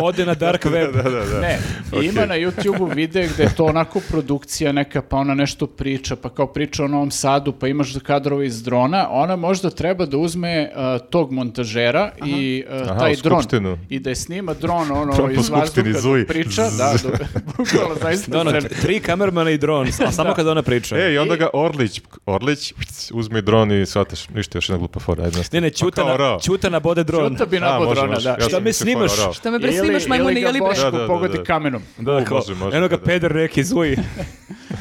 Speaker 2: Ode na dark web.
Speaker 1: Da, da, da.
Speaker 4: ne, ima na YouTube-u vide gde je to onako produkcija neka, pa ona nešto priča, pa kao priča o Novom Sadu, pa imaš kadrove iz drona, ona možda treba da uzme uh, tog montažera i uh,
Speaker 1: Aha,
Speaker 4: taj
Speaker 1: u
Speaker 4: dron.
Speaker 1: skupštinu.
Speaker 4: I da je snima dron ono
Speaker 1: Dron po
Speaker 4: iz vazduha
Speaker 1: skupštini, zuj.
Speaker 4: dok priča, da,
Speaker 1: Zzz.
Speaker 4: da, bukvalno zaista.
Speaker 2: Da, ono,
Speaker 4: sve-
Speaker 2: tri kamermana i dron, a samo kada ona priča.
Speaker 1: E, i onda ga Orlić, Orlić, uzmi dron i shvateš, ništa, još jedna glupa fora, ajde nastavi.
Speaker 2: Ne, ne,
Speaker 1: Pa kao
Speaker 2: Ćutana,
Speaker 1: orao.
Speaker 2: Ćutana bode dron.
Speaker 4: Čuta bi nabod
Speaker 1: A, može,
Speaker 4: drona,
Speaker 1: može.
Speaker 4: da.
Speaker 1: Ja
Speaker 2: Šta
Speaker 1: sam
Speaker 2: me
Speaker 1: mislio
Speaker 2: snimaš?
Speaker 1: fora orao.
Speaker 3: Što me bre
Speaker 4: Ili-
Speaker 3: snimaš, majmune,
Speaker 4: ili ga
Speaker 3: jeli bre?
Speaker 4: Boško
Speaker 1: Da, da, da,
Speaker 4: pogodi
Speaker 1: da.
Speaker 4: kamenom.
Speaker 2: Da, kao,
Speaker 1: može, može,
Speaker 2: eno ga
Speaker 1: da, da.
Speaker 2: peder reki, zuj.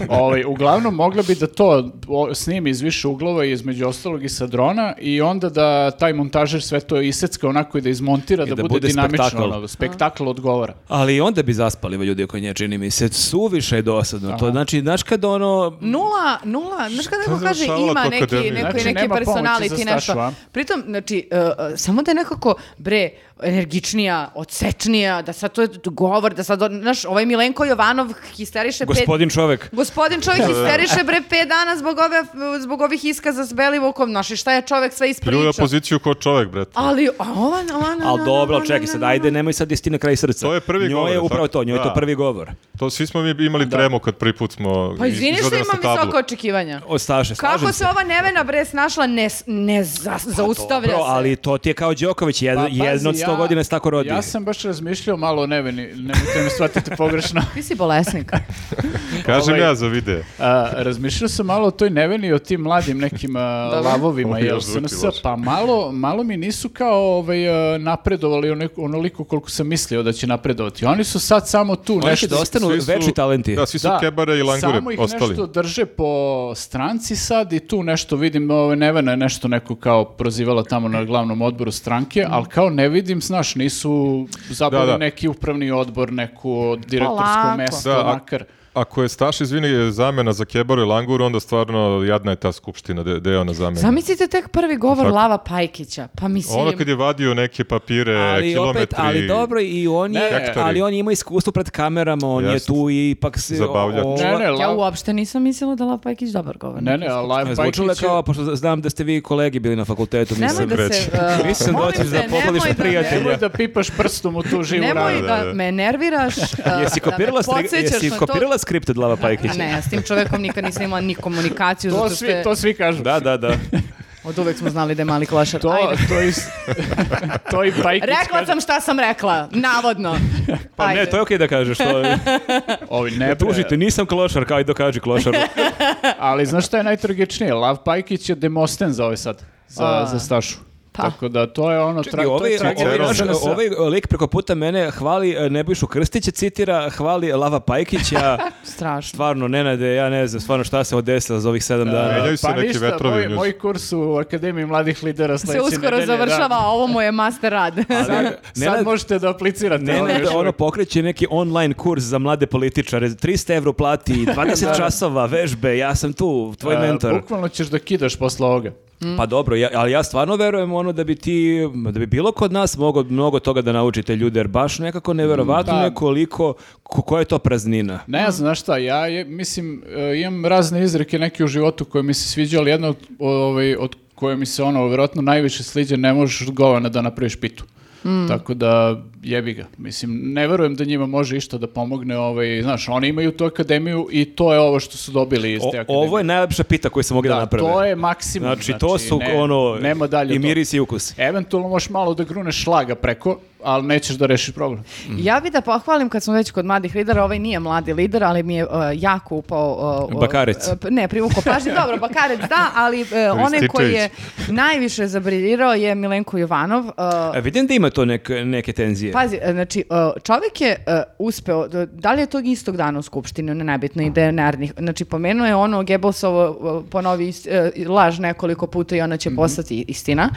Speaker 4: Ovaj, uglavnom, mogla bi da to o, snimi iz više uglova i između ostalog i sa drona i onda da taj montažer sve to isecka onako i da izmontira, da,
Speaker 2: da
Speaker 4: bude,
Speaker 2: bude
Speaker 4: dinamično.
Speaker 2: spektakl.
Speaker 4: Spektakl, ono, spektakl odgovara.
Speaker 2: Ali onda bi zaspali ovi ljudi oko nje, čini mi se. Suviše je dosadno. To znači, znaš kad ono...
Speaker 3: Nula, nula, znaš kada neko
Speaker 1: je
Speaker 3: kaže
Speaker 1: završavala
Speaker 3: ima
Speaker 1: tu
Speaker 3: neki,
Speaker 1: akademiju?
Speaker 3: neko,
Speaker 4: Znači,
Speaker 3: neki
Speaker 4: nema pomoći
Speaker 3: personality,
Speaker 4: za
Speaker 3: nešto.
Speaker 4: Stašu,
Speaker 3: Pritom, znači, e, e, samo da je nekako, bre, energičnija, odsečnija, da sad to je govor, da sad, on- znaš, ovaj Milenko Jovanov histeriše pet...
Speaker 2: Gospodin čovek.
Speaker 3: Gospodin čovjek histeriše bre pet dana zbog, ove, zbog ovih iskaza s Belivukom, znaš, i šta je čovjek sve
Speaker 1: Pljuje
Speaker 3: ispričao.
Speaker 1: opoziciju ko čovek, brate.
Speaker 3: Ali, a ova, ova, na,
Speaker 2: Ali
Speaker 3: na,
Speaker 2: dobro,
Speaker 3: na,
Speaker 2: ali
Speaker 3: na,
Speaker 2: čekaj
Speaker 3: na,
Speaker 2: sad,
Speaker 3: na,
Speaker 2: ajde, nemoj sad istina kraj srca.
Speaker 1: To je prvi
Speaker 2: njoj
Speaker 1: govor,
Speaker 2: je
Speaker 1: jel'
Speaker 2: upravo
Speaker 1: tako?
Speaker 2: to, njoj je to
Speaker 1: Da.
Speaker 2: prvi govor.
Speaker 1: To svi smo mi imali tremu kad prvi put smo
Speaker 3: Pa
Speaker 1: iz-
Speaker 3: izvini što
Speaker 1: izvadili nas na
Speaker 3: imam
Speaker 1: tablu.
Speaker 3: visoko očekivanja.
Speaker 2: O, Staše,
Speaker 3: Kako
Speaker 2: slažem Pa
Speaker 3: se ova nevena bre snašla, ne, ne za- zaustavlja
Speaker 2: Dobro,
Speaker 3: se.
Speaker 2: ali to ti je kao Đoković, jed,
Speaker 4: Pa,
Speaker 2: jedno od
Speaker 4: pazi,
Speaker 2: sto
Speaker 4: ja-
Speaker 2: godina se tako rodi.
Speaker 4: Ja sam baš razmišljao malo o Neveni, nemojte me shvatiti pogrešno.
Speaker 3: Ti si bolesnik.
Speaker 1: Kažem
Speaker 4: Ovaj-
Speaker 1: ja za video.
Speaker 4: A, razmišljao sam malo o toj neveni, o tim mladim nekim a,
Speaker 3: Dobro.
Speaker 4: lavovima,
Speaker 1: Ovo je
Speaker 4: jel
Speaker 1: zvuči
Speaker 4: SNS,
Speaker 1: loše.
Speaker 4: pa malo, malo mi nisu kao ovaj, a, napredovali onoliko- onoliko koliko sam mislio da će napredovati. Oni su sad samo tu,
Speaker 2: Oni
Speaker 4: nešto
Speaker 2: da ostanu
Speaker 1: Svi su-
Speaker 2: večni talenti.
Speaker 1: Da, svi su
Speaker 4: Da,
Speaker 1: kebare i langure
Speaker 4: Samo ih
Speaker 1: ostali.
Speaker 4: nešto drže po stranci sad i tu nešto vidim, ove, Nevena je nešto neko kao prozivala tamo na glavnom odboru stranke, ali kao ne vidim, znaš, nisu zapravo
Speaker 1: Da, da.
Speaker 4: neki upravni odbor, neku direktorsko
Speaker 3: Polako.
Speaker 4: mesto,
Speaker 1: Da, a-
Speaker 4: makar.
Speaker 1: Ako je Staš, izvini, je zamena za kebaru i languru, onda stvarno jadna je ta skupština da da je ona zamena.
Speaker 3: Zamislite tek prvi govor
Speaker 1: Tako.
Speaker 3: Lava Pajkića. Pa mislim...
Speaker 1: Ono kad je vadio neke papire,
Speaker 2: ali
Speaker 1: E, kilometri...
Speaker 2: opet, ali dobro i on je,
Speaker 4: Ne.
Speaker 2: ali on ima iskustvo pred kamerama, on je
Speaker 1: Jasno.
Speaker 2: tu i ipak se...
Speaker 1: Zabavljač.
Speaker 2: o-
Speaker 4: Ne, pa ne,
Speaker 3: Ja
Speaker 4: Lav-
Speaker 3: uopšte nisam mislila da Lava Pajkić dobar govor.
Speaker 4: ne, ne, a Lav
Speaker 2: Zvučilo je
Speaker 4: Pajkić je-
Speaker 2: kao, pošto znam da ste vi kolegi bili na fakultetu,
Speaker 3: Nemoj
Speaker 2: mislim.
Speaker 1: Nisam
Speaker 3: da se...
Speaker 1: treći.
Speaker 3: uh,
Speaker 2: Mislim da
Speaker 3: molim
Speaker 2: hoćeš
Speaker 3: te,
Speaker 2: da
Speaker 3: nemoj
Speaker 2: pohvališ
Speaker 3: da me-
Speaker 2: prijatelja.
Speaker 4: Nemoj da pipaš prstom u tu živu
Speaker 3: Nemoj
Speaker 4: ranu.
Speaker 1: Da, da,
Speaker 3: da
Speaker 1: da.
Speaker 3: me nerviraš. uh,
Speaker 2: Jesi kopirala,
Speaker 3: da me
Speaker 2: stri-
Speaker 3: podsjećaš
Speaker 2: jesi
Speaker 3: na to.
Speaker 2: kopirala skript od Lava Pajkića?
Speaker 3: Ne, ja s tim čovekom nikad nisam imala ni komunikaciju,
Speaker 4: To
Speaker 3: zato što
Speaker 4: svi,
Speaker 3: je,
Speaker 4: to svi kažu.
Speaker 2: Da, da, da.
Speaker 3: od uvek smo znali da je mali klošar.
Speaker 4: To,
Speaker 3: Ajde.
Speaker 4: to, i, s- to i Pajkić
Speaker 3: Rekla
Speaker 4: kaže.
Speaker 3: sam šta sam rekla, navodno.
Speaker 2: Pa
Speaker 3: Ajde.
Speaker 2: ne, to je okej da kažeš. To,
Speaker 4: Ovi, ne, bre.
Speaker 2: tužite, nisam klošar, kao i dokaži klošaru.
Speaker 4: Ali znaš šta je najtragičnije? Lav Pajkić je demosten za ovaj sad, za,
Speaker 3: A.
Speaker 4: za Stašu.
Speaker 3: Pa.
Speaker 4: Tako da to je ono...
Speaker 2: Čekaj, ovaj, ovaj,
Speaker 1: tragedija
Speaker 2: naš-
Speaker 1: SNS.
Speaker 2: ovaj lik preko puta mene hvali e, Nebojšu Krstića, citira, hvali Lava Pajkića.
Speaker 3: Strašno.
Speaker 2: stvarno, Nenade, ja ne znam, stvarno šta se odesilo za ovih sedam dana.
Speaker 1: Menjaju se neki vetrovi
Speaker 4: Pa Moj,
Speaker 1: ljudi.
Speaker 4: moj kurs u Akademiji mladih lidera
Speaker 3: Se
Speaker 4: sledeće
Speaker 3: uskoro
Speaker 4: nedelje, da.
Speaker 3: završava, a ovo mu je master rad.
Speaker 4: Sad,
Speaker 2: Nenad-
Speaker 4: sad možete da aplicirate.
Speaker 2: Ne,
Speaker 4: ali
Speaker 2: ne,
Speaker 4: još
Speaker 2: ono
Speaker 4: uvijek.
Speaker 2: pokreće neki online kurs za mlade političare, 300 evro plati, 20 časova, vežbe, ja sam tu, tvoj
Speaker 4: E,
Speaker 2: mentor.
Speaker 4: Bukvalno ćeš da kidaš posle ovoga.
Speaker 2: Pa dobro, ja, ali ja stvarno verujem ono da bi ti, da bi bilo kod nas mogao mnogo toga da naučite ljude, jer baš nekako neverovatno
Speaker 4: Da.
Speaker 2: je koliko, ko- koja je to praznina.
Speaker 4: Ne, ja znaš šta, ja je, mislim, e, imam razne izreke neke u životu koje mi se sviđa, ali jedna od, o- ovaj, od koje mi se ono, vjerojatno najviše sliđa, ne možeš od govana da napraviš pitu. Tako da jebi ga. Mislim, ne verujem da njima može išta da pomogne. Ovaj, znaš, oni imaju tu akademiju i to je ovo što su dobili iz
Speaker 2: O-
Speaker 4: te akademije.
Speaker 2: ovo je najlepša pita koju se mogli da,
Speaker 4: da,
Speaker 2: naprave.
Speaker 4: to je maksimum.
Speaker 2: Znači, to su
Speaker 4: ne-
Speaker 2: ono
Speaker 4: nema dalje
Speaker 2: i
Speaker 4: od toga.
Speaker 2: miris i ukus.
Speaker 4: Eventualno možeš malo da gruneš šlaga preko, ali nećeš da rešiš problem.
Speaker 3: Ja bi da pohvalim kad smo već kod mladih lidera, ovaj nije mladi lider, ali mi je uh, jako upao... uh, uh,
Speaker 2: Bakarec.
Speaker 3: uh, p- ne, privukao pažnje. Dobro, Bakarec da, ali uh, one koji je najviše zabriljirao je Milenko Jovanov. uh,
Speaker 2: E, vidim da ima to nek- neke tenzije.
Speaker 3: Pazi, e, znači, e, čovjek je e, uspeo, d- da li je tog istog dana u Skupštini, ne nebitno, i da je narednih, znači, pomenuo je ono, Gebelsovo e, ponovi ist- e, laž nekoliko puta i ona
Speaker 1: Mhm.
Speaker 3: će postati istina.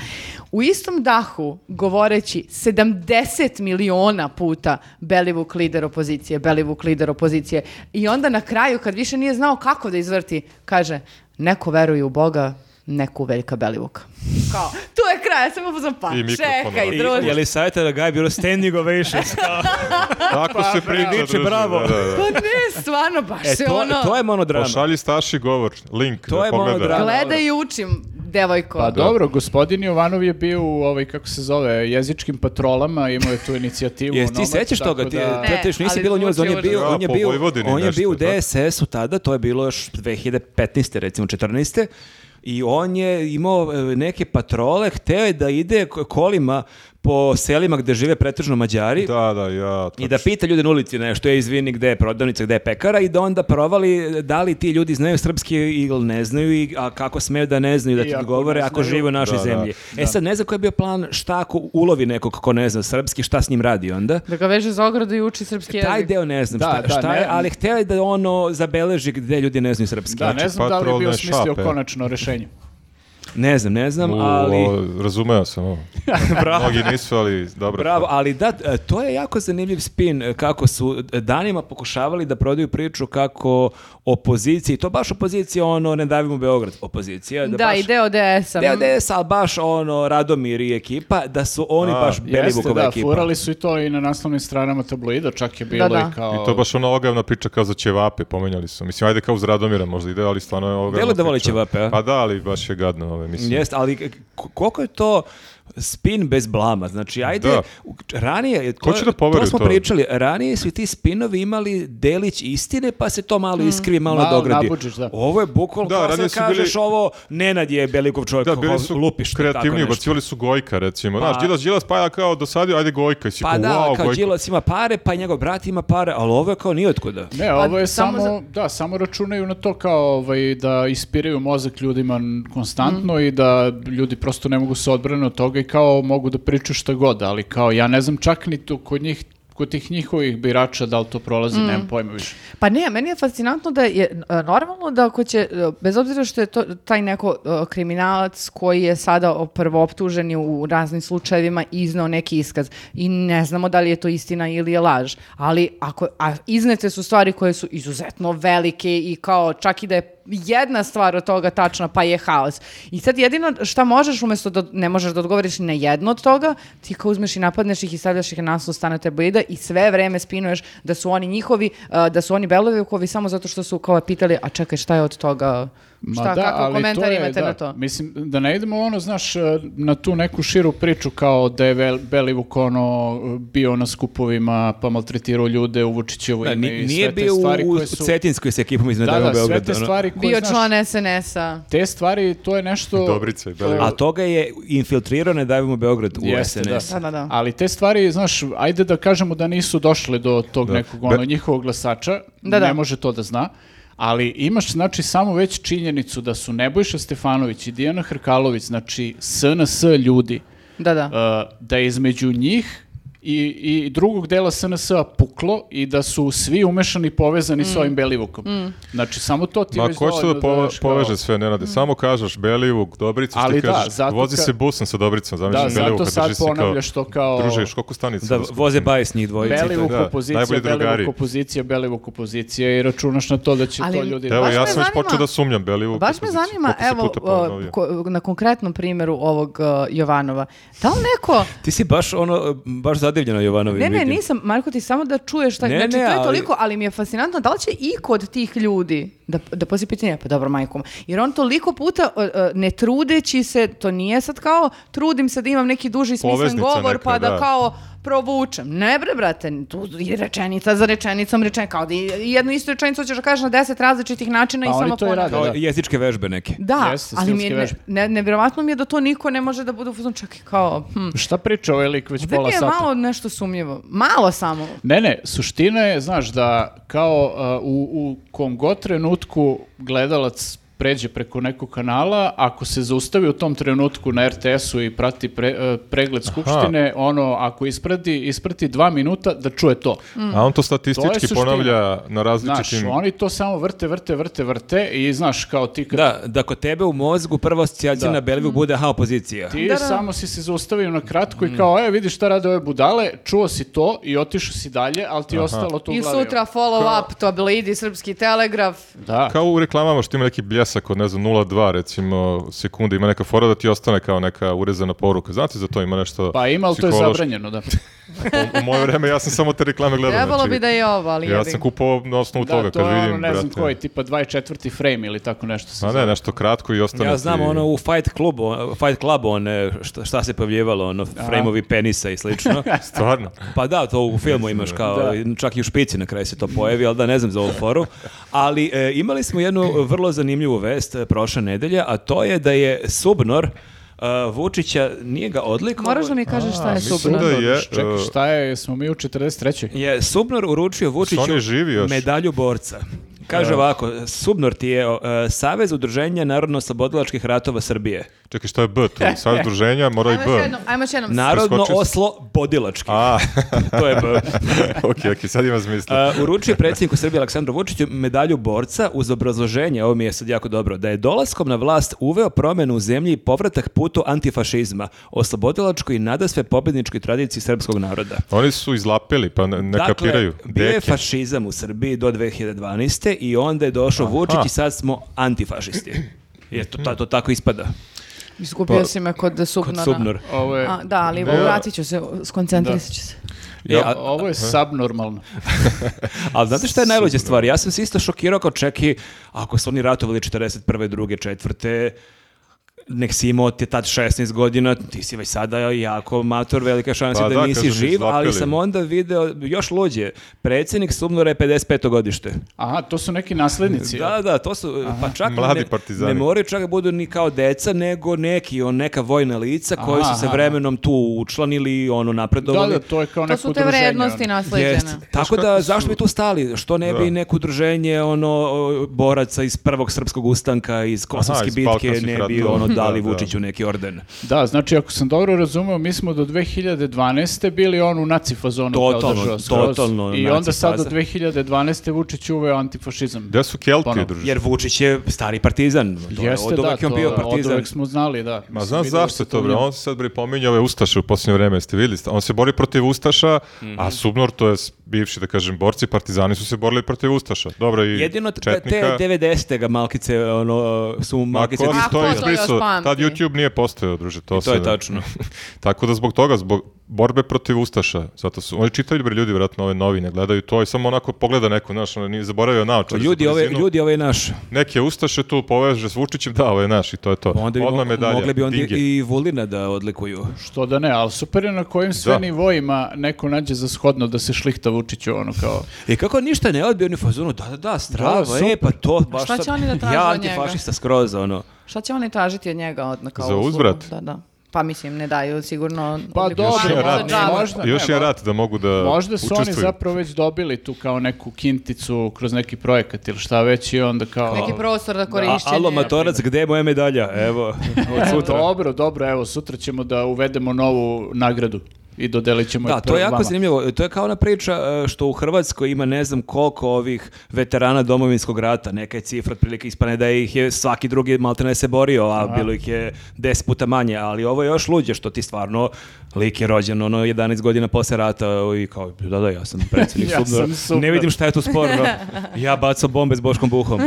Speaker 3: U istom dahu, govoreći 70 miliona puta Belivuk lider opozicije, Belivuk lider opozicije, i onda na kraju, kad više nije znao kako da izvrti, kaže, neko veruje u Boga, neku velika Belivuka. Kao, tu je kraj, ja sam u fazonu, pa,
Speaker 1: I mikrofon,
Speaker 3: čekaj,
Speaker 1: ono.
Speaker 2: I,
Speaker 3: druže.
Speaker 2: je li savjeta da ga je bilo standing ovations?
Speaker 1: Tako se priča,
Speaker 2: viče,
Speaker 1: druže,
Speaker 2: Pa, bravo.
Speaker 1: Da, da, da.
Speaker 3: Pa ne, stvarno, baš
Speaker 2: E,
Speaker 3: se
Speaker 2: to,
Speaker 3: ono...
Speaker 2: to je monodrama.
Speaker 1: Pošalji Staši govor, link
Speaker 2: To
Speaker 1: da
Speaker 2: je
Speaker 1: pogleda.
Speaker 2: monodrama.
Speaker 3: Gledaj i učim, devojko.
Speaker 4: Pa dobro, gospodin Jovanov je bio u ovaj, kako se zove, jezičkim patrolama, imao je tu inicijativu.
Speaker 2: Jesi ti
Speaker 4: Nomad,
Speaker 2: sećaš
Speaker 4: tako
Speaker 2: toga? Ti,
Speaker 4: da-
Speaker 2: ti,
Speaker 3: Ne,
Speaker 2: ti još nisi
Speaker 3: ali
Speaker 2: bilo u njoj, on je
Speaker 3: zvuči
Speaker 2: bio,
Speaker 1: užasno.
Speaker 2: on je
Speaker 1: Da, po
Speaker 2: bio,
Speaker 1: Vojvodini
Speaker 2: on je
Speaker 1: nešto,
Speaker 2: bio u
Speaker 1: tako.
Speaker 2: DSS-u tada, to je bilo još 2015. recimo 14. I on je imao e, neke patrole, hteo je da ide k- kolima po selima gde žive pretežno Mađari.
Speaker 1: Da, da, ja.
Speaker 2: I da pita ljude na ulici nešto je izvini gde je prodavnica, gde je pekara i da onda provali e, da li ti ljudi znaju srpski ili ne znaju i a kako smeju da ne znaju da
Speaker 4: I
Speaker 2: ti
Speaker 4: ako
Speaker 2: govore
Speaker 4: ne
Speaker 2: ako
Speaker 4: znaju.
Speaker 2: žive u našoj
Speaker 1: Da, da,
Speaker 2: zemlji. E sad ne znam koji je bio plan šta ako ulovi nekog ko ne zna srpski, šta s njim radi onda.
Speaker 3: Da ga veže za ogradu i uči srpski
Speaker 2: E, Taj
Speaker 3: jezik.
Speaker 2: deo ne znam
Speaker 4: Da,
Speaker 2: šta,
Speaker 4: da,
Speaker 2: šta je,
Speaker 4: ne-
Speaker 2: ali htio je da ono zabeleži gde ljudi ne znaju srpski.
Speaker 4: Da, ne znam da li je bio
Speaker 1: Znači, patrolne
Speaker 4: smislio
Speaker 1: šape.
Speaker 4: konačno rešenje.
Speaker 2: Ne znam, ne znam, ali...
Speaker 1: O, razumeo sam ovo.
Speaker 2: Bravo.
Speaker 1: Mnogi nisu, ali dobro.
Speaker 2: Bravo, ali da, e, to je jako zanimljiv spin e, kako su e, danima pokušavali da prodaju priču kako opoziciji, to baš opozicija ono ne davimo Beograd, opozicija. Da,
Speaker 3: Da,
Speaker 2: baš,
Speaker 3: i deo DS-a.
Speaker 2: Deo DS, ali baš ono Radomir i ekipa, da su oni
Speaker 1: A,
Speaker 2: baš
Speaker 4: Jeste,
Speaker 2: Belivukova
Speaker 4: da,
Speaker 2: ekipa.
Speaker 4: furali su i to i na naslovnim stranama tabloida, čak je bilo
Speaker 3: Da, da.
Speaker 4: i kao...
Speaker 1: I to je baš ona ogavna priča kao za ćevape, pomenjali su. Mislim, ajde kao uz Radomira možda ide, ali stvarno je ogavna
Speaker 2: Delo da voli
Speaker 1: priča.
Speaker 2: ćevape, a?
Speaker 1: Pa da, ali baš je gadno ove, ovaj, mislim.
Speaker 2: Jeste, ali k- koliko je to spin bez blama. Znači, ajde,
Speaker 1: Da.
Speaker 2: u- ranije, to,
Speaker 1: Ko će da poveruje
Speaker 2: to smo
Speaker 1: to?
Speaker 2: pričali, ranije su i ti spinovi imali delić istine, pa se to malo iskrivi, malo,
Speaker 4: Mm. Malo
Speaker 2: nadogradi.
Speaker 4: nabuđiš, da.
Speaker 2: Ovo je bukvalno
Speaker 1: Da,
Speaker 2: kao sad
Speaker 1: ranije su bili-
Speaker 2: kažeš ovo, Nenad je Belikov čovjek,
Speaker 1: Da, bili su
Speaker 2: lupiš. tako
Speaker 1: kreativni,
Speaker 2: nešto.
Speaker 1: ubacivali su Gojka, recimo. Znaš, Đilas, Đilas, pa ja kao dosadio, ajde Gojka. I si
Speaker 2: Pa
Speaker 1: kao,
Speaker 2: da,
Speaker 1: wow,
Speaker 2: kao
Speaker 1: Gojko.
Speaker 2: Đilas ima pare, pa i njegov brat ima pare, ali ovo je kao nijotkuda.
Speaker 4: Ne, ovo je
Speaker 3: samo
Speaker 4: samo,
Speaker 3: za-
Speaker 4: da, samo računaju na to kao ovaj, da ispiraju mozak ljudima n- konstantno i da ljudi prosto ne mogu se odbrane od toga i kao mogu da pričaju šta god, ali kao ja ne znam čak ni tu kod njih kod tih njihovih birača da li to prolazi, nemam pojma više.
Speaker 3: Pa ne, meni je fascinantno da je e, normalno da ako će, e, bez obzira što je to taj neko e, kriminalac koji je sada o- prvooptužen i u raznim slučajevima iznao neki iskaz i ne znamo da li je to istina ili je laž, ali ako, a iznete su stvari koje su izuzetno velike i kao čak i da je jedna stvar od toga tačna, pa je haos. I sad jedino šta možeš, umjesto da ne možeš da odgovoriš ni na jedno od toga, ti kao uzmeš i napadneš ih i stavljaš ih na naslov stana tabloida i sve vreme spinuješ da su oni njihovi, a, da su oni Belovekovi samo zato što su kao pitali, a čekaj šta je od toga,
Speaker 4: Ma
Speaker 3: šta,
Speaker 4: da,
Speaker 3: kakav
Speaker 4: ali
Speaker 3: komentar
Speaker 4: to je,
Speaker 3: imate
Speaker 4: da,
Speaker 3: na to?
Speaker 4: Mislim, da ne idemo ono, znaš, na tu neku širu priču kao da je Vel- Belivuk ono bio na skupovima pa maltretirao ljude u Vučićevo
Speaker 2: Da,
Speaker 4: ime
Speaker 2: ni-
Speaker 4: i
Speaker 2: nije
Speaker 4: sve te
Speaker 2: bio u,
Speaker 4: stvari
Speaker 2: u
Speaker 4: koje su...
Speaker 2: Cetinskoj sa ekipom iz
Speaker 4: Da,
Speaker 2: Nedavno
Speaker 4: da, sve
Speaker 2: Beograda,
Speaker 4: te
Speaker 2: ono.
Speaker 4: stvari koje,
Speaker 3: Bio
Speaker 4: znaš,
Speaker 3: član SNS-a.
Speaker 4: te stvari, to je nešto...
Speaker 1: Dobrice, Belivuk.
Speaker 2: A toga je infiltrirao Ne davimo Beograd u
Speaker 4: Jeste, da.
Speaker 2: SNS.
Speaker 3: Da, da, da.
Speaker 4: Ali te stvari, znaš, ajde da kažemo da nisu došle do tog nekog ono,
Speaker 1: Be-
Speaker 4: njihovog glasača,
Speaker 3: Da, da.
Speaker 4: ne može to da zna, ali imaš znači samo već činjenicu da su Nebojša Stefanović i Dijana Hrkalović, znači SNS ljudi,
Speaker 3: Da, da.
Speaker 4: uh, da je između njih i, i drugog dela SNS-a puklo i da su svi umešani i povezani
Speaker 3: Mm.
Speaker 4: s ovim Belivukom. Znači, samo to ti je
Speaker 1: Ma
Speaker 4: već
Speaker 1: ko će da
Speaker 4: dovoljno
Speaker 1: pove-
Speaker 4: znaš kao-
Speaker 1: poveže sve, Nenade? Samo kažeš Belivuk, Dobrica, što
Speaker 4: Ali
Speaker 1: ti
Speaker 4: da,
Speaker 1: kažeš,
Speaker 4: zato
Speaker 1: vozi
Speaker 4: ka-
Speaker 1: se busom sa Dobricom,
Speaker 4: Da,
Speaker 1: zamisliš Belivuka,
Speaker 4: zato
Speaker 1: drži se kao...
Speaker 4: sad ponavljaš to kao...
Speaker 1: Druže, još koliko stanica?
Speaker 2: Da,
Speaker 1: ima skupština?
Speaker 2: voze bajs njih dvojice.
Speaker 4: Belivuk
Speaker 1: Da,
Speaker 4: opozicija,
Speaker 1: najbolji drugari.
Speaker 4: Belivuk opozicija, Belivuk opozicija i računaš na to da će
Speaker 3: Ali-
Speaker 4: to ljudi...
Speaker 1: Evo,
Speaker 3: Baš
Speaker 1: ja
Speaker 3: me
Speaker 1: sam već
Speaker 3: zanima-
Speaker 1: počeo da sumnjam Belivuk.
Speaker 3: Baš me
Speaker 1: opoziciju,
Speaker 3: zanima,
Speaker 1: koliko se
Speaker 3: evo,
Speaker 1: puta ponovio.
Speaker 3: o, ko- na konkretnom primjeru ovog uh, Jovanova. Da li neko...
Speaker 2: Ti si baš ono, baš zadivljena Jovanovi.
Speaker 3: Ne, ne,
Speaker 2: vidim.
Speaker 3: nisam, Marko, ti samo da čuješ šta...
Speaker 2: Ne,
Speaker 3: znači,
Speaker 2: ne,
Speaker 3: to je
Speaker 2: ali-
Speaker 3: toliko, ali mi je fascinantno da li će i kod tih ljudi da, da postoji pitanje, pa dobro, majkom. Jer on toliko puta, o, o, ne trudeći se, to nije sad kao, trudim se da imam neki duži smislen
Speaker 1: Poveznica
Speaker 3: govor,
Speaker 1: neka,
Speaker 3: pa da,
Speaker 1: da.
Speaker 3: kao provučem. Ne bre, brate, tu je rečenica za rečenicom, rečen, kao da i- jednu istu rečenicu ćeš da kažeš na deset različitih načina i
Speaker 4: Pa oni
Speaker 3: samo
Speaker 4: to i
Speaker 3: ponavljaš.
Speaker 4: rade,
Speaker 2: Kao
Speaker 4: Da.
Speaker 2: jezičke vežbe neke.
Speaker 3: Da,
Speaker 4: Jeste,
Speaker 3: ali mi je
Speaker 4: stilske
Speaker 3: ne,
Speaker 4: vežbe.
Speaker 3: ne, nevjerovatno mi je da to niko ne može da bude u fazonu čak i kao, hm,
Speaker 4: Šta priča ovaj lik već
Speaker 3: da mi
Speaker 4: pola
Speaker 3: je
Speaker 4: sata?
Speaker 3: malo nešto sumnjivo. Malo samo.
Speaker 4: Ne, ne, suština je, znaš, da kao uh, u, u kom god trenutku gledalac pređe preko nekog kanala, ako se zaustavi u tom trenutku na RTS-u i prati pre- uh, pregled skupštine, ono, ako isprati, isprati dva minuta, da čuje to.
Speaker 1: A on to
Speaker 4: To je
Speaker 1: statistički
Speaker 4: suština.
Speaker 1: ponavlja na
Speaker 4: Znaš,
Speaker 1: različitim...
Speaker 4: oni to samo vrte, vrte, vrte, vrte i znaš, kao ti kad
Speaker 2: Da, da kod tebe u mozgu prva asocijacija
Speaker 4: Da.
Speaker 2: na
Speaker 3: Mm.
Speaker 2: Belivuk bude aha opozicija.
Speaker 4: Ti
Speaker 3: Da, da.
Speaker 4: samo si se zaustavio na kratko i kao, e, vidiš šta rade ove budale, čuo si to i otišao si dalje, ali ti je ostalo to u
Speaker 3: I
Speaker 4: glavi.
Speaker 3: sutra follow up, tabloidi, srpski telegraf.
Speaker 4: Da.
Speaker 1: Kao u reklamama što ima neki bljesak od, ne znam, 0,2 recimo sekunde, ima neka fora da ti ostane kao neka urezana poruka. Znate za to ima nešto
Speaker 4: Pa ima, ali to je
Speaker 1: psihološko.
Speaker 4: zabranjeno, da.
Speaker 1: U, u moje vreme ja sam samo te reklame gledao.
Speaker 3: Trebalo
Speaker 1: znači,
Speaker 3: bi da je ovo, ali
Speaker 1: Ja
Speaker 3: jebi ga.
Speaker 1: sam kupovao na osnovu
Speaker 4: Da,
Speaker 1: toga
Speaker 4: to
Speaker 1: kad
Speaker 4: je
Speaker 1: vidim,
Speaker 4: ono, ne znam
Speaker 1: brate. Pa,
Speaker 4: koji, tipa 24. frame ili tako nešto se
Speaker 1: A
Speaker 4: zove.
Speaker 1: ne, nešto kratko i ostane
Speaker 2: Ja znam
Speaker 1: ti-
Speaker 2: ono u Fight Clubu, Fight Clubu one, šta, šta se pojavljivalo, ono frame-ovi penisa i slično.
Speaker 1: Stvarno.
Speaker 2: Pa da, to u filmu imaš kao, čak i u špici na kraju se to pojavi, ali da ne znam za ovu foru. Ali e, imali smo jednu e, vrlo zanimljivu vest e, prošle nedelje, a to je da je Subnor e, Vučića nije ga odlikovao.
Speaker 3: Moraš da mi kažeš šta je
Speaker 1: ovaj- mislim
Speaker 3: subno.
Speaker 1: da je,
Speaker 4: Čekaj,
Speaker 1: e,
Speaker 4: šta je, smo mi u 43.
Speaker 2: je Subnor uručio Vučiću
Speaker 1: Što on je živi još?
Speaker 2: medalju borca. Kaže ovako, Subnor ti je e, Savez udruženja narodno-slobodilačkih ratova Srbije.
Speaker 1: Čekaj, šta je B tu? Sad udruženja, mora i
Speaker 3: Ajmo još
Speaker 1: ovaj B.
Speaker 3: jednom, ajmo još jednom.
Speaker 2: Narodno
Speaker 1: Preskočio sam.
Speaker 2: oslo bodilački.
Speaker 1: A,
Speaker 2: To je B.
Speaker 1: ok, ok, sad ima smisla.
Speaker 2: Uh, uručio je predsjedniku Srbije Aleksandru Vučiću medalju borca uz obrazloženje, ovo mi je sad jako dobro, da je dolaskom na vlast uveo promenu u zemlji i povratak putu antifašizma, oslobodilačkoj i nadasve pobedničkoj tradiciji srpskog naroda.
Speaker 1: Oni su izlapili, pa ne, ne kapiraju.
Speaker 2: Dakle, bio je
Speaker 1: Deke.
Speaker 2: fašizam u Srbiji do 2012. i onda je došao Vučić i sad smo antifašisti. Je to, ta- to tako ispada
Speaker 3: Izgubio si me Pa, kod E,
Speaker 2: kod
Speaker 3: subnora.
Speaker 2: Subnor.
Speaker 4: Ovo je,
Speaker 3: A, da, ali
Speaker 1: Ne.
Speaker 3: vratit ću se, skoncentrisat ću se.
Speaker 2: E,
Speaker 4: ja,
Speaker 2: a-
Speaker 4: ovo je subnormalno.
Speaker 2: Ali znate šta je najluđa stvar? Ja sam se isto šokirao kao čeki, ako su oni ratovali 41. druge, četvrte, nek si imao ti tad 16 godina, ti si već sada jako mator, velika šansa
Speaker 1: Pa
Speaker 2: da,
Speaker 1: da,
Speaker 2: nisi
Speaker 1: kažem,
Speaker 2: živ, ali
Speaker 1: izlapeli.
Speaker 2: sam onda video, još luđe, predsjednik Sumnora je 55. godište.
Speaker 4: Aha, to su neki naslednici.
Speaker 2: Da, da, to su, pa čak
Speaker 1: Mladi
Speaker 2: ne,
Speaker 1: partizani.
Speaker 2: ne moraju čak da budu ni kao deca, nego neki, on, neka vojna lica koji
Speaker 4: Aha,
Speaker 2: su se
Speaker 4: aha.
Speaker 2: vremenom tu učlanili, ono,
Speaker 4: Da,
Speaker 2: napredovali.
Speaker 4: da, to je kao
Speaker 3: To
Speaker 4: neko
Speaker 3: su te
Speaker 4: udruženje,
Speaker 3: vrednosti
Speaker 4: ono.
Speaker 3: nasleđene.
Speaker 2: Jest. Tako
Speaker 1: kako
Speaker 2: da,
Speaker 1: su-
Speaker 2: zašto bi tu stali? Što ne bi
Speaker 1: Da.
Speaker 2: neko udruženje ono, boraca iz prvog srpskog ustanka, iz kosovske
Speaker 1: iz
Speaker 2: bitke,
Speaker 1: balkanskih
Speaker 2: ne bi
Speaker 1: ratova.
Speaker 2: ono,
Speaker 1: Da,
Speaker 2: dali
Speaker 1: da. Mm.
Speaker 2: Vučiću neki orden?
Speaker 4: Da, znači ako sam dobro razumeo, mi smo do 2012. bili on u nacifazonu kao
Speaker 2: Totalno,
Speaker 4: država. skroz.
Speaker 2: totalno
Speaker 4: I onda sad do
Speaker 2: nacifaza.
Speaker 4: 2012. Vučić uveo antifašizam.
Speaker 1: Gde su Kelti,
Speaker 4: Ponovo.
Speaker 1: druže?
Speaker 2: Jer Vučić je stari partizan. To je-
Speaker 4: Jeste,
Speaker 2: od
Speaker 4: da,
Speaker 2: uvek je on bio
Speaker 4: od
Speaker 2: partizan.
Speaker 4: uvek smo znali, da.
Speaker 1: Ma
Speaker 4: Sam
Speaker 1: znaš
Speaker 4: vidio da
Speaker 1: zašto
Speaker 4: se
Speaker 1: je to, bre?
Speaker 4: njemu-
Speaker 1: On sad bre pominja ove Ustaše u posljednje vreme, jeste vidjeli? ste? On se bori protiv Ustaša,
Speaker 2: Mhm.
Speaker 1: a Subnor, to je bivši, da kažem, borci, partizani su se borili protiv Ustaša. Dobro, i
Speaker 2: Jedino t- te
Speaker 1: Četnika.
Speaker 2: 90. ga malkice ono, su
Speaker 1: Ma,
Speaker 2: malkice...
Speaker 1: ko bi
Speaker 3: A, ko
Speaker 1: to
Speaker 3: to
Speaker 1: izbrisao?
Speaker 3: još pamti?
Speaker 1: Tad YouTube nije postojao, druže, to,
Speaker 2: I to je
Speaker 1: se-
Speaker 2: tačno.
Speaker 1: Tako da zbog toga, zbog borbe protiv Ustaša, zato su, oni čitaju bre ljudi vjerojatno ove novine, gledaju to i samo onako pogleda neko, znaš, ono, nije zaboravio naočar. za
Speaker 2: Ljudi, ove,
Speaker 1: blizinu.
Speaker 2: ljudi, ove naš.
Speaker 1: Neke Ustaše tu poveže s Vučićem, da, ovo je naš i to je to.
Speaker 2: Pa Onda bi,
Speaker 1: Odmah medalja,
Speaker 2: mogli bi onda
Speaker 1: dinge.
Speaker 2: i Vulina da odlikuju.
Speaker 4: Što da ne, ali super je na kojim sve
Speaker 1: Da.
Speaker 4: nivoima neko nađe za shodno da se šlihta Vučiću, ono kao...
Speaker 2: I kako ništa ne odbio ni u fazonu, da, da, da, strava,
Speaker 4: Da,
Speaker 2: e, pa to baš
Speaker 3: šta će
Speaker 2: sad-
Speaker 3: oni da traže
Speaker 2: Ja
Speaker 3: od njega?
Speaker 2: antifašista skroz, ono.
Speaker 3: Šta će oni tražiti od njega? Od, kao
Speaker 1: Za
Speaker 3: uslugu?
Speaker 1: uzvrat?
Speaker 3: Da, da. Pa mislim, ne daju sigurno...
Speaker 4: Pa
Speaker 3: odlikovanje
Speaker 1: Još
Speaker 4: dobro,
Speaker 1: jedan
Speaker 3: za
Speaker 1: rat.
Speaker 3: džabe.
Speaker 4: možda-
Speaker 1: Još
Speaker 4: ne,
Speaker 1: je
Speaker 4: mo-
Speaker 1: rat da mogu da
Speaker 4: Možda su
Speaker 1: učestvuju.
Speaker 4: oni zapravo već dobili tu kao neku kinticu kroz neki projekat ili šta već i onda kao...
Speaker 3: Neki prostor da
Speaker 2: A,
Speaker 3: korišćenje.
Speaker 2: alo, matorac, gde je moja medalja? Evo, od sutra.
Speaker 4: E, Dobro, dobro, evo, sutra ćemo da uvedemo novu nagradu i dodelit ćemo
Speaker 2: Da,
Speaker 4: je
Speaker 2: to je
Speaker 4: prvo
Speaker 2: jako
Speaker 4: vama.
Speaker 2: zanimljivo. To je kao ona priča e, što u Hrvatskoj ima ne znam koliko ovih veterana domovinskog rata, neka je cifra otprilike ispane da ih je svaki drugi malte ne se borio, a, bilo ih je 10 puta manje, ali ovo je još luđe što ti stvarno lik je rođen ono 11 godina posle rata i kao da da ja sam predsjednik
Speaker 4: Ja
Speaker 2: Subnora.
Speaker 4: sam super.
Speaker 2: Ne vidim šta je tu sporno. Ja bacao bombe s Boškom Buhom.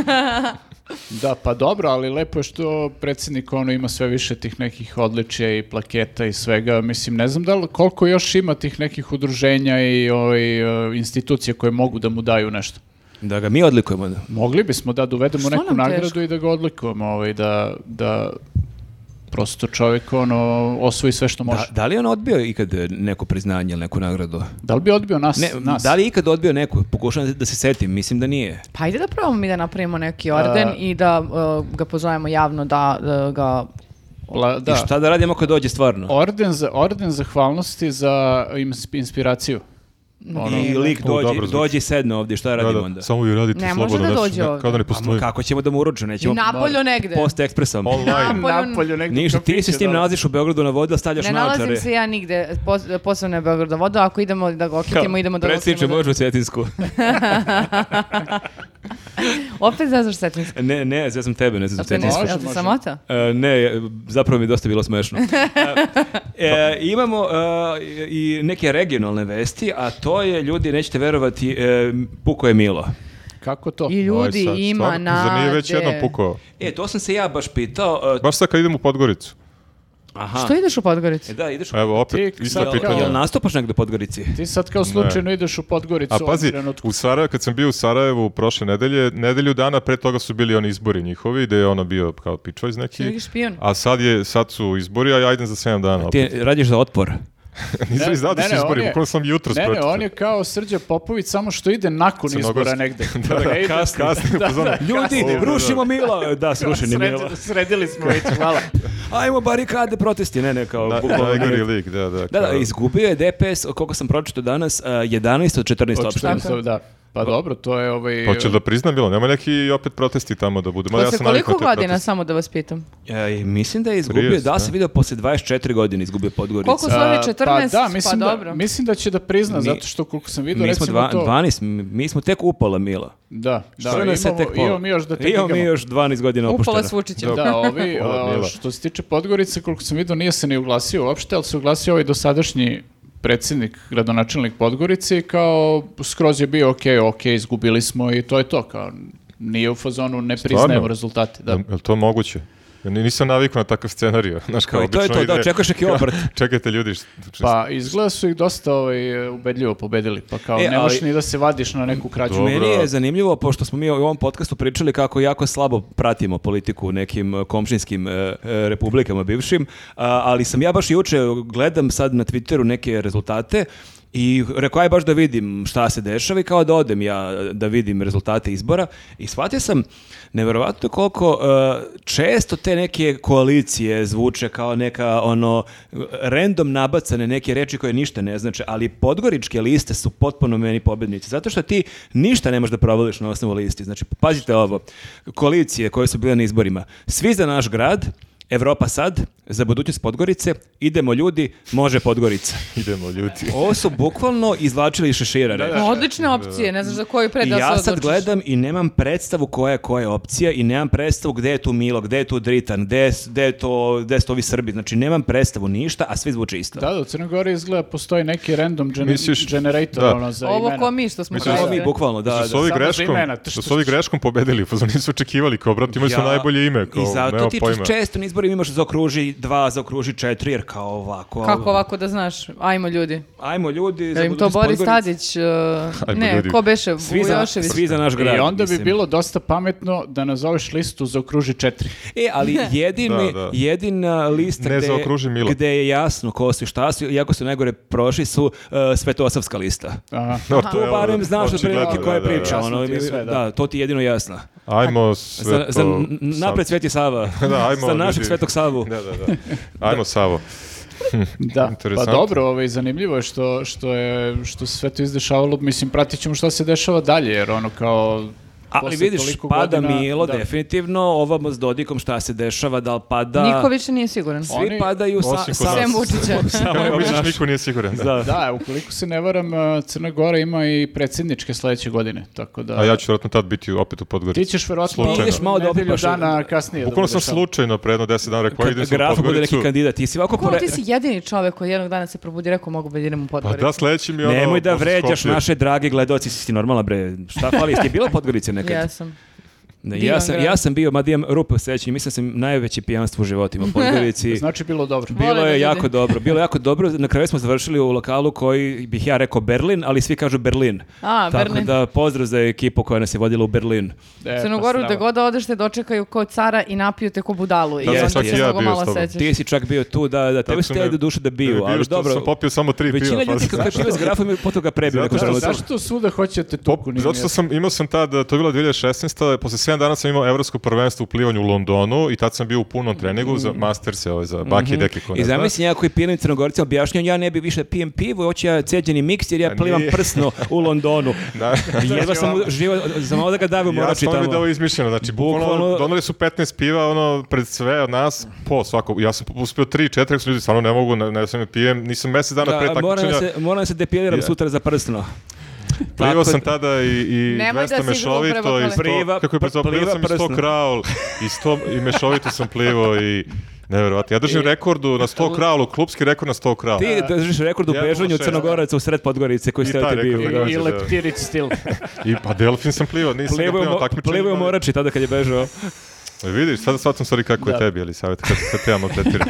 Speaker 4: Da, pa dobro, ali lepo je što predsjednik ono ima sve više tih nekih odličja i plaketa i svega. Mislim, ne znam da li, koliko još ima tih nekih udruženja i ovaj, e, institucija koje mogu da mu daju nešto.
Speaker 2: Da ga mi odlikujemo.
Speaker 4: Mogli bismo da dovedemo
Speaker 3: Što
Speaker 4: neku
Speaker 3: nam
Speaker 4: nagradu
Speaker 3: teško?
Speaker 4: i da ga odlikujemo, ovaj, da, da prosto čovjek ono, osvoji sve što može.
Speaker 2: Da,
Speaker 4: Da,
Speaker 2: da li je on odbio ikad e, neko priznanje ili neku nagradu?
Speaker 4: li bi odbio nas?
Speaker 2: Ne,
Speaker 4: nas?
Speaker 2: da li je ikad odbio neku? Pokušavam da se setim, mislim da nije.
Speaker 3: Pa ajde da probamo mi da napravimo neki orden
Speaker 1: E.
Speaker 4: A-
Speaker 3: i da uh, ga pozovemo javno da uh, ga...
Speaker 4: La- da.
Speaker 2: I šta da radimo ako dođe stvarno?
Speaker 4: Orden, za, orden zahvalnosti za ins- inspiraciju. Ono,
Speaker 2: I lik
Speaker 1: U,
Speaker 2: dođe,
Speaker 1: dobro zvuči.
Speaker 2: dođe i sedne ovdje, šta radimo
Speaker 1: Da, da,
Speaker 2: onda?
Speaker 1: Samo vi radite
Speaker 3: Ne može
Speaker 1: slobodno.
Speaker 3: da
Speaker 1: znaš,
Speaker 3: dođe
Speaker 1: ne-
Speaker 3: ovde.
Speaker 1: Kao da ne
Speaker 2: Pa ma
Speaker 1: postoji.
Speaker 2: kako ćemo da mu uručimo?
Speaker 3: I
Speaker 2: Nećemo
Speaker 3: napolju negde.
Speaker 2: post ekspresom.
Speaker 1: Online.
Speaker 3: Napolju-
Speaker 4: Napolju negdje u
Speaker 2: Ništa, ti se
Speaker 4: kafiću,
Speaker 2: s tim
Speaker 4: da.
Speaker 2: nalaziš u Beogradu na vodu, a stavljaš
Speaker 3: Ne
Speaker 2: naočare.
Speaker 3: nalazim se ja nigde, pos, posebno je Beograd voda, ako idemo da ga okitimo, idemo da ga
Speaker 2: Predsjedniče,
Speaker 3: okitimo.
Speaker 2: možeš u Cetinsku.
Speaker 3: Opet zezaš setinski.
Speaker 2: ne, ne, ja sam tebe, ne znam
Speaker 3: Jel ti
Speaker 2: Cetinsku.
Speaker 4: Može, može.
Speaker 3: samota?
Speaker 2: E, ne, zapravo mi je dosta bilo smešno. E, e, imamo e, i neke regionalne vesti, a to je, ljudi, nećete verovati, e, puko je Milo.
Speaker 4: Kako to?
Speaker 3: I
Speaker 1: Ovaj
Speaker 3: ljudi
Speaker 1: sad,
Speaker 3: ima
Speaker 1: stvarno,
Speaker 3: nade.
Speaker 1: Zar nije već jednom pukao?
Speaker 2: E, to sam se ja baš pitao. e,
Speaker 1: Baš sad kad idem u Podgoricu.
Speaker 2: aha.
Speaker 3: Što ideš u Podgoricu?
Speaker 2: E, da, ideš u
Speaker 1: Evo, opet,
Speaker 4: Tik, sad
Speaker 1: ista
Speaker 4: kao-
Speaker 1: pitanja.
Speaker 2: Jel nastupaš negdje u Podgorici?
Speaker 4: Ti sad kao slučajno ideš u Podgoricu
Speaker 1: A
Speaker 4: u ovom
Speaker 1: pazi,
Speaker 4: trenutku.
Speaker 1: u Sarajevo, kad sam bio u Sarajevu prošle nedelje, nedelju dana pre toga su bili oni izbori njihovi, gde je ono bio kao pičvojz
Speaker 3: Neki
Speaker 1: neki.
Speaker 3: špijun.
Speaker 1: A sad, je, sad su izbori, a ja idem za 7 dana.
Speaker 2: Ti
Speaker 1: Opet.
Speaker 2: radiš za otpor.
Speaker 1: Nisam ni znao da
Speaker 4: ne,
Speaker 1: su
Speaker 4: ne, on
Speaker 1: izbori,
Speaker 4: je-
Speaker 1: bukvalno sam jutro
Speaker 4: Ne, ne,
Speaker 1: spročitao.
Speaker 4: on je kao Srđa Popović, samo što ide nakon
Speaker 1: Crnogorski.
Speaker 4: izbora negde.
Speaker 1: Da, da,
Speaker 4: Ne ide-
Speaker 1: kasno, kasno,
Speaker 4: da,
Speaker 1: pozvano.
Speaker 4: da,
Speaker 2: Ljudi,
Speaker 4: kasno.
Speaker 2: rušimo Milo! Da, srušen je
Speaker 4: Sredi-
Speaker 2: Milo.
Speaker 4: Sredili smo već, hvala.
Speaker 2: Ajmo barikade, protesti. Ne, ne, kao...
Speaker 1: Da,
Speaker 2: bukvalno
Speaker 1: najgori
Speaker 2: ne.
Speaker 1: lik, da, da.
Speaker 2: Da, da,
Speaker 1: kao-
Speaker 2: izgubio je DPS, koliko sam pročito danas, a, 11 od 14 opština.
Speaker 4: Opštine, da. Pa dobro, to je ovaj...
Speaker 1: Pa Hoće da priznam bilo, nema neki opet protesti tamo da budu. Ma ja
Speaker 3: Posle
Speaker 1: sam navikao
Speaker 3: koliko
Speaker 1: na te
Speaker 3: godina,
Speaker 1: proteste.
Speaker 3: samo da vas pitam?
Speaker 2: E, mislim da je izgubio,
Speaker 1: 30,
Speaker 2: da se
Speaker 1: ne?
Speaker 2: vidio posle 24 godine izgubio Podgorica.
Speaker 3: Koliko su-
Speaker 4: A,
Speaker 3: Slavi 14,
Speaker 4: pa da,
Speaker 3: pa
Speaker 4: mislim, da,
Speaker 3: dobro.
Speaker 4: mislim da će da prizna,
Speaker 2: Mi-
Speaker 4: zato što koliko sam vidio,
Speaker 2: Mi smo
Speaker 4: recimo
Speaker 2: dva,
Speaker 4: to...
Speaker 2: 12, mi- mi smo tek upola Mila.
Speaker 4: Da, da,
Speaker 2: Što nas je
Speaker 4: imamo,
Speaker 2: tek pola?
Speaker 4: imamo mi još da te
Speaker 2: Imamo mi
Speaker 4: digamo.
Speaker 2: još 12 godina opuštena.
Speaker 3: Upala s Vučićem.
Speaker 1: Da.
Speaker 4: Da, ovi,
Speaker 1: Pola
Speaker 4: a,
Speaker 1: Mila.
Speaker 4: što se tiče Podgorice, koliko sam vidio, nije se ni oglasio uopšte, ali se oglasio ovaj dosadašnji predsjednik, gradonačelnik Podgorice i kao skroz je bio ok, ok, izgubili smo i to je to, kao nije u fazonu ne priznajemo rezultate. Da.
Speaker 1: Je li to moguće? Ja ni- nisam navikao na takav scenarij. Znaš, kao
Speaker 2: Kao, i to je
Speaker 1: obično
Speaker 2: to, da,
Speaker 1: ide-
Speaker 2: očekuješ neki obrt.
Speaker 1: Čekajte ljudi, št- št-
Speaker 4: Pa izgleda su ih dosta ovaj, ubedljivo pobedili, pa kao
Speaker 2: E,
Speaker 4: ne možeš
Speaker 2: ali-
Speaker 4: ni da se vadiš na neku krađu.
Speaker 1: Dobro.
Speaker 2: Znači, Meni je zanimljivo, pošto smo mi u ovom podcastu pričali kako jako slabo pratimo politiku u nekim e, komšinskim e, e, republikama bivšim, a, ali sam ja baš juče gledam sad na Twitteru neke rezultate i rekao aj baš da vidim šta se dešava i kao da odem ja e, da vidim rezultate izbora i shvatio sam neverovatno koliko e, često te neke koalicije zvuče kao neka ono random nabacane neke reči koje ništa ne znače, ali podgoričke liste su potpuno meni pobednici, zato što ti ništa ne možeš da provališ na osnovu listi. Znači, pazite ovo, koalicije koje su bile na izborima, svi za naš grad, Evropa sad, za budućnost Podgorice, idemo ljudi, može Podgorica.
Speaker 1: idemo ljudi.
Speaker 2: Ovo su bukvalno izvlačili iz šešira. reči.
Speaker 3: Odlične opcije, ne znaš za koju pre
Speaker 2: I
Speaker 3: da se
Speaker 2: ja sad
Speaker 3: odlučiš.
Speaker 2: gledam i nemam predstavu koja je koja je opcija i nemam predstavu gde je tu Milo, gde je tu Dritan, gde, je s- gde, je to, gde su ovi Srbi. Znači nemam predstavu ništa, a svi zvuče isto.
Speaker 4: Da, da, u Crnoj Gori izgleda postoji neki random gener-
Speaker 1: Misliš-
Speaker 4: generator
Speaker 1: da.
Speaker 4: ono, za
Speaker 3: Ovo
Speaker 4: imena.
Speaker 3: ko mi što smo
Speaker 1: Mislim,
Speaker 2: Ovo
Speaker 3: radili.
Speaker 2: mi bukvalno, Pa, da,
Speaker 1: Da,
Speaker 2: da.
Speaker 1: su ovi
Speaker 4: Samo za
Speaker 1: greškom,
Speaker 4: imena,
Speaker 1: da
Speaker 4: što-
Speaker 1: su ovi greškom pobedili, pa nisu očekivali, kao brate, imali su
Speaker 2: Ja-
Speaker 1: najbolje ime, kao,
Speaker 2: I zato
Speaker 1: nema
Speaker 2: ti
Speaker 1: pojma.
Speaker 2: često na izborima imaš zaokruži dva, zaokruži četiri, jer kao ovako.
Speaker 3: Kako ovako da znaš? Ajmo ljudi.
Speaker 2: Ajmo ljudi.
Speaker 3: Da
Speaker 2: za
Speaker 3: im to
Speaker 2: budućnost
Speaker 3: Boris
Speaker 2: Podgorice.
Speaker 3: Tadić, uh,
Speaker 1: Ajmo
Speaker 3: ne,
Speaker 1: ljudi.
Speaker 3: ko beše,
Speaker 2: Svi za,
Speaker 3: Vujošević.
Speaker 2: svi za naš grad.
Speaker 4: I onda bi
Speaker 2: mislim.
Speaker 4: bilo dosta pametno da nazoveš listu za okruži četiri.
Speaker 2: E, ali jedini,
Speaker 1: Da, da.
Speaker 2: jedina lista
Speaker 1: Ne
Speaker 2: gde,
Speaker 1: zaokruži Milo.
Speaker 2: gde je jasno ko su i šta su, iako su najgore prošli, su uh, Svetosavska lista.
Speaker 4: Aha.
Speaker 1: No,
Speaker 2: Tu
Speaker 1: to je ono,
Speaker 2: barem znaš
Speaker 1: očigledno,
Speaker 2: otprilike koja je
Speaker 1: da, da, da.
Speaker 2: priča.
Speaker 4: Jasno
Speaker 2: ono,
Speaker 4: ti je sve,
Speaker 2: da.
Speaker 4: da.
Speaker 2: to ti je jedino jasno.
Speaker 1: Ajmo sve
Speaker 2: Za,
Speaker 1: to...
Speaker 2: za n-
Speaker 1: sad.
Speaker 2: napred Sveti Sava.
Speaker 1: Da, ajmo,
Speaker 2: za našeg
Speaker 1: ljudi.
Speaker 2: Svetog Savu.
Speaker 1: Da, da, da. Ajmo Savo.
Speaker 4: Da, pa
Speaker 1: Interesantno.
Speaker 4: dobro, ovaj, zanimljivo je što, što, je, što se sve to izdešavalo, mislim, pratit ćemo šta se dešava dalje, jer ono kao...
Speaker 2: Ali
Speaker 4: posle
Speaker 2: vidiš,
Speaker 4: toliko
Speaker 2: pada
Speaker 4: godina-
Speaker 2: Milo,
Speaker 4: da.
Speaker 2: definitivno, ovamo s Dodikom šta se dešava, da li pada...
Speaker 3: Niko više nije siguran.
Speaker 2: Svi
Speaker 4: Oni-
Speaker 2: padaju sa,
Speaker 1: Osim kod
Speaker 2: sa-
Speaker 1: nas.
Speaker 3: Sem Vučića.
Speaker 2: Samo je
Speaker 1: Kako misliš,
Speaker 2: naš.
Speaker 1: niko nije siguran. Da.
Speaker 2: Da.
Speaker 4: Da, ukoliko se ne varam, eh, Crna Gora ima i predsjedničke sledeće godine, tako da...
Speaker 1: A ja ću vjerojatno tad biti opet u Podgorici.
Speaker 4: Ti ćeš verovatno
Speaker 1: Slučajno.
Speaker 4: ideš malo da
Speaker 2: obipaš-
Speaker 4: dana kasnije. da
Speaker 1: Bukvalno sam
Speaker 4: budeš tamo.
Speaker 1: slučajno pre jedno deset dana rekao, idem
Speaker 2: Kad
Speaker 1: sam u
Speaker 2: grafo ono- bude
Speaker 1: Podgoricu.
Speaker 2: neki kandidat, ti si ovako...
Speaker 3: Ko
Speaker 2: pore-
Speaker 3: ti si jedini čovek koji jednog dana se probudi i rekao mogu da idem u
Speaker 1: Pa
Speaker 3: Podgoricu?
Speaker 1: da, sledeći mi je ono...
Speaker 2: Nemoj da
Speaker 1: posle
Speaker 2: vređaš
Speaker 1: Skopje.
Speaker 2: naše drage gledoci, si ti normalna bre, šta fali, jesi ti bila Podgorica nekad?
Speaker 3: Jesam.
Speaker 2: Ne, ja,
Speaker 3: Divan
Speaker 2: sam,
Speaker 3: grad.
Speaker 2: ja sam bio, mada imam rupe u sećanju, mislim da sam najveće pijanstvo u životima u Podgorici.
Speaker 4: Znači, bilo dobro.
Speaker 3: Vole
Speaker 2: Bilo
Speaker 3: me
Speaker 2: je
Speaker 3: ljudi.
Speaker 2: jako dobro, bilo je jako dobro, na kraju smo završili u lokalu koji bih ja rekao Berlin, ali svi kažu Berlin.
Speaker 3: A,
Speaker 2: Tako
Speaker 3: Berlin.
Speaker 2: da pozdrav za ekipu koja nas je vodila u Berlin.
Speaker 4: E,
Speaker 3: Crnu
Speaker 4: pa
Speaker 3: Goru
Speaker 4: strava.
Speaker 3: da god odeš te dočekaju kao cara i napiju te ko budalu. I
Speaker 1: Da,
Speaker 2: sam
Speaker 3: onda se
Speaker 2: čak i ja
Speaker 3: mnogo
Speaker 1: bio
Speaker 3: malo
Speaker 1: s tobom.
Speaker 3: sećaš.
Speaker 2: Ti si čak bio tu, da, da, tebe
Speaker 1: Tako
Speaker 2: ste
Speaker 1: sam me-
Speaker 2: do duše da bio,
Speaker 1: bi bio
Speaker 2: ali
Speaker 1: što
Speaker 2: dobro.
Speaker 1: Sam popio samo tri
Speaker 2: Većina
Speaker 1: piva. pa
Speaker 2: ljudi
Speaker 1: sam-
Speaker 2: kako je piva s grafom je potom ga prebio.
Speaker 1: Zato
Speaker 2: nakon
Speaker 1: što-
Speaker 2: trenutka.
Speaker 4: Zašto svuda hoćete
Speaker 1: Pop,
Speaker 4: tuku?
Speaker 1: zato što sam, imao sam tad, to je bila 2016. Posle 7 dana sam imao evropsko prvenstvo u plivanju u Londonu i tad sam bio u punom treningu za Masterse, ovaj, za Baki mm Deke ko ne
Speaker 2: Mhm. I
Speaker 1: zna.
Speaker 2: zamisli njega koji pijenim Crnogorcima objašnjam, ja ne bi više da pijem pivo, hoću ja ceđeni miks jer ja plivam
Speaker 1: Pa nije.
Speaker 2: prsno u Londonu.
Speaker 1: Da.
Speaker 2: I jedva sam u- živo, za malo da ga davim u
Speaker 1: Ja
Speaker 2: morači
Speaker 1: sam mi da je
Speaker 2: tamo.
Speaker 1: ovo izmišljeno, znači bukvalno,
Speaker 2: Bukvalno-
Speaker 1: doneli su 15 piva ono pred sve od nas, po svako, ja sam uspio 3, 4, ljudi stvarno ne mogu, ne, ne sam je pijem, nisam mesec dana pre
Speaker 2: Da, moram, da
Speaker 1: takmičenja,
Speaker 2: se, moram da se depiliram
Speaker 1: Je.
Speaker 2: sutra za prsno.
Speaker 1: plivao
Speaker 2: Tako
Speaker 1: sam
Speaker 2: da-
Speaker 1: tada i, i
Speaker 3: Nemoj da
Speaker 1: 200
Speaker 3: si
Speaker 1: mešovito
Speaker 3: glup,
Speaker 1: i 100,
Speaker 2: Priva-
Speaker 1: kako je preto,
Speaker 2: pliva
Speaker 1: plivao sam i 100
Speaker 2: prsno.
Speaker 1: kraul i, 100, i mešovito sam plivao i nevjerovatno. Ja držim rekordu na 100 kraulu, klubski rekord na 100 kraul.
Speaker 2: Ti držiš rekord u
Speaker 1: Ja imam
Speaker 2: bežanju
Speaker 1: šest.
Speaker 2: Crnogoraca u sred Podgorice koji
Speaker 1: I
Speaker 2: ste
Speaker 1: taj
Speaker 2: ovdje
Speaker 1: rekord
Speaker 2: bili.
Speaker 1: je
Speaker 2: da.
Speaker 1: Goru.
Speaker 4: I
Speaker 1: da.
Speaker 4: leptirić stil.
Speaker 1: I pa delfin sam plivao, nisam
Speaker 2: Plivao
Speaker 1: ga
Speaker 2: je u
Speaker 1: plivao
Speaker 2: mo-
Speaker 1: takmičenje.
Speaker 2: Plivao je u
Speaker 1: ali-
Speaker 2: morači tada kad je bežao.
Speaker 1: E, Vidiš, sada shvatam stvari kako je
Speaker 4: Da.
Speaker 1: tebi, ali savjet, kad, kad te ja maltretiram.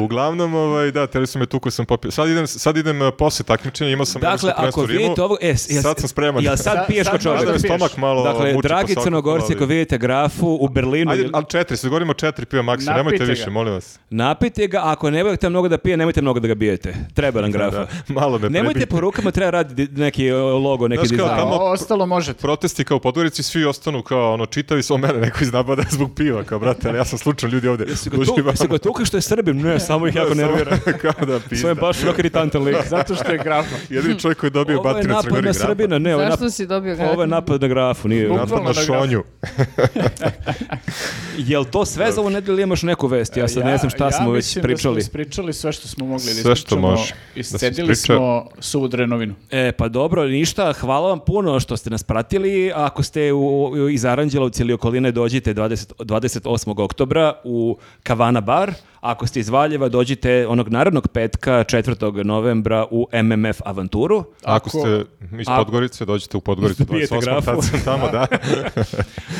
Speaker 1: Uglavnom, ovaj, da, teli su me tu koji sam popio. Sad idem, sad idem eh, posle takmičenja, imao sam
Speaker 2: Dakle,
Speaker 1: evropsko
Speaker 2: ako
Speaker 1: prvenstvo u Rimu.
Speaker 2: vidite ovo... E, s- jel-
Speaker 1: Sad sam spreman.
Speaker 2: Jel sad
Speaker 4: Sad-
Speaker 2: piješ ko
Speaker 4: sad
Speaker 2: čovjek?
Speaker 1: Mada me
Speaker 4: Šta piješ?
Speaker 1: stomak malo eh,
Speaker 2: Dakle,
Speaker 1: muči po
Speaker 2: dragi
Speaker 1: svakom,
Speaker 2: Crnogorci,
Speaker 1: ali-
Speaker 2: ako vidite grafu u Berlinu...
Speaker 1: Ajde,
Speaker 2: ili-
Speaker 1: ali četiri, sad govorimo o četiri piva maksimum, nemojte
Speaker 4: Napijte
Speaker 1: više,
Speaker 4: ga.
Speaker 1: molim vas.
Speaker 2: Napijte ga, a ako ne volite mnogo da pije, nemojte mnogo da ga bijete. Treba nam grafa.
Speaker 1: Da, malo me
Speaker 2: Nemojte
Speaker 1: prebijte.
Speaker 2: po rukama, treba raditi di- neki e, logo, neki
Speaker 1: Znaš kao
Speaker 2: dizajn.
Speaker 1: Pa tamo-
Speaker 4: Ovo ostalo možete.
Speaker 1: Protesti kao u Podgorici, svi ostanu kao ono čitavi, samo mene neko iznapada zbog piva, kao brate, ali ja sam slučan ljudi ovde.
Speaker 2: Jesu ga tu- jesu ga tukli što je Srbim? Ne, samo ih jako nervira.
Speaker 1: kao da
Speaker 2: To je
Speaker 1: pizda.
Speaker 2: baš jako iritantan lik.
Speaker 4: Zato što je grafa.
Speaker 1: Jedini čovjek koji je dobio
Speaker 2: Ovo je
Speaker 1: batinac na
Speaker 2: napad
Speaker 1: Crnogori
Speaker 2: na
Speaker 1: grafa.
Speaker 2: Srbina, ne, ovo je
Speaker 3: Zašto
Speaker 2: napad,
Speaker 3: si dobio
Speaker 2: ovo je
Speaker 3: grafit?
Speaker 2: napad na grafu, nije.
Speaker 4: Bukvalno
Speaker 1: Napad na
Speaker 4: na grafu.
Speaker 1: šonju.
Speaker 2: Jel to sve za ovu nedelju ili imaš neku vest? Ja sad ne znam šta
Speaker 4: Pa ja
Speaker 2: smo već
Speaker 4: mislim
Speaker 2: pričali.
Speaker 4: Da smo ispričali sve što smo mogli da
Speaker 1: Sve što
Speaker 4: ispričamo.
Speaker 1: može da se
Speaker 4: Iscedili
Speaker 1: ispriča.
Speaker 4: smo suvu drenovinu.
Speaker 2: E, pa dobro, ništa, hvala vam puno što ste nas pratili. Ako ste u, u- iz Aranđelovci ili okoline dođite 20, 28. oktobra u Kavana bar. Ako ste iz Valjeva, dođite onog narodnog petka 4. novembra u MMF avanturu.
Speaker 1: Ako ste iz
Speaker 2: Ako-
Speaker 1: Podgorice, dođete u Podgoricu
Speaker 2: Pijete
Speaker 1: 28.
Speaker 2: grafu.
Speaker 1: Tad sam tamo, da.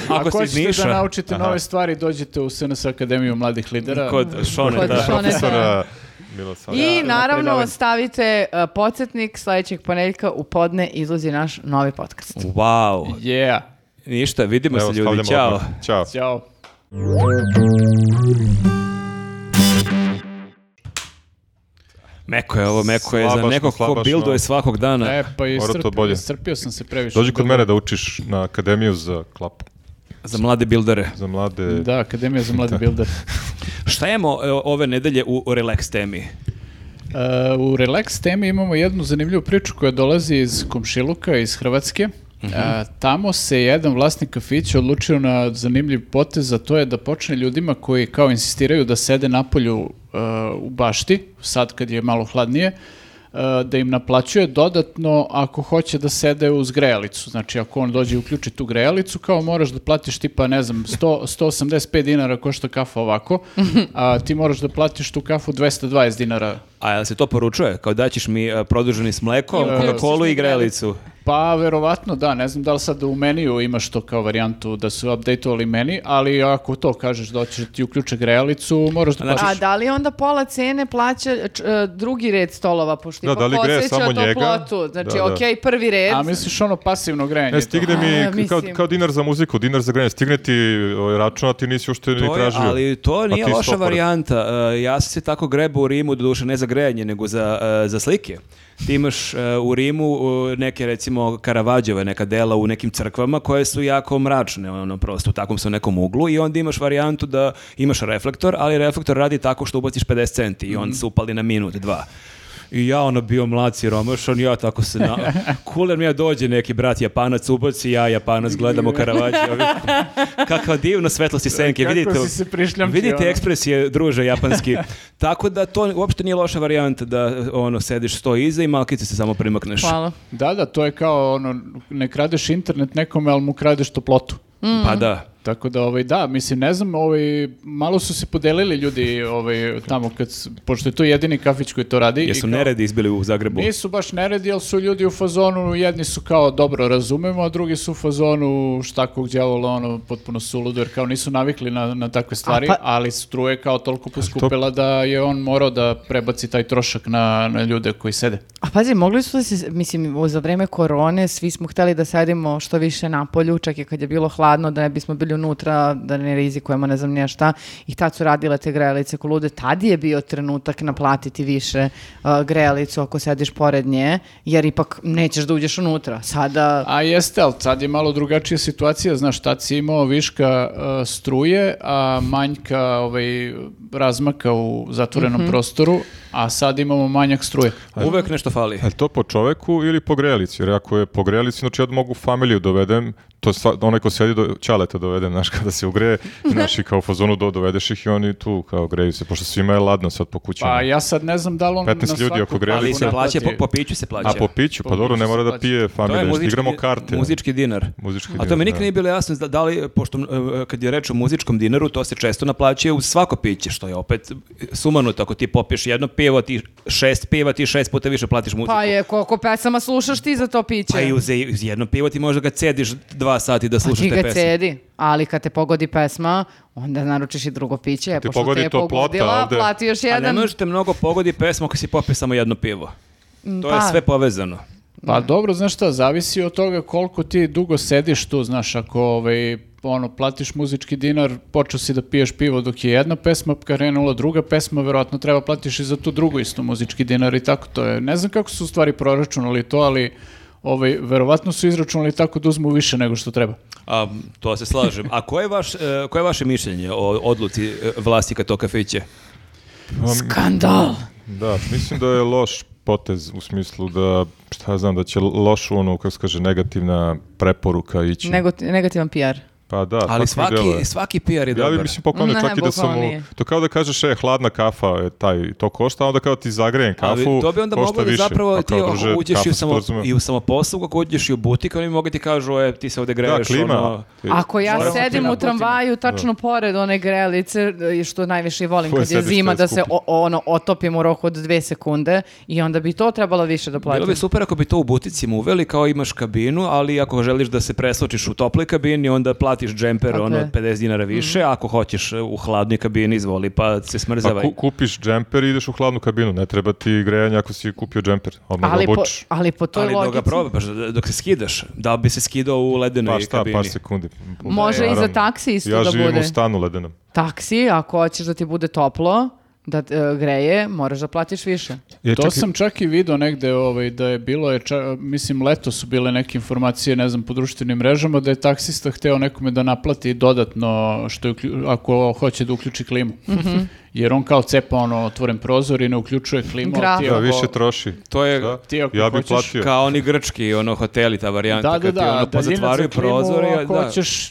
Speaker 1: Pa
Speaker 2: Ako, ste iz
Speaker 4: hoćete
Speaker 2: Niša,
Speaker 4: da naučite nove stvari, dođete u SNS Akademiju mladih lidera.
Speaker 2: kod Šone,
Speaker 3: Kod
Speaker 2: da.
Speaker 3: Šone.
Speaker 1: Profesora Milosava.
Speaker 3: I naravno
Speaker 4: predavanje.
Speaker 3: stavite uh, podsjetnik sledećeg ponedjeljka u podne izlazi naš novi podcast.
Speaker 2: Wow,
Speaker 4: Yeah.
Speaker 2: ništa, vidimo
Speaker 1: Evo,
Speaker 2: se ljudi,
Speaker 1: stavljamo
Speaker 2: ćao.
Speaker 1: odmah. Ćao.
Speaker 4: Ćao.
Speaker 2: Meko je ovo, meko je za
Speaker 1: Slabašno,
Speaker 2: nekog ko
Speaker 1: slabašno.
Speaker 2: bilduje svakog dana.
Speaker 4: E, pa
Speaker 1: Mora to
Speaker 4: istrpio,
Speaker 1: bolje.
Speaker 4: istrpio sam se previše.
Speaker 1: Dođi kod mene da učiš na Akademiju za klapu.
Speaker 2: Za mlade bildere.
Speaker 1: Za mlade...
Speaker 4: Da, Akademija za mlade builder.
Speaker 2: Šta imamo e, ove nedelje u relax temi?
Speaker 4: E, u relax temi imamo jednu zanimljivu priču koja dolazi iz Komšiluka, iz Hrvatske. E, tamo se jedan vlasnik kafića odlučio na zanimljiv potez, a to je da počne ljudima koji kao insistiraju da sede napolju e, u bašti, sad kad je malo hladnije, e, da im naplaćuje dodatno ako hoće da sede uz grejalicu. Znači, ako on dođe i uključi tu grejalicu, kao moraš da platiš tipa, ne znam, 100, 185 dinara košta kafa ovako, a ti moraš da platiš tu kafu 220 dinara
Speaker 2: A jel se to poručuje? Kao daćeš mi e, produženi s mlekom,
Speaker 3: I uključiš
Speaker 2: Coca-Cola i
Speaker 3: mi
Speaker 2: grelicu.
Speaker 4: Pa, verovatno da, ne znam da li sad u meniju imaš to kao varijantu da su updateovali meni, ali ako to kažeš da hoćeš da ti uključe grejalicu, moraš da
Speaker 2: Znači-
Speaker 4: plaćaš.
Speaker 3: A da li onda pola cene plaća č- e, drugi red stolova, pošto
Speaker 1: Da,
Speaker 3: ipak
Speaker 1: da li greje
Speaker 3: osjeća
Speaker 1: samo njega?
Speaker 3: toplotu. Znači,
Speaker 1: Da, da.
Speaker 3: okej, prvi red.
Speaker 4: A misliš ono pasivno grejanje?
Speaker 1: Ne, E, stigne
Speaker 3: A,
Speaker 1: mi, kao,
Speaker 3: mislim.
Speaker 1: kao dinar za muziku, dinar za grejanje, stigne ti ovaj, račun, a ti nisi ušte ni
Speaker 2: To je,
Speaker 1: tražio.
Speaker 2: ali to
Speaker 1: A
Speaker 2: nije
Speaker 1: ti sto
Speaker 2: loša
Speaker 1: pored.
Speaker 2: varijanta. E, ja sam se tako grebao u Rimu, doduše ne za grejanje, nego za, e, za slike. Ti imaš e, u Rimu e, neke, recimo, Karavađove, neka dela u nekim crkvama koje su jako mračne, ono, prosto, u takvom su nekom uglu i onda imaš varijantu da imaš reflektor, ali reflektor radi tako što ubaciš 50 centi i on se upali na minut, dva. Mhm. I ja ono bio mlad siromašan, ja tako se na... Kuler mi ja dođe neki brat japanac, ubaci ja japanac, gledamo Karavađove. Kakva divna svetlost i senke,
Speaker 4: Kako
Speaker 2: vidite.
Speaker 4: si se prišljamčio,
Speaker 2: Vidite
Speaker 4: ono.
Speaker 2: ekspresije druže japanski. Tako da to uopšte nije loša varijanta da ono sediš sto iza i malkice se samo primakneš.
Speaker 3: Hvala.
Speaker 4: Da, da, to je kao ono, ne kradeš internet nekome, ali mu kradeš toplotu.
Speaker 3: Mm.
Speaker 2: Pa da.
Speaker 4: Tako da, ovaj, da, mislim, ne znam, ovaj, malo su se podelili ljudi ovaj, tamo, kad, s- pošto je to jedini kafić koji to radi. i
Speaker 2: Jesu
Speaker 4: kao-
Speaker 2: neredi izbili u Zagrebu.
Speaker 4: Nisu baš neredi, ali su ljudi u fazonu, jedni su kao dobro razumemo, a drugi su u fazonu štakog djavola, ono, potpuno suludo, jer kao nisu navikli na, na takve stvari,
Speaker 3: pa-
Speaker 4: ali struje kao toliko poskupila da je on morao da prebaci taj trošak na, na ljude koji sede.
Speaker 3: A pazi, mogli su da se, mislim, u- za vreme korone svi smo hteli da sedimo što više na polju, čak i kad je bilo hladno, da ne bismo bili unutra, da ne rizikujemo, ne znam nije šta. I tad su radile te grejalice kolude. Tad je bio trenutak naplatiti više uh, grejalicu ako sediš pored nje, jer ipak nećeš da uđeš unutra. Sada...
Speaker 4: A jeste, ali sad je malo drugačija situacija, znaš, tad si imao viška e, struje, a manjka ovaj, razmaka u zatvorenom
Speaker 1: Mhm.
Speaker 4: prostoru, a sad imamo manjak struje.
Speaker 2: Pa Uvek nešto fali.
Speaker 1: Je li E, to po čoveku ili po grejalici? Jer ako je po grejalici, znači ja mogu familiju dovedem, to je sva- onaj ko sjedi, do, ćaleta dovedem, znaš, kada se ugreje, i, znaš, i kao u fazonu do, dovedeš ih i oni tu kao greju se, pošto svima je ladno sad po kućama.
Speaker 4: Pa ja sad ne znam da li
Speaker 1: 15
Speaker 4: on... na
Speaker 1: ljudi
Speaker 4: svaku
Speaker 1: oko grejalice.
Speaker 2: Ali
Speaker 4: priliku
Speaker 2: se plaća, po,
Speaker 4: naplati-
Speaker 2: po piću se plaća.
Speaker 1: A po piću,
Speaker 4: Po
Speaker 1: pa dobro, ne
Speaker 4: piću
Speaker 1: mora
Speaker 4: se
Speaker 1: da
Speaker 4: plaća.
Speaker 1: pije
Speaker 2: To je
Speaker 1: familija, znači
Speaker 2: muzički,
Speaker 1: igramo karte.
Speaker 2: muzički dinar.
Speaker 1: Muzički
Speaker 2: A to
Speaker 1: dinar,
Speaker 2: mi nikad
Speaker 1: da.
Speaker 2: nije bilo jasno da- da li, pošto e, kad je reč o muzičkom dinaru, to se često naplaćuje uz svako piće, što je opet sumanuto. Ako ti popiješ jedno pivo, ti šest piva, ti šest puta više platiš muziku.
Speaker 3: Pa je, koliko pesama slušaš ti za to piće?
Speaker 2: Pa i uz, uz jedno pivo ti možda ga cediš dva sati da
Speaker 3: Pa
Speaker 2: slušaš
Speaker 3: ti
Speaker 2: te
Speaker 3: ga
Speaker 2: pesme.
Speaker 3: cedi, ali kad te pogodi pesma, onda naručiš i drugo piće, a
Speaker 1: ti
Speaker 3: pošto
Speaker 1: pogodi
Speaker 3: te je
Speaker 1: toplota
Speaker 3: pogodila,
Speaker 1: ovde.
Speaker 3: plati još
Speaker 2: A ne
Speaker 3: jedan.
Speaker 2: možete mnogo pogodi pesmu ako si popio samo jedno pivo. To je
Speaker 3: pa.
Speaker 2: sve povezano.
Speaker 4: Pa dobro, znaš šta, zavisi od toga koliko ti dugo sediš tu, znaš, ako ovaj, ono, platiš muzički dinar, počeo si da piješ pivo dok je jedna pesma krenula, druga pesma, verovatno treba platiš i za tu drugu isto muzički dinar i tako to je. Ne znam kako su u stvari proračunali to, ali ovaj, verovatno su izračunali tako da uzmu više nego što treba.
Speaker 2: A, to se slažem. A koje je, vaš, e, koje je vaše mišljenje o odluci e, vlasnika tog kafića?
Speaker 1: Pa
Speaker 3: Skandal!
Speaker 1: Da, mislim da je loš potez u smislu da, šta ja znam, da će lošu, ono, kako se kaže, negativna preporuka ići.
Speaker 3: Nego, negativan PR.
Speaker 1: Pa Pa da, tako mi
Speaker 2: Ali svaki,
Speaker 1: deluje.
Speaker 2: svaki PR je
Speaker 1: Ja
Speaker 2: dobar.
Speaker 1: bi mislim poklonio
Speaker 3: Ne,
Speaker 1: čak i da sam
Speaker 3: bukvalno
Speaker 1: mu,
Speaker 3: nije.
Speaker 1: to kao da kažeš e, hladna kafa je taj, to košta, a onda kao ti zagrejem kafu,
Speaker 2: Ali to bi onda
Speaker 1: košta
Speaker 2: moglo da
Speaker 1: više.
Speaker 2: zapravo
Speaker 1: Pa
Speaker 2: ti
Speaker 1: kao,
Speaker 2: ako
Speaker 1: druže,
Speaker 2: uđeš i u,
Speaker 1: kafa se
Speaker 2: samo,
Speaker 1: podrazumeva.
Speaker 2: i u samoposlugu, ako uđeš i u butik, oni mogu ti kažu, e, ti se ovde
Speaker 1: Da,
Speaker 2: greješ.
Speaker 1: klima.
Speaker 2: Ono,
Speaker 3: Ako ja
Speaker 2: Moramo ti
Speaker 3: sedim u
Speaker 2: naputimo.
Speaker 3: tramvaju tačno pored one grelice, i što najviše i volim
Speaker 1: Tvoje
Speaker 3: kad je
Speaker 1: sedište
Speaker 3: zima,
Speaker 1: je
Speaker 3: da se
Speaker 1: skuplje.
Speaker 3: o- o- ono, otopim u roku od dve sekunde i onda bi to trebalo više da platim.
Speaker 2: Bilo bi super ako bi to u buticima uveli, kao imaš kabinu, ali ako želiš da se presločiš u toploj kabini, onda platiš džemper
Speaker 3: Tako
Speaker 2: ono,
Speaker 3: je.
Speaker 2: 50 dinara više, a ako hoćeš e, u hladnoj kabini, izvoli, pa se
Speaker 1: Pa
Speaker 2: smrzavaj.
Speaker 1: ku- kupiš džemper i ideš u hladnu kabinu, ne treba ti grejanje ako si kupio džemper, odmah ga
Speaker 3: ali, po,
Speaker 1: obučeš.
Speaker 3: ali po toj
Speaker 2: ali dok
Speaker 3: logici...
Speaker 2: ga probaš, dok se skidaš, da bi se skidao u ledenoj
Speaker 1: Pa šta,
Speaker 2: kabini.
Speaker 1: par sekundi.
Speaker 3: Može i za taksi isto
Speaker 1: ja
Speaker 3: da
Speaker 1: živim
Speaker 3: bude.
Speaker 1: u stanu ledenom.
Speaker 3: Taksi, ako hoćeš da ti bude toplo, da e, greje, moraš da platiš više.
Speaker 1: Je,
Speaker 2: E,
Speaker 4: to
Speaker 1: čak i-
Speaker 4: sam čak i video negde ovaj, da je bilo, je, ča- mislim leto su bile neke informacije, ne znam, po društvenim mrežama da je taksista hteo nekome da naplati dodatno što je, uklju- ako hoće da uključi klimu. Jer on kao cepa ono otvoren prozor i ne uključuje klimu. ali ti
Speaker 1: Da,
Speaker 4: ako-
Speaker 1: više troši.
Speaker 2: To je
Speaker 1: Da.
Speaker 4: ti ako
Speaker 1: ja bih
Speaker 4: hoćeš
Speaker 1: platio.
Speaker 2: kao oni grčki, ono, hoteli, ta varijanta,
Speaker 4: Da, da,
Speaker 2: kad ti ono
Speaker 4: da, daljina za
Speaker 2: pozatvaraju
Speaker 4: klimu
Speaker 2: prozore.
Speaker 4: ako
Speaker 2: da.
Speaker 4: hoćeš, a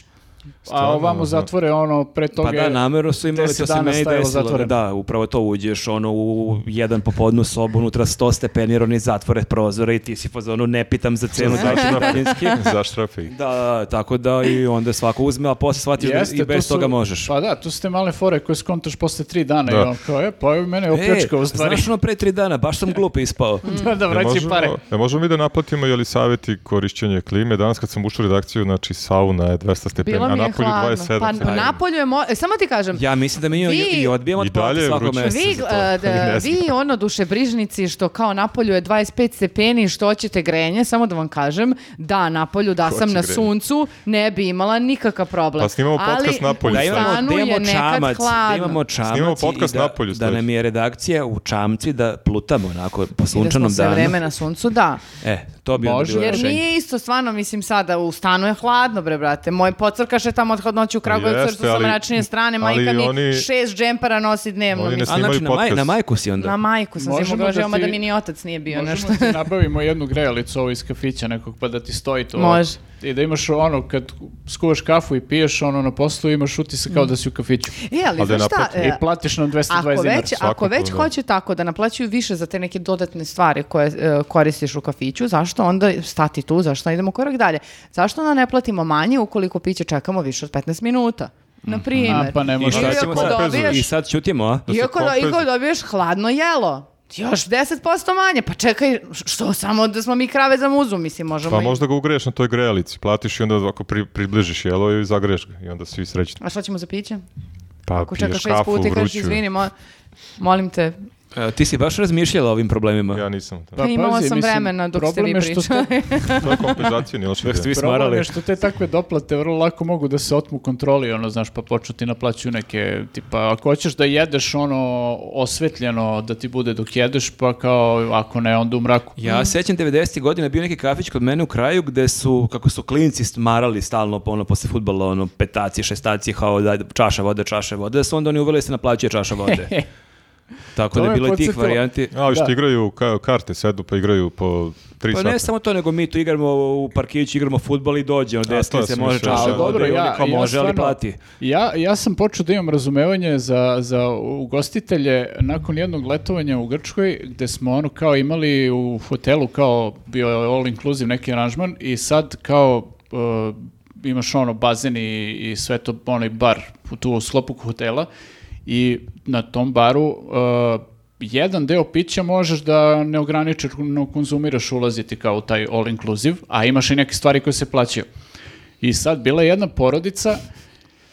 Speaker 1: Stvarno,
Speaker 4: ovamo
Speaker 1: da.
Speaker 4: zatvore ono pre toga.
Speaker 2: Pa da, namerno su imali,
Speaker 4: 10
Speaker 2: to se
Speaker 4: dana
Speaker 2: meni
Speaker 4: stajalo
Speaker 2: desilo.
Speaker 4: zatvoreno.
Speaker 2: Da, upravo to uđeš ono, u jedan popodnu sobu, unutra 100 stepeni, jer oni zatvore prozore i ti si pozvano, ne pitam za cenu, da li je daljinski.
Speaker 1: Zaštrafe ih.
Speaker 2: Da, da, tako da i onda svako uzme, a posle shvatiš da i
Speaker 4: to
Speaker 2: bez
Speaker 4: su-
Speaker 2: toga možeš.
Speaker 4: Pa da, tu su te male fore koje skontaš posle tri dana
Speaker 1: Da.
Speaker 4: i on kao, e, pa evo mene je opljačkao u stvari.
Speaker 2: znaš ono pre tri dana, baš sam glup ispao.
Speaker 3: Mm.
Speaker 4: da, da vraćaj pare.
Speaker 1: Ne možemo mi da naplatimo je li savjeti korišćenje klime. Danas kad sam ušao u redakciju, znači sauna je 200 stepeni,
Speaker 3: Bilo
Speaker 1: a
Speaker 3: mi je
Speaker 1: napolju
Speaker 3: hladno.
Speaker 1: 27.
Speaker 3: Pa
Speaker 1: stepeni.
Speaker 3: napolju je... mo- e, samo ti kažem,
Speaker 2: Ja mislim da mi i-
Speaker 3: Vi-
Speaker 2: i odbijamo
Speaker 1: I
Speaker 2: od plati
Speaker 1: dalje je
Speaker 2: svako
Speaker 1: vruće.
Speaker 2: mesto.
Speaker 3: Vi,
Speaker 1: za to.
Speaker 3: e, da,
Speaker 1: Ne znam.
Speaker 3: vi ono dušebrižnici što kao napolju je 25 stepeni što hoćete grenje, samo da vam kažem da napolju da
Speaker 1: Ko
Speaker 3: sam
Speaker 1: će
Speaker 3: na
Speaker 1: grenje?
Speaker 3: suncu ne bi imala nikakav problem.
Speaker 1: Pa snimamo podcast
Speaker 3: Ali
Speaker 1: napolju
Speaker 3: u
Speaker 2: Da
Speaker 1: sad.
Speaker 2: imamo,
Speaker 3: stanu
Speaker 2: da
Speaker 3: je
Speaker 2: imamo
Speaker 3: nekad
Speaker 2: čamac, da
Speaker 3: hladno.
Speaker 2: imamo čamac
Speaker 1: Snimamo
Speaker 2: i
Speaker 1: podcast
Speaker 2: da,
Speaker 1: napolju
Speaker 2: da
Speaker 1: sledeći.
Speaker 2: nam je redakcija u čamci da plutamo onako po
Speaker 3: I da smo
Speaker 2: sunčanom
Speaker 3: sve
Speaker 2: danu.
Speaker 3: vreme na suncu, da.
Speaker 2: E, to bi onda
Speaker 4: Može.
Speaker 2: bilo
Speaker 3: Jer
Speaker 2: rešenje.
Speaker 3: nije isto stvarno, mislim sada, u stanu je hladno, bre, brate. Moj pocrkaš je tamo od hladnoće u Kragujevcu,
Speaker 1: Jeste,
Speaker 3: što sam
Speaker 1: ali-
Speaker 3: mračnije strane, majka
Speaker 1: ali
Speaker 3: mi
Speaker 1: oni-
Speaker 3: šest džempara nosi dnevno.
Speaker 1: Oni ne
Speaker 3: mislim.
Speaker 2: A znači
Speaker 1: snimaju
Speaker 2: na, maj,
Speaker 1: podcast.
Speaker 2: na majku si onda.
Speaker 3: Na majku sam se
Speaker 4: Možemo
Speaker 3: mogla
Speaker 4: da
Speaker 3: želama
Speaker 4: ti-
Speaker 3: da mi ni otac nije bio nešto.
Speaker 4: Možemo ti nabavimo jednu grejalicu ovo iz kafića nekog pa da ti stoji to. ovako.
Speaker 3: Može.
Speaker 4: I da imaš ono, kad skuvaš kafu i piješ ono na poslu, imaš utisak kao da si u kafiću.
Speaker 3: E, ali
Speaker 1: Ali da
Speaker 3: znaš šta,
Speaker 1: naplati.
Speaker 4: I
Speaker 3: e,
Speaker 4: platiš nam 220
Speaker 3: Ako
Speaker 4: dinara.
Speaker 3: već, ako
Speaker 1: svakako,
Speaker 3: već
Speaker 1: da.
Speaker 3: hoće tako da naplaćuju više za te neke dodatne stvari koje e, koristiš u kafiću, zašto onda stati tu, zašto ne idemo korak dalje? Zašto onda ne platimo manje ukoliko piće čekamo više od 15 minuta? Na primjer.
Speaker 4: A, pa ne
Speaker 2: I
Speaker 4: može.
Speaker 2: šta
Speaker 3: Ili
Speaker 2: ćemo
Speaker 3: ako
Speaker 2: sad?
Speaker 3: dobiješ-
Speaker 2: I sad ćutimo, a?
Speaker 1: se
Speaker 3: Iako, da,
Speaker 1: kompenzuje.
Speaker 3: iako dobiješ hladno jelo, još 10% manje, pa čekaj, što samo da smo mi krave za muzu, mislim, možemo
Speaker 1: Pa
Speaker 3: i-
Speaker 1: možda ga ugreješ na toj grejalici, platiš i onda ako pri, približiš jelo i zagreješ ga i onda svi srećni.
Speaker 3: A šta ćemo za piće?
Speaker 1: Pa
Speaker 3: Ako
Speaker 1: piješ
Speaker 3: čekaš šest
Speaker 1: kafu
Speaker 3: puta i kažeš,
Speaker 1: vruću.
Speaker 3: izvini, mo- molim te,
Speaker 2: E, ti si baš razmišljala o ovim problemima.
Speaker 1: Ja nisam. Da.
Speaker 4: Pa
Speaker 3: imala
Speaker 4: pazi,
Speaker 3: sam
Speaker 4: mislim,
Speaker 3: vremena dok ste vi
Speaker 4: problem je što
Speaker 3: pričali.
Speaker 4: te-
Speaker 1: To je kompenzacija, nije loša
Speaker 2: Jer ste
Speaker 1: ideja.
Speaker 2: vi
Speaker 4: Problem
Speaker 2: smarali.
Speaker 4: je što te takve doplate vrlo lako mogu da se otmu kontroli, ono, znaš, pa počnu ti naplaćuju neke, tipa, ako hoćeš da jedeš ono osvetljeno da ti bude dok jedeš, pa kao, ako ne, onda u mraku.
Speaker 2: Ja sećam 90. godina bio neki kafić kod mene u kraju gde su, kako su klinci stmarali stalno ono, posle futbala, ono, petaci, šestaci, kao da, čaša vode, čaša vode, da su onda oni uveli da se naplaćuje čaša vode. Tako
Speaker 4: To
Speaker 2: da je
Speaker 4: me
Speaker 2: bilo i tih
Speaker 4: podsjetilo.
Speaker 2: varijanti.
Speaker 1: A, ovi što
Speaker 4: Da.
Speaker 1: igraju ka- karte, sedu pa igraju po tri
Speaker 2: Pa
Speaker 1: sata.
Speaker 2: ne samo to, nego mi tu igramo u parkiću, igramo futbal i dođe, on
Speaker 1: A, to
Speaker 2: desni se
Speaker 1: sam
Speaker 2: može
Speaker 1: mislio,
Speaker 2: čaša
Speaker 1: da.
Speaker 4: Ali
Speaker 2: vode
Speaker 4: dobro,
Speaker 2: i oni
Speaker 4: ja,
Speaker 2: kao
Speaker 4: ja
Speaker 2: može, ali
Speaker 4: stvarno-
Speaker 2: plati.
Speaker 4: Ja, ja sam počeo da imam razumevanje za, za ugostitelje nakon jednog letovanja u Grčkoj, gde smo ono kao imali u hotelu kao bio je all inclusive neki aranžman i sad kao e, imaš ono bazen i, i sve to onaj bar u tu u sklopu hotela i na tom baru e, jedan deo pića možeš da neograničeno konzumiraš ulaziti kao u taj all inclusive, a imaš i neke stvari koje se plaćaju. I sad bila je jedna porodica,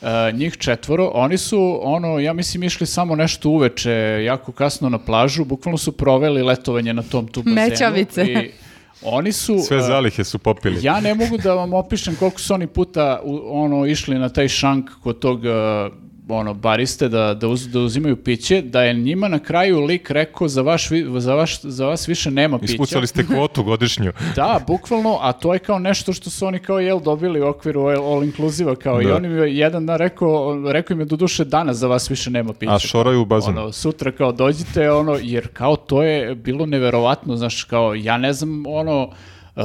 Speaker 4: e, njih četvoro, oni su, ono, ja mislim, išli samo nešto uveče, jako kasno na plažu, bukvalno su proveli letovanje na tom tu bazenu.
Speaker 3: Mećavice.
Speaker 4: I oni su...
Speaker 1: Sve
Speaker 4: e,
Speaker 1: zalihe su popili.
Speaker 4: ja ne mogu da vam opišem koliko su oni puta u- ono išli na taj šank kod tog e, ono bariste da da, uz- da uzimaju piće, da je njima na kraju lik rekao za vaš vi- za vaš za vas više nema pića.
Speaker 1: Ispucali ste kvotu godišnju.
Speaker 4: Da, bukvalno, a to je kao nešto što su oni kao jel dobili u okviru all, all inclusive kao i
Speaker 1: Da.
Speaker 4: oni mi je jedan dan rekao, rekao im je doduše danas za vas više nema pića.
Speaker 1: A šoraju u bazenu.
Speaker 4: Ono, sutra kao dođite, ono, jer kao to je bilo neverovatno, znaš, kao, ja ne znam, ono, uh,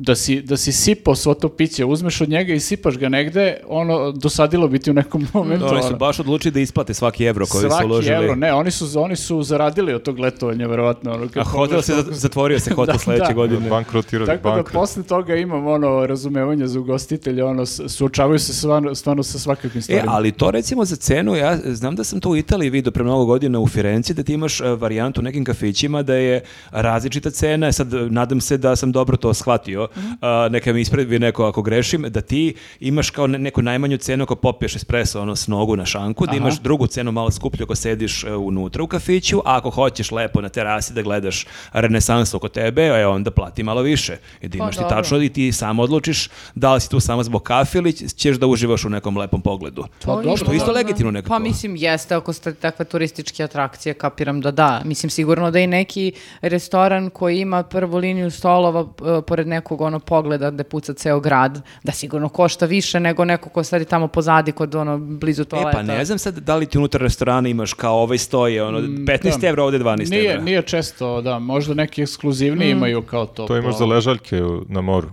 Speaker 4: da si, da si sipao svo to piće, uzmeš od njega i sipaš ga negde, ono, dosadilo bi ti u nekom momentu.
Speaker 2: Oni su
Speaker 4: ono.
Speaker 2: baš odlučili da isplate svaki evro koji
Speaker 4: Svaki
Speaker 2: su uložili.
Speaker 4: evro, ne, oni su, oni su zaradili od tog letovanja, verovatno. Ono,
Speaker 2: A
Speaker 4: kad
Speaker 2: hotel
Speaker 4: pogledaš
Speaker 2: se,
Speaker 4: koliko-
Speaker 2: zatvorio se hotel
Speaker 4: Da,
Speaker 2: sledeće
Speaker 4: da.
Speaker 2: godine.
Speaker 1: Bankrotirali
Speaker 4: Tako da
Speaker 1: bankrot.
Speaker 4: posle toga imam ono razumevanje za ugostitelje, ono s- suočavaju se stvarno, stvarno sa svakakvim
Speaker 2: E,
Speaker 4: stvarima.
Speaker 2: ali to recimo za cenu, ja znam da sam to u Italiji vidio pre mnogo godina u Firenci, da ti imaš e, varijantu u nekim kafićima da je različita cena, sad e, nadam se da sam dobro to shvatio, A, neka mi ispravi neko ako grešim, da ti imaš kao ne- neku najmanju cenu ako popiješ espresso ono, s nogu na šanku, da imaš drugu cenu malo skuplju ako sediš e, unutra u kafiću, a ako hoćeš lepo na terasi da gledaš renesansu oko tebe, e, onda plati malo više. I da
Speaker 3: Pa
Speaker 2: imaš ti
Speaker 3: dobro.
Speaker 2: tačno i ti samo odlučiš da li si tu samo zbog kafe ili ćeš da uživaš u nekom lepom pogledu.
Speaker 4: Pa dobro,
Speaker 2: što je isto
Speaker 3: da.
Speaker 2: legitimno nekako.
Speaker 3: Pa mislim jeste, ako ste takve turističke atrakcije, kapiram da da. Mislim sigurno da i neki restoran koji ima prvu liniju stolova e, pored nekog ono pogleda gde puca ceo grad, da sigurno košta više nego neko ko sedi tamo pozadi kod ono blizu
Speaker 2: E,
Speaker 3: toaleta.
Speaker 2: pa ne znam sad da li ti unutar restorana imaš kao ovaj stoje, ono, 15 evra, ovde 12
Speaker 4: Mm, Nije,
Speaker 2: evra. Mm.
Speaker 4: nije često, da, možda neki ekskluzivni imaju kao to.
Speaker 1: To imaš
Speaker 4: pa-
Speaker 1: za ležaljke u- na moru.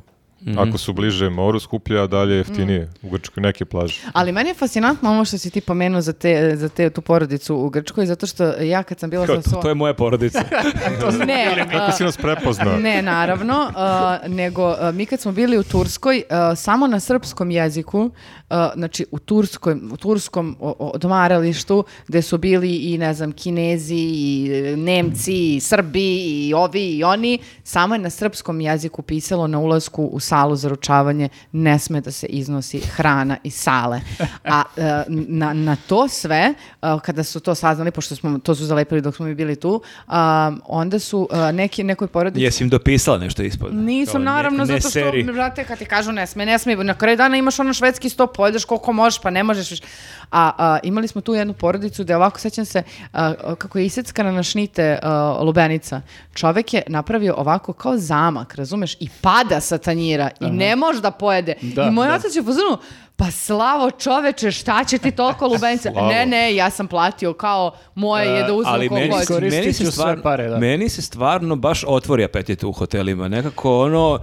Speaker 4: Mhm.
Speaker 1: Ako su bliže moru, skuplje, a dalje jeftinije. U Grčkoj neke plaže.
Speaker 3: Ali meni je fascinantno ovo što si ti pomenuo za, te, za te, tu porodicu u Grčkoj, zato što ja kad sam bila
Speaker 2: Kao,
Speaker 3: sa
Speaker 2: to,
Speaker 3: svojom...
Speaker 2: to je moja porodica.
Speaker 3: Ne,
Speaker 1: Kako si nas prepoznao?
Speaker 3: Ne, naravno, a, nego a, mi kad smo bili u Turskoj, a, samo na srpskom jeziku, a, znači u, Turskoj, u turskom o- o- odmaralištu, gde su bili i, ne znam, Kinezi, i e, Nemci, i Srbi, i ovi, i oni, samo je na srpskom jeziku pisalo na ulasku u salu za ručavanje ne sme da se iznosi hrana iz sale. A e, na, na to sve, e, kada su to saznali, pošto smo, to su zalepili dok smo mi bili tu, a, onda su e, neki, nekoj porodici
Speaker 2: Jesi im dopisala nešto ispod? pa Kao,
Speaker 3: Nisam,
Speaker 2: ne-
Speaker 3: naravno,
Speaker 2: ne
Speaker 3: zato što,
Speaker 2: seri.
Speaker 3: brate, kad ti kažu ne sme, ne sme, na kraju dana imaš ono švedski sto, pojedeš koliko možeš, pa ne možeš više. A, a, imali smo tu jednu porodicu da je ovako, sećam se, a, a, kako je iseckana na šnite a, lubenica. Čovek je napravio ovako kao zamak, razumeš, i pada sa tanjira i ne može da pojede.
Speaker 4: Da,
Speaker 3: I moj
Speaker 4: da.
Speaker 3: otac je u fazonu, pa slavo čoveče, šta će ti toliko lubenica?
Speaker 1: Slavo.
Speaker 3: ne, ne, ja sam platio kao moje je da uzmem
Speaker 2: ali
Speaker 3: koliko
Speaker 2: meni, se-
Speaker 3: hoću.
Speaker 2: meni
Speaker 4: Iskoristit ću
Speaker 2: se
Speaker 4: sve
Speaker 2: stvarno,
Speaker 4: pare, da.
Speaker 2: meni se stvarno baš otvori apetit u hotelima. Nekako ono,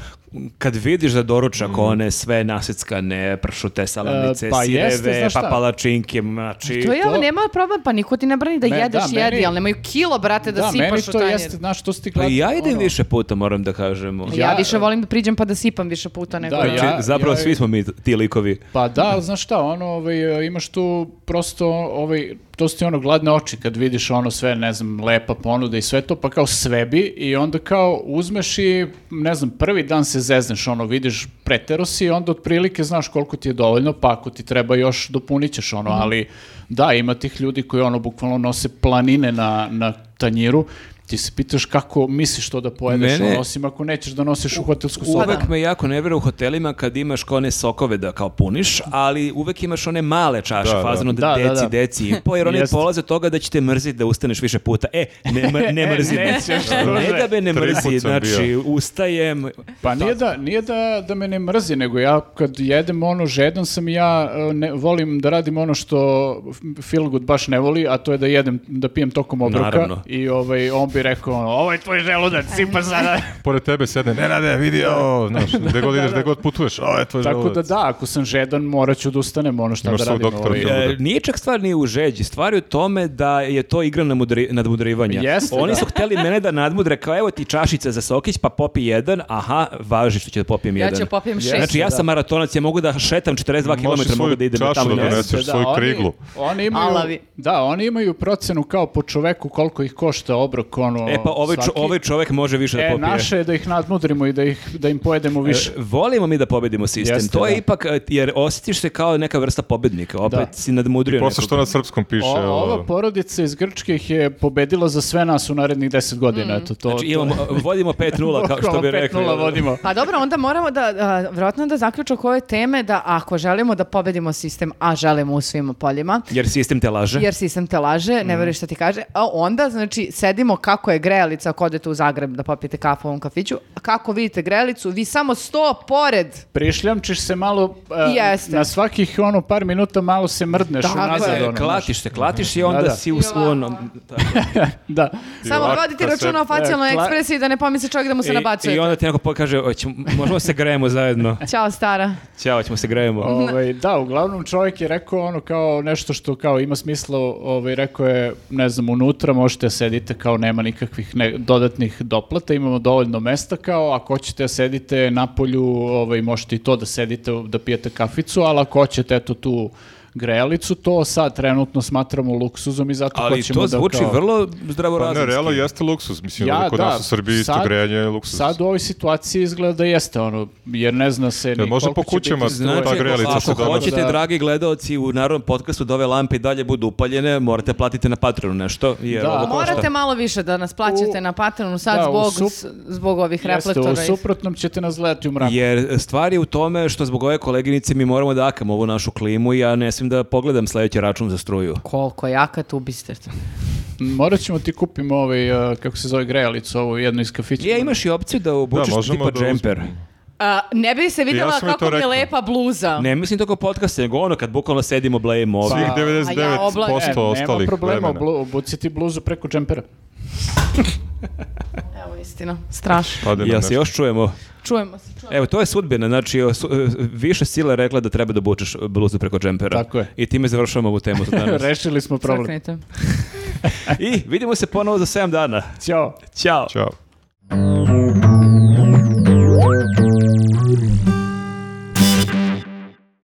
Speaker 2: kad vidiš za doručak one sve nasickane pršute, salamice,
Speaker 4: Mm. E, pa
Speaker 2: sireve,
Speaker 4: jeste, znaš šta?
Speaker 2: pa palačinke, znači...
Speaker 3: To je,
Speaker 4: to-
Speaker 3: nema problem, pa niko ti ne brani da
Speaker 4: Me-
Speaker 3: jedeš,
Speaker 4: da,
Speaker 3: jedi,
Speaker 4: meni-
Speaker 3: ali nemaju kilo, brate, da,
Speaker 4: Da,
Speaker 3: sipaš
Speaker 4: meni
Speaker 3: u
Speaker 4: to
Speaker 3: tanjir.
Speaker 4: jeste, znaš, to si ti
Speaker 2: Pa
Speaker 4: gledao,
Speaker 2: ja idem
Speaker 4: ono,
Speaker 2: više puta, moram da kažemo.
Speaker 3: Ja,
Speaker 4: Ja-
Speaker 3: više volim da priđem pa da sipam više puta nego...
Speaker 4: Da,
Speaker 2: Znači,
Speaker 4: ja-
Speaker 2: zapravo
Speaker 4: ja-
Speaker 2: svi smo mi ti likovi.
Speaker 4: Pa da, ali znaš šta, ono, ovaj, imaš tu prosto, ovaj, to su ti ono gladne oči kad vidiš ono sve, ne znam, lepa ponuda i sve to, pa kao svebi i onda kao uzmeš i, ne znam, prvi dan se zezneš, ono, vidiš, pretero si i onda otprilike znaš koliko ti je dovoljno, pa ako ti treba još dopunit ćeš ono, ali da, ima tih ljudi koji ono bukvalno nose planine na, na tanjiru, ti se pitaš kako misliš to da pojedeš,
Speaker 2: Mene-
Speaker 4: ono, osim ako nećeš da nosiš u hotelsku sobu.
Speaker 2: Uvek me jako nevjera u hotelima kad imaš kao one sokove da kao puniš, ali uvek imaš one male čaše,
Speaker 1: Da, da.
Speaker 2: fazano da,
Speaker 4: Da, da,
Speaker 2: deci,
Speaker 4: da.
Speaker 2: deci i po, jer oni
Speaker 4: Jest.
Speaker 2: polaze od toga da će te mrziti da ustaneš više puta. E, ne, mr- ne mrzi me.
Speaker 4: nećeš,
Speaker 2: ne
Speaker 4: druže.
Speaker 2: da me ne
Speaker 1: Tri
Speaker 2: mrzi,
Speaker 1: put sam
Speaker 2: znači
Speaker 1: bio.
Speaker 2: ustajem.
Speaker 4: Pa nije da, nije da, da me ne mrzi, nego ja kad jedem ono žedan sam i ja e, ne, volim da radim ono što F- Feelgood baš ne voli, a to je da jedem, da pijem tokom obroka.
Speaker 2: Naravno.
Speaker 4: I ovaj, on bi rekao ono, ovo je tvoj želudac, sipa sada.
Speaker 1: Pored tebe sedne, ne rade, vidi, o, znaš, gde god ideš, gde god putuješ, o, eto je
Speaker 4: Tako da
Speaker 1: želudac.
Speaker 4: da, ako sam žedan morat ću da ustanem ono šta
Speaker 1: Imaš
Speaker 4: da
Speaker 1: svog
Speaker 4: radim.
Speaker 1: doktora
Speaker 4: ovaj.
Speaker 1: Feelgooda.
Speaker 2: E, nije čak stvar ni u žeđi, stvar je u tome da je to igra namudri, nadmudrivanja.
Speaker 4: Jeste,
Speaker 2: Oni
Speaker 4: da.
Speaker 2: su hteli mene da nadmudre, kao evo ti čašica za sokić, pa popi jedan, aha, važi što ću da popijem
Speaker 3: Ja
Speaker 2: jedan.
Speaker 3: ću popijem šest.
Speaker 2: Znači ja sam maratonac, ja mogu da šetam 42
Speaker 1: Možeš
Speaker 2: km, mogu
Speaker 1: svoju
Speaker 2: da idem na
Speaker 1: čašu
Speaker 2: tamo i
Speaker 1: da
Speaker 2: nazad.
Speaker 1: doneseš.
Speaker 4: Jeste,
Speaker 1: svoju
Speaker 4: oni-
Speaker 1: kriglu.
Speaker 4: Oni imaju,
Speaker 3: Alavi.
Speaker 4: da, oni imaju procenu kao po čoveku koliko ih košta obrok. Ono,
Speaker 2: E pa ovaj, čo,
Speaker 4: svaki.
Speaker 2: ovaj čovek može više da
Speaker 4: E,
Speaker 2: popije.
Speaker 4: naše je da ih nadmudrimo i da, ih, da im pojedemo
Speaker 2: E,
Speaker 4: više.
Speaker 2: Volimo mi da pobedimo sistem.
Speaker 4: Jeste,
Speaker 2: to je
Speaker 4: da.
Speaker 2: ipak, e, jer osjetiš se kao neka vrsta pobednika. Opet
Speaker 4: Da.
Speaker 2: si nadmudrio
Speaker 1: Posle što
Speaker 2: nekoga.
Speaker 1: na srpskom piše,
Speaker 4: O, Pa ova
Speaker 2: ono-
Speaker 1: o, pa
Speaker 4: porodica iz Grčke ih je pobedila za sve nas u narednih 10
Speaker 3: Mm.
Speaker 4: godina. Eto, to,
Speaker 2: Znači, imamo, vodimo 5-0, kao što bi rekli. ono.
Speaker 4: 5 vodimo.
Speaker 3: Pa dobro, onda moramo da, a, vjerojatno da zaključak ove teme da ako želimo da pobedimo sistem, a želimo u svim poljima,
Speaker 2: Jer sistem te laže.
Speaker 4: Mhm.
Speaker 3: jer sistem te laže, ne veruješ šta ti kaže, a onda, znači, sedimo kako je grelica ako odete u Zagreb da popijete kafu u ovom kafiću. Kako vidite grelicu, vi samo sto pored.
Speaker 4: Prišljamčiš se malo, e,
Speaker 3: Jeste.
Speaker 4: na svakih ono par minuta malo se mrdneš
Speaker 3: Tako
Speaker 4: unazad.
Speaker 3: je.
Speaker 4: ono,
Speaker 2: klatiš se, klatiš i ono, onda
Speaker 4: Da, da.
Speaker 2: si u
Speaker 3: I ovako.
Speaker 2: onom...
Speaker 4: znaš. Da.
Speaker 3: Samo
Speaker 1: ovako
Speaker 3: vodite
Speaker 1: se-
Speaker 3: računa o facijalnoj
Speaker 4: E, kla-
Speaker 3: ekspresiji da ne pomisli čovjek da mu se
Speaker 2: I,
Speaker 3: nabacuje.
Speaker 2: I onda ti neko pokaže, "Hoćemo- možemo se grejemo zajedno.
Speaker 3: Ćao stara.
Speaker 2: Ćao, ćemo se grejemo.
Speaker 4: Ovaj, da, uglavnom čovjek je rekao ono kao nešto što kao ima smisla, ovaj, rekao je, ne znam, unutra možete sedite kao nema nikakvih ne- dodatnih doplata, imamo dovoljno mesta kao ako hoćete sedite na polju, ovaj, možete i to da sedite, da pijete kaficu, ali ako hoćete eto tu grejalicu, to sad trenutno smatramo luksuzom i zato
Speaker 2: Ali
Speaker 4: hoćemo
Speaker 2: to
Speaker 4: da
Speaker 2: zvuči
Speaker 4: kao-
Speaker 2: vrlo
Speaker 1: Pa ne,
Speaker 2: zdravorazumski.
Speaker 1: realno jeste luksuz. Mislim,
Speaker 4: Ja,
Speaker 1: kod
Speaker 4: da,
Speaker 1: nas u Srbiji isto
Speaker 4: sad-
Speaker 1: grejanje je luksuz.
Speaker 4: Sad u ovoj situaciji izgleda da jeste ono, jer ne zna se
Speaker 1: Jel
Speaker 4: ni
Speaker 1: može po
Speaker 4: koliko će
Speaker 1: kućama
Speaker 4: biti
Speaker 1: ta
Speaker 2: Znači,
Speaker 1: grejalica
Speaker 2: ako,
Speaker 1: se
Speaker 2: ako
Speaker 1: donosi?
Speaker 2: hoćete,
Speaker 4: Da.
Speaker 2: dragi gledaoci, u narodnom podcastu da ove lampe i dalje budu upaljene, morate platiti na Patreonu nešto. Jer
Speaker 4: Da.
Speaker 2: ovo košta.
Speaker 3: Morate malo više da nas plaćate
Speaker 4: U-
Speaker 3: na Patreonu sad
Speaker 4: da, u
Speaker 3: zbog,
Speaker 4: sup-
Speaker 3: s- zbog ovih
Speaker 4: Jeste,
Speaker 3: reflektora.
Speaker 4: u
Speaker 3: i-
Speaker 4: suprotnom ćete nas gledati u mraku.
Speaker 2: Jer stvar je u tome što zbog ove koleginice mi moramo da akamo ovu našu klimu i ja ne smijem da pogledam sledeći račun za struju.
Speaker 3: Koliko jaka tu biste.
Speaker 4: Morat ćemo ti kupimo ovaj, uh, kako se zove, grejalicu, ovo jedno iz kafića.
Speaker 2: Ja imaš i opciju da obučeš
Speaker 1: Da, možemo
Speaker 2: tipa
Speaker 1: da uzmemo.
Speaker 2: džemper.
Speaker 3: A, ne bi se vidjela
Speaker 1: Ja sam joj to
Speaker 3: kako mi je
Speaker 1: rekao.
Speaker 3: lepa bluza.
Speaker 2: Ne mislim toko podcast, nego ono kad bukvalno sedimo blejemo ovdje.
Speaker 1: Svih
Speaker 4: Pa-
Speaker 1: 99%
Speaker 3: A ja obla-
Speaker 4: E, nema
Speaker 1: ostalih
Speaker 4: problema,
Speaker 1: vremena.
Speaker 4: oblu, obuci ti bluzu preko džempera.
Speaker 3: Evo istina, strašno.
Speaker 1: Pade nam
Speaker 2: Jel
Speaker 4: Pa.
Speaker 2: se
Speaker 1: nešto.
Speaker 2: još čujemo?
Speaker 3: Čujemo se. čujemo.
Speaker 2: Evo, to je sudbina, znači o, su- e, više sile rekla da treba da bučeš bluzu preko džempera.
Speaker 4: Tako je.
Speaker 2: I time završavamo ovu temu za danas.
Speaker 4: Rešili smo problem.
Speaker 3: Crknite.
Speaker 2: I vidimo se ponovo za 7 dana.
Speaker 4: Ćao.
Speaker 2: Ćao.
Speaker 1: Ćao.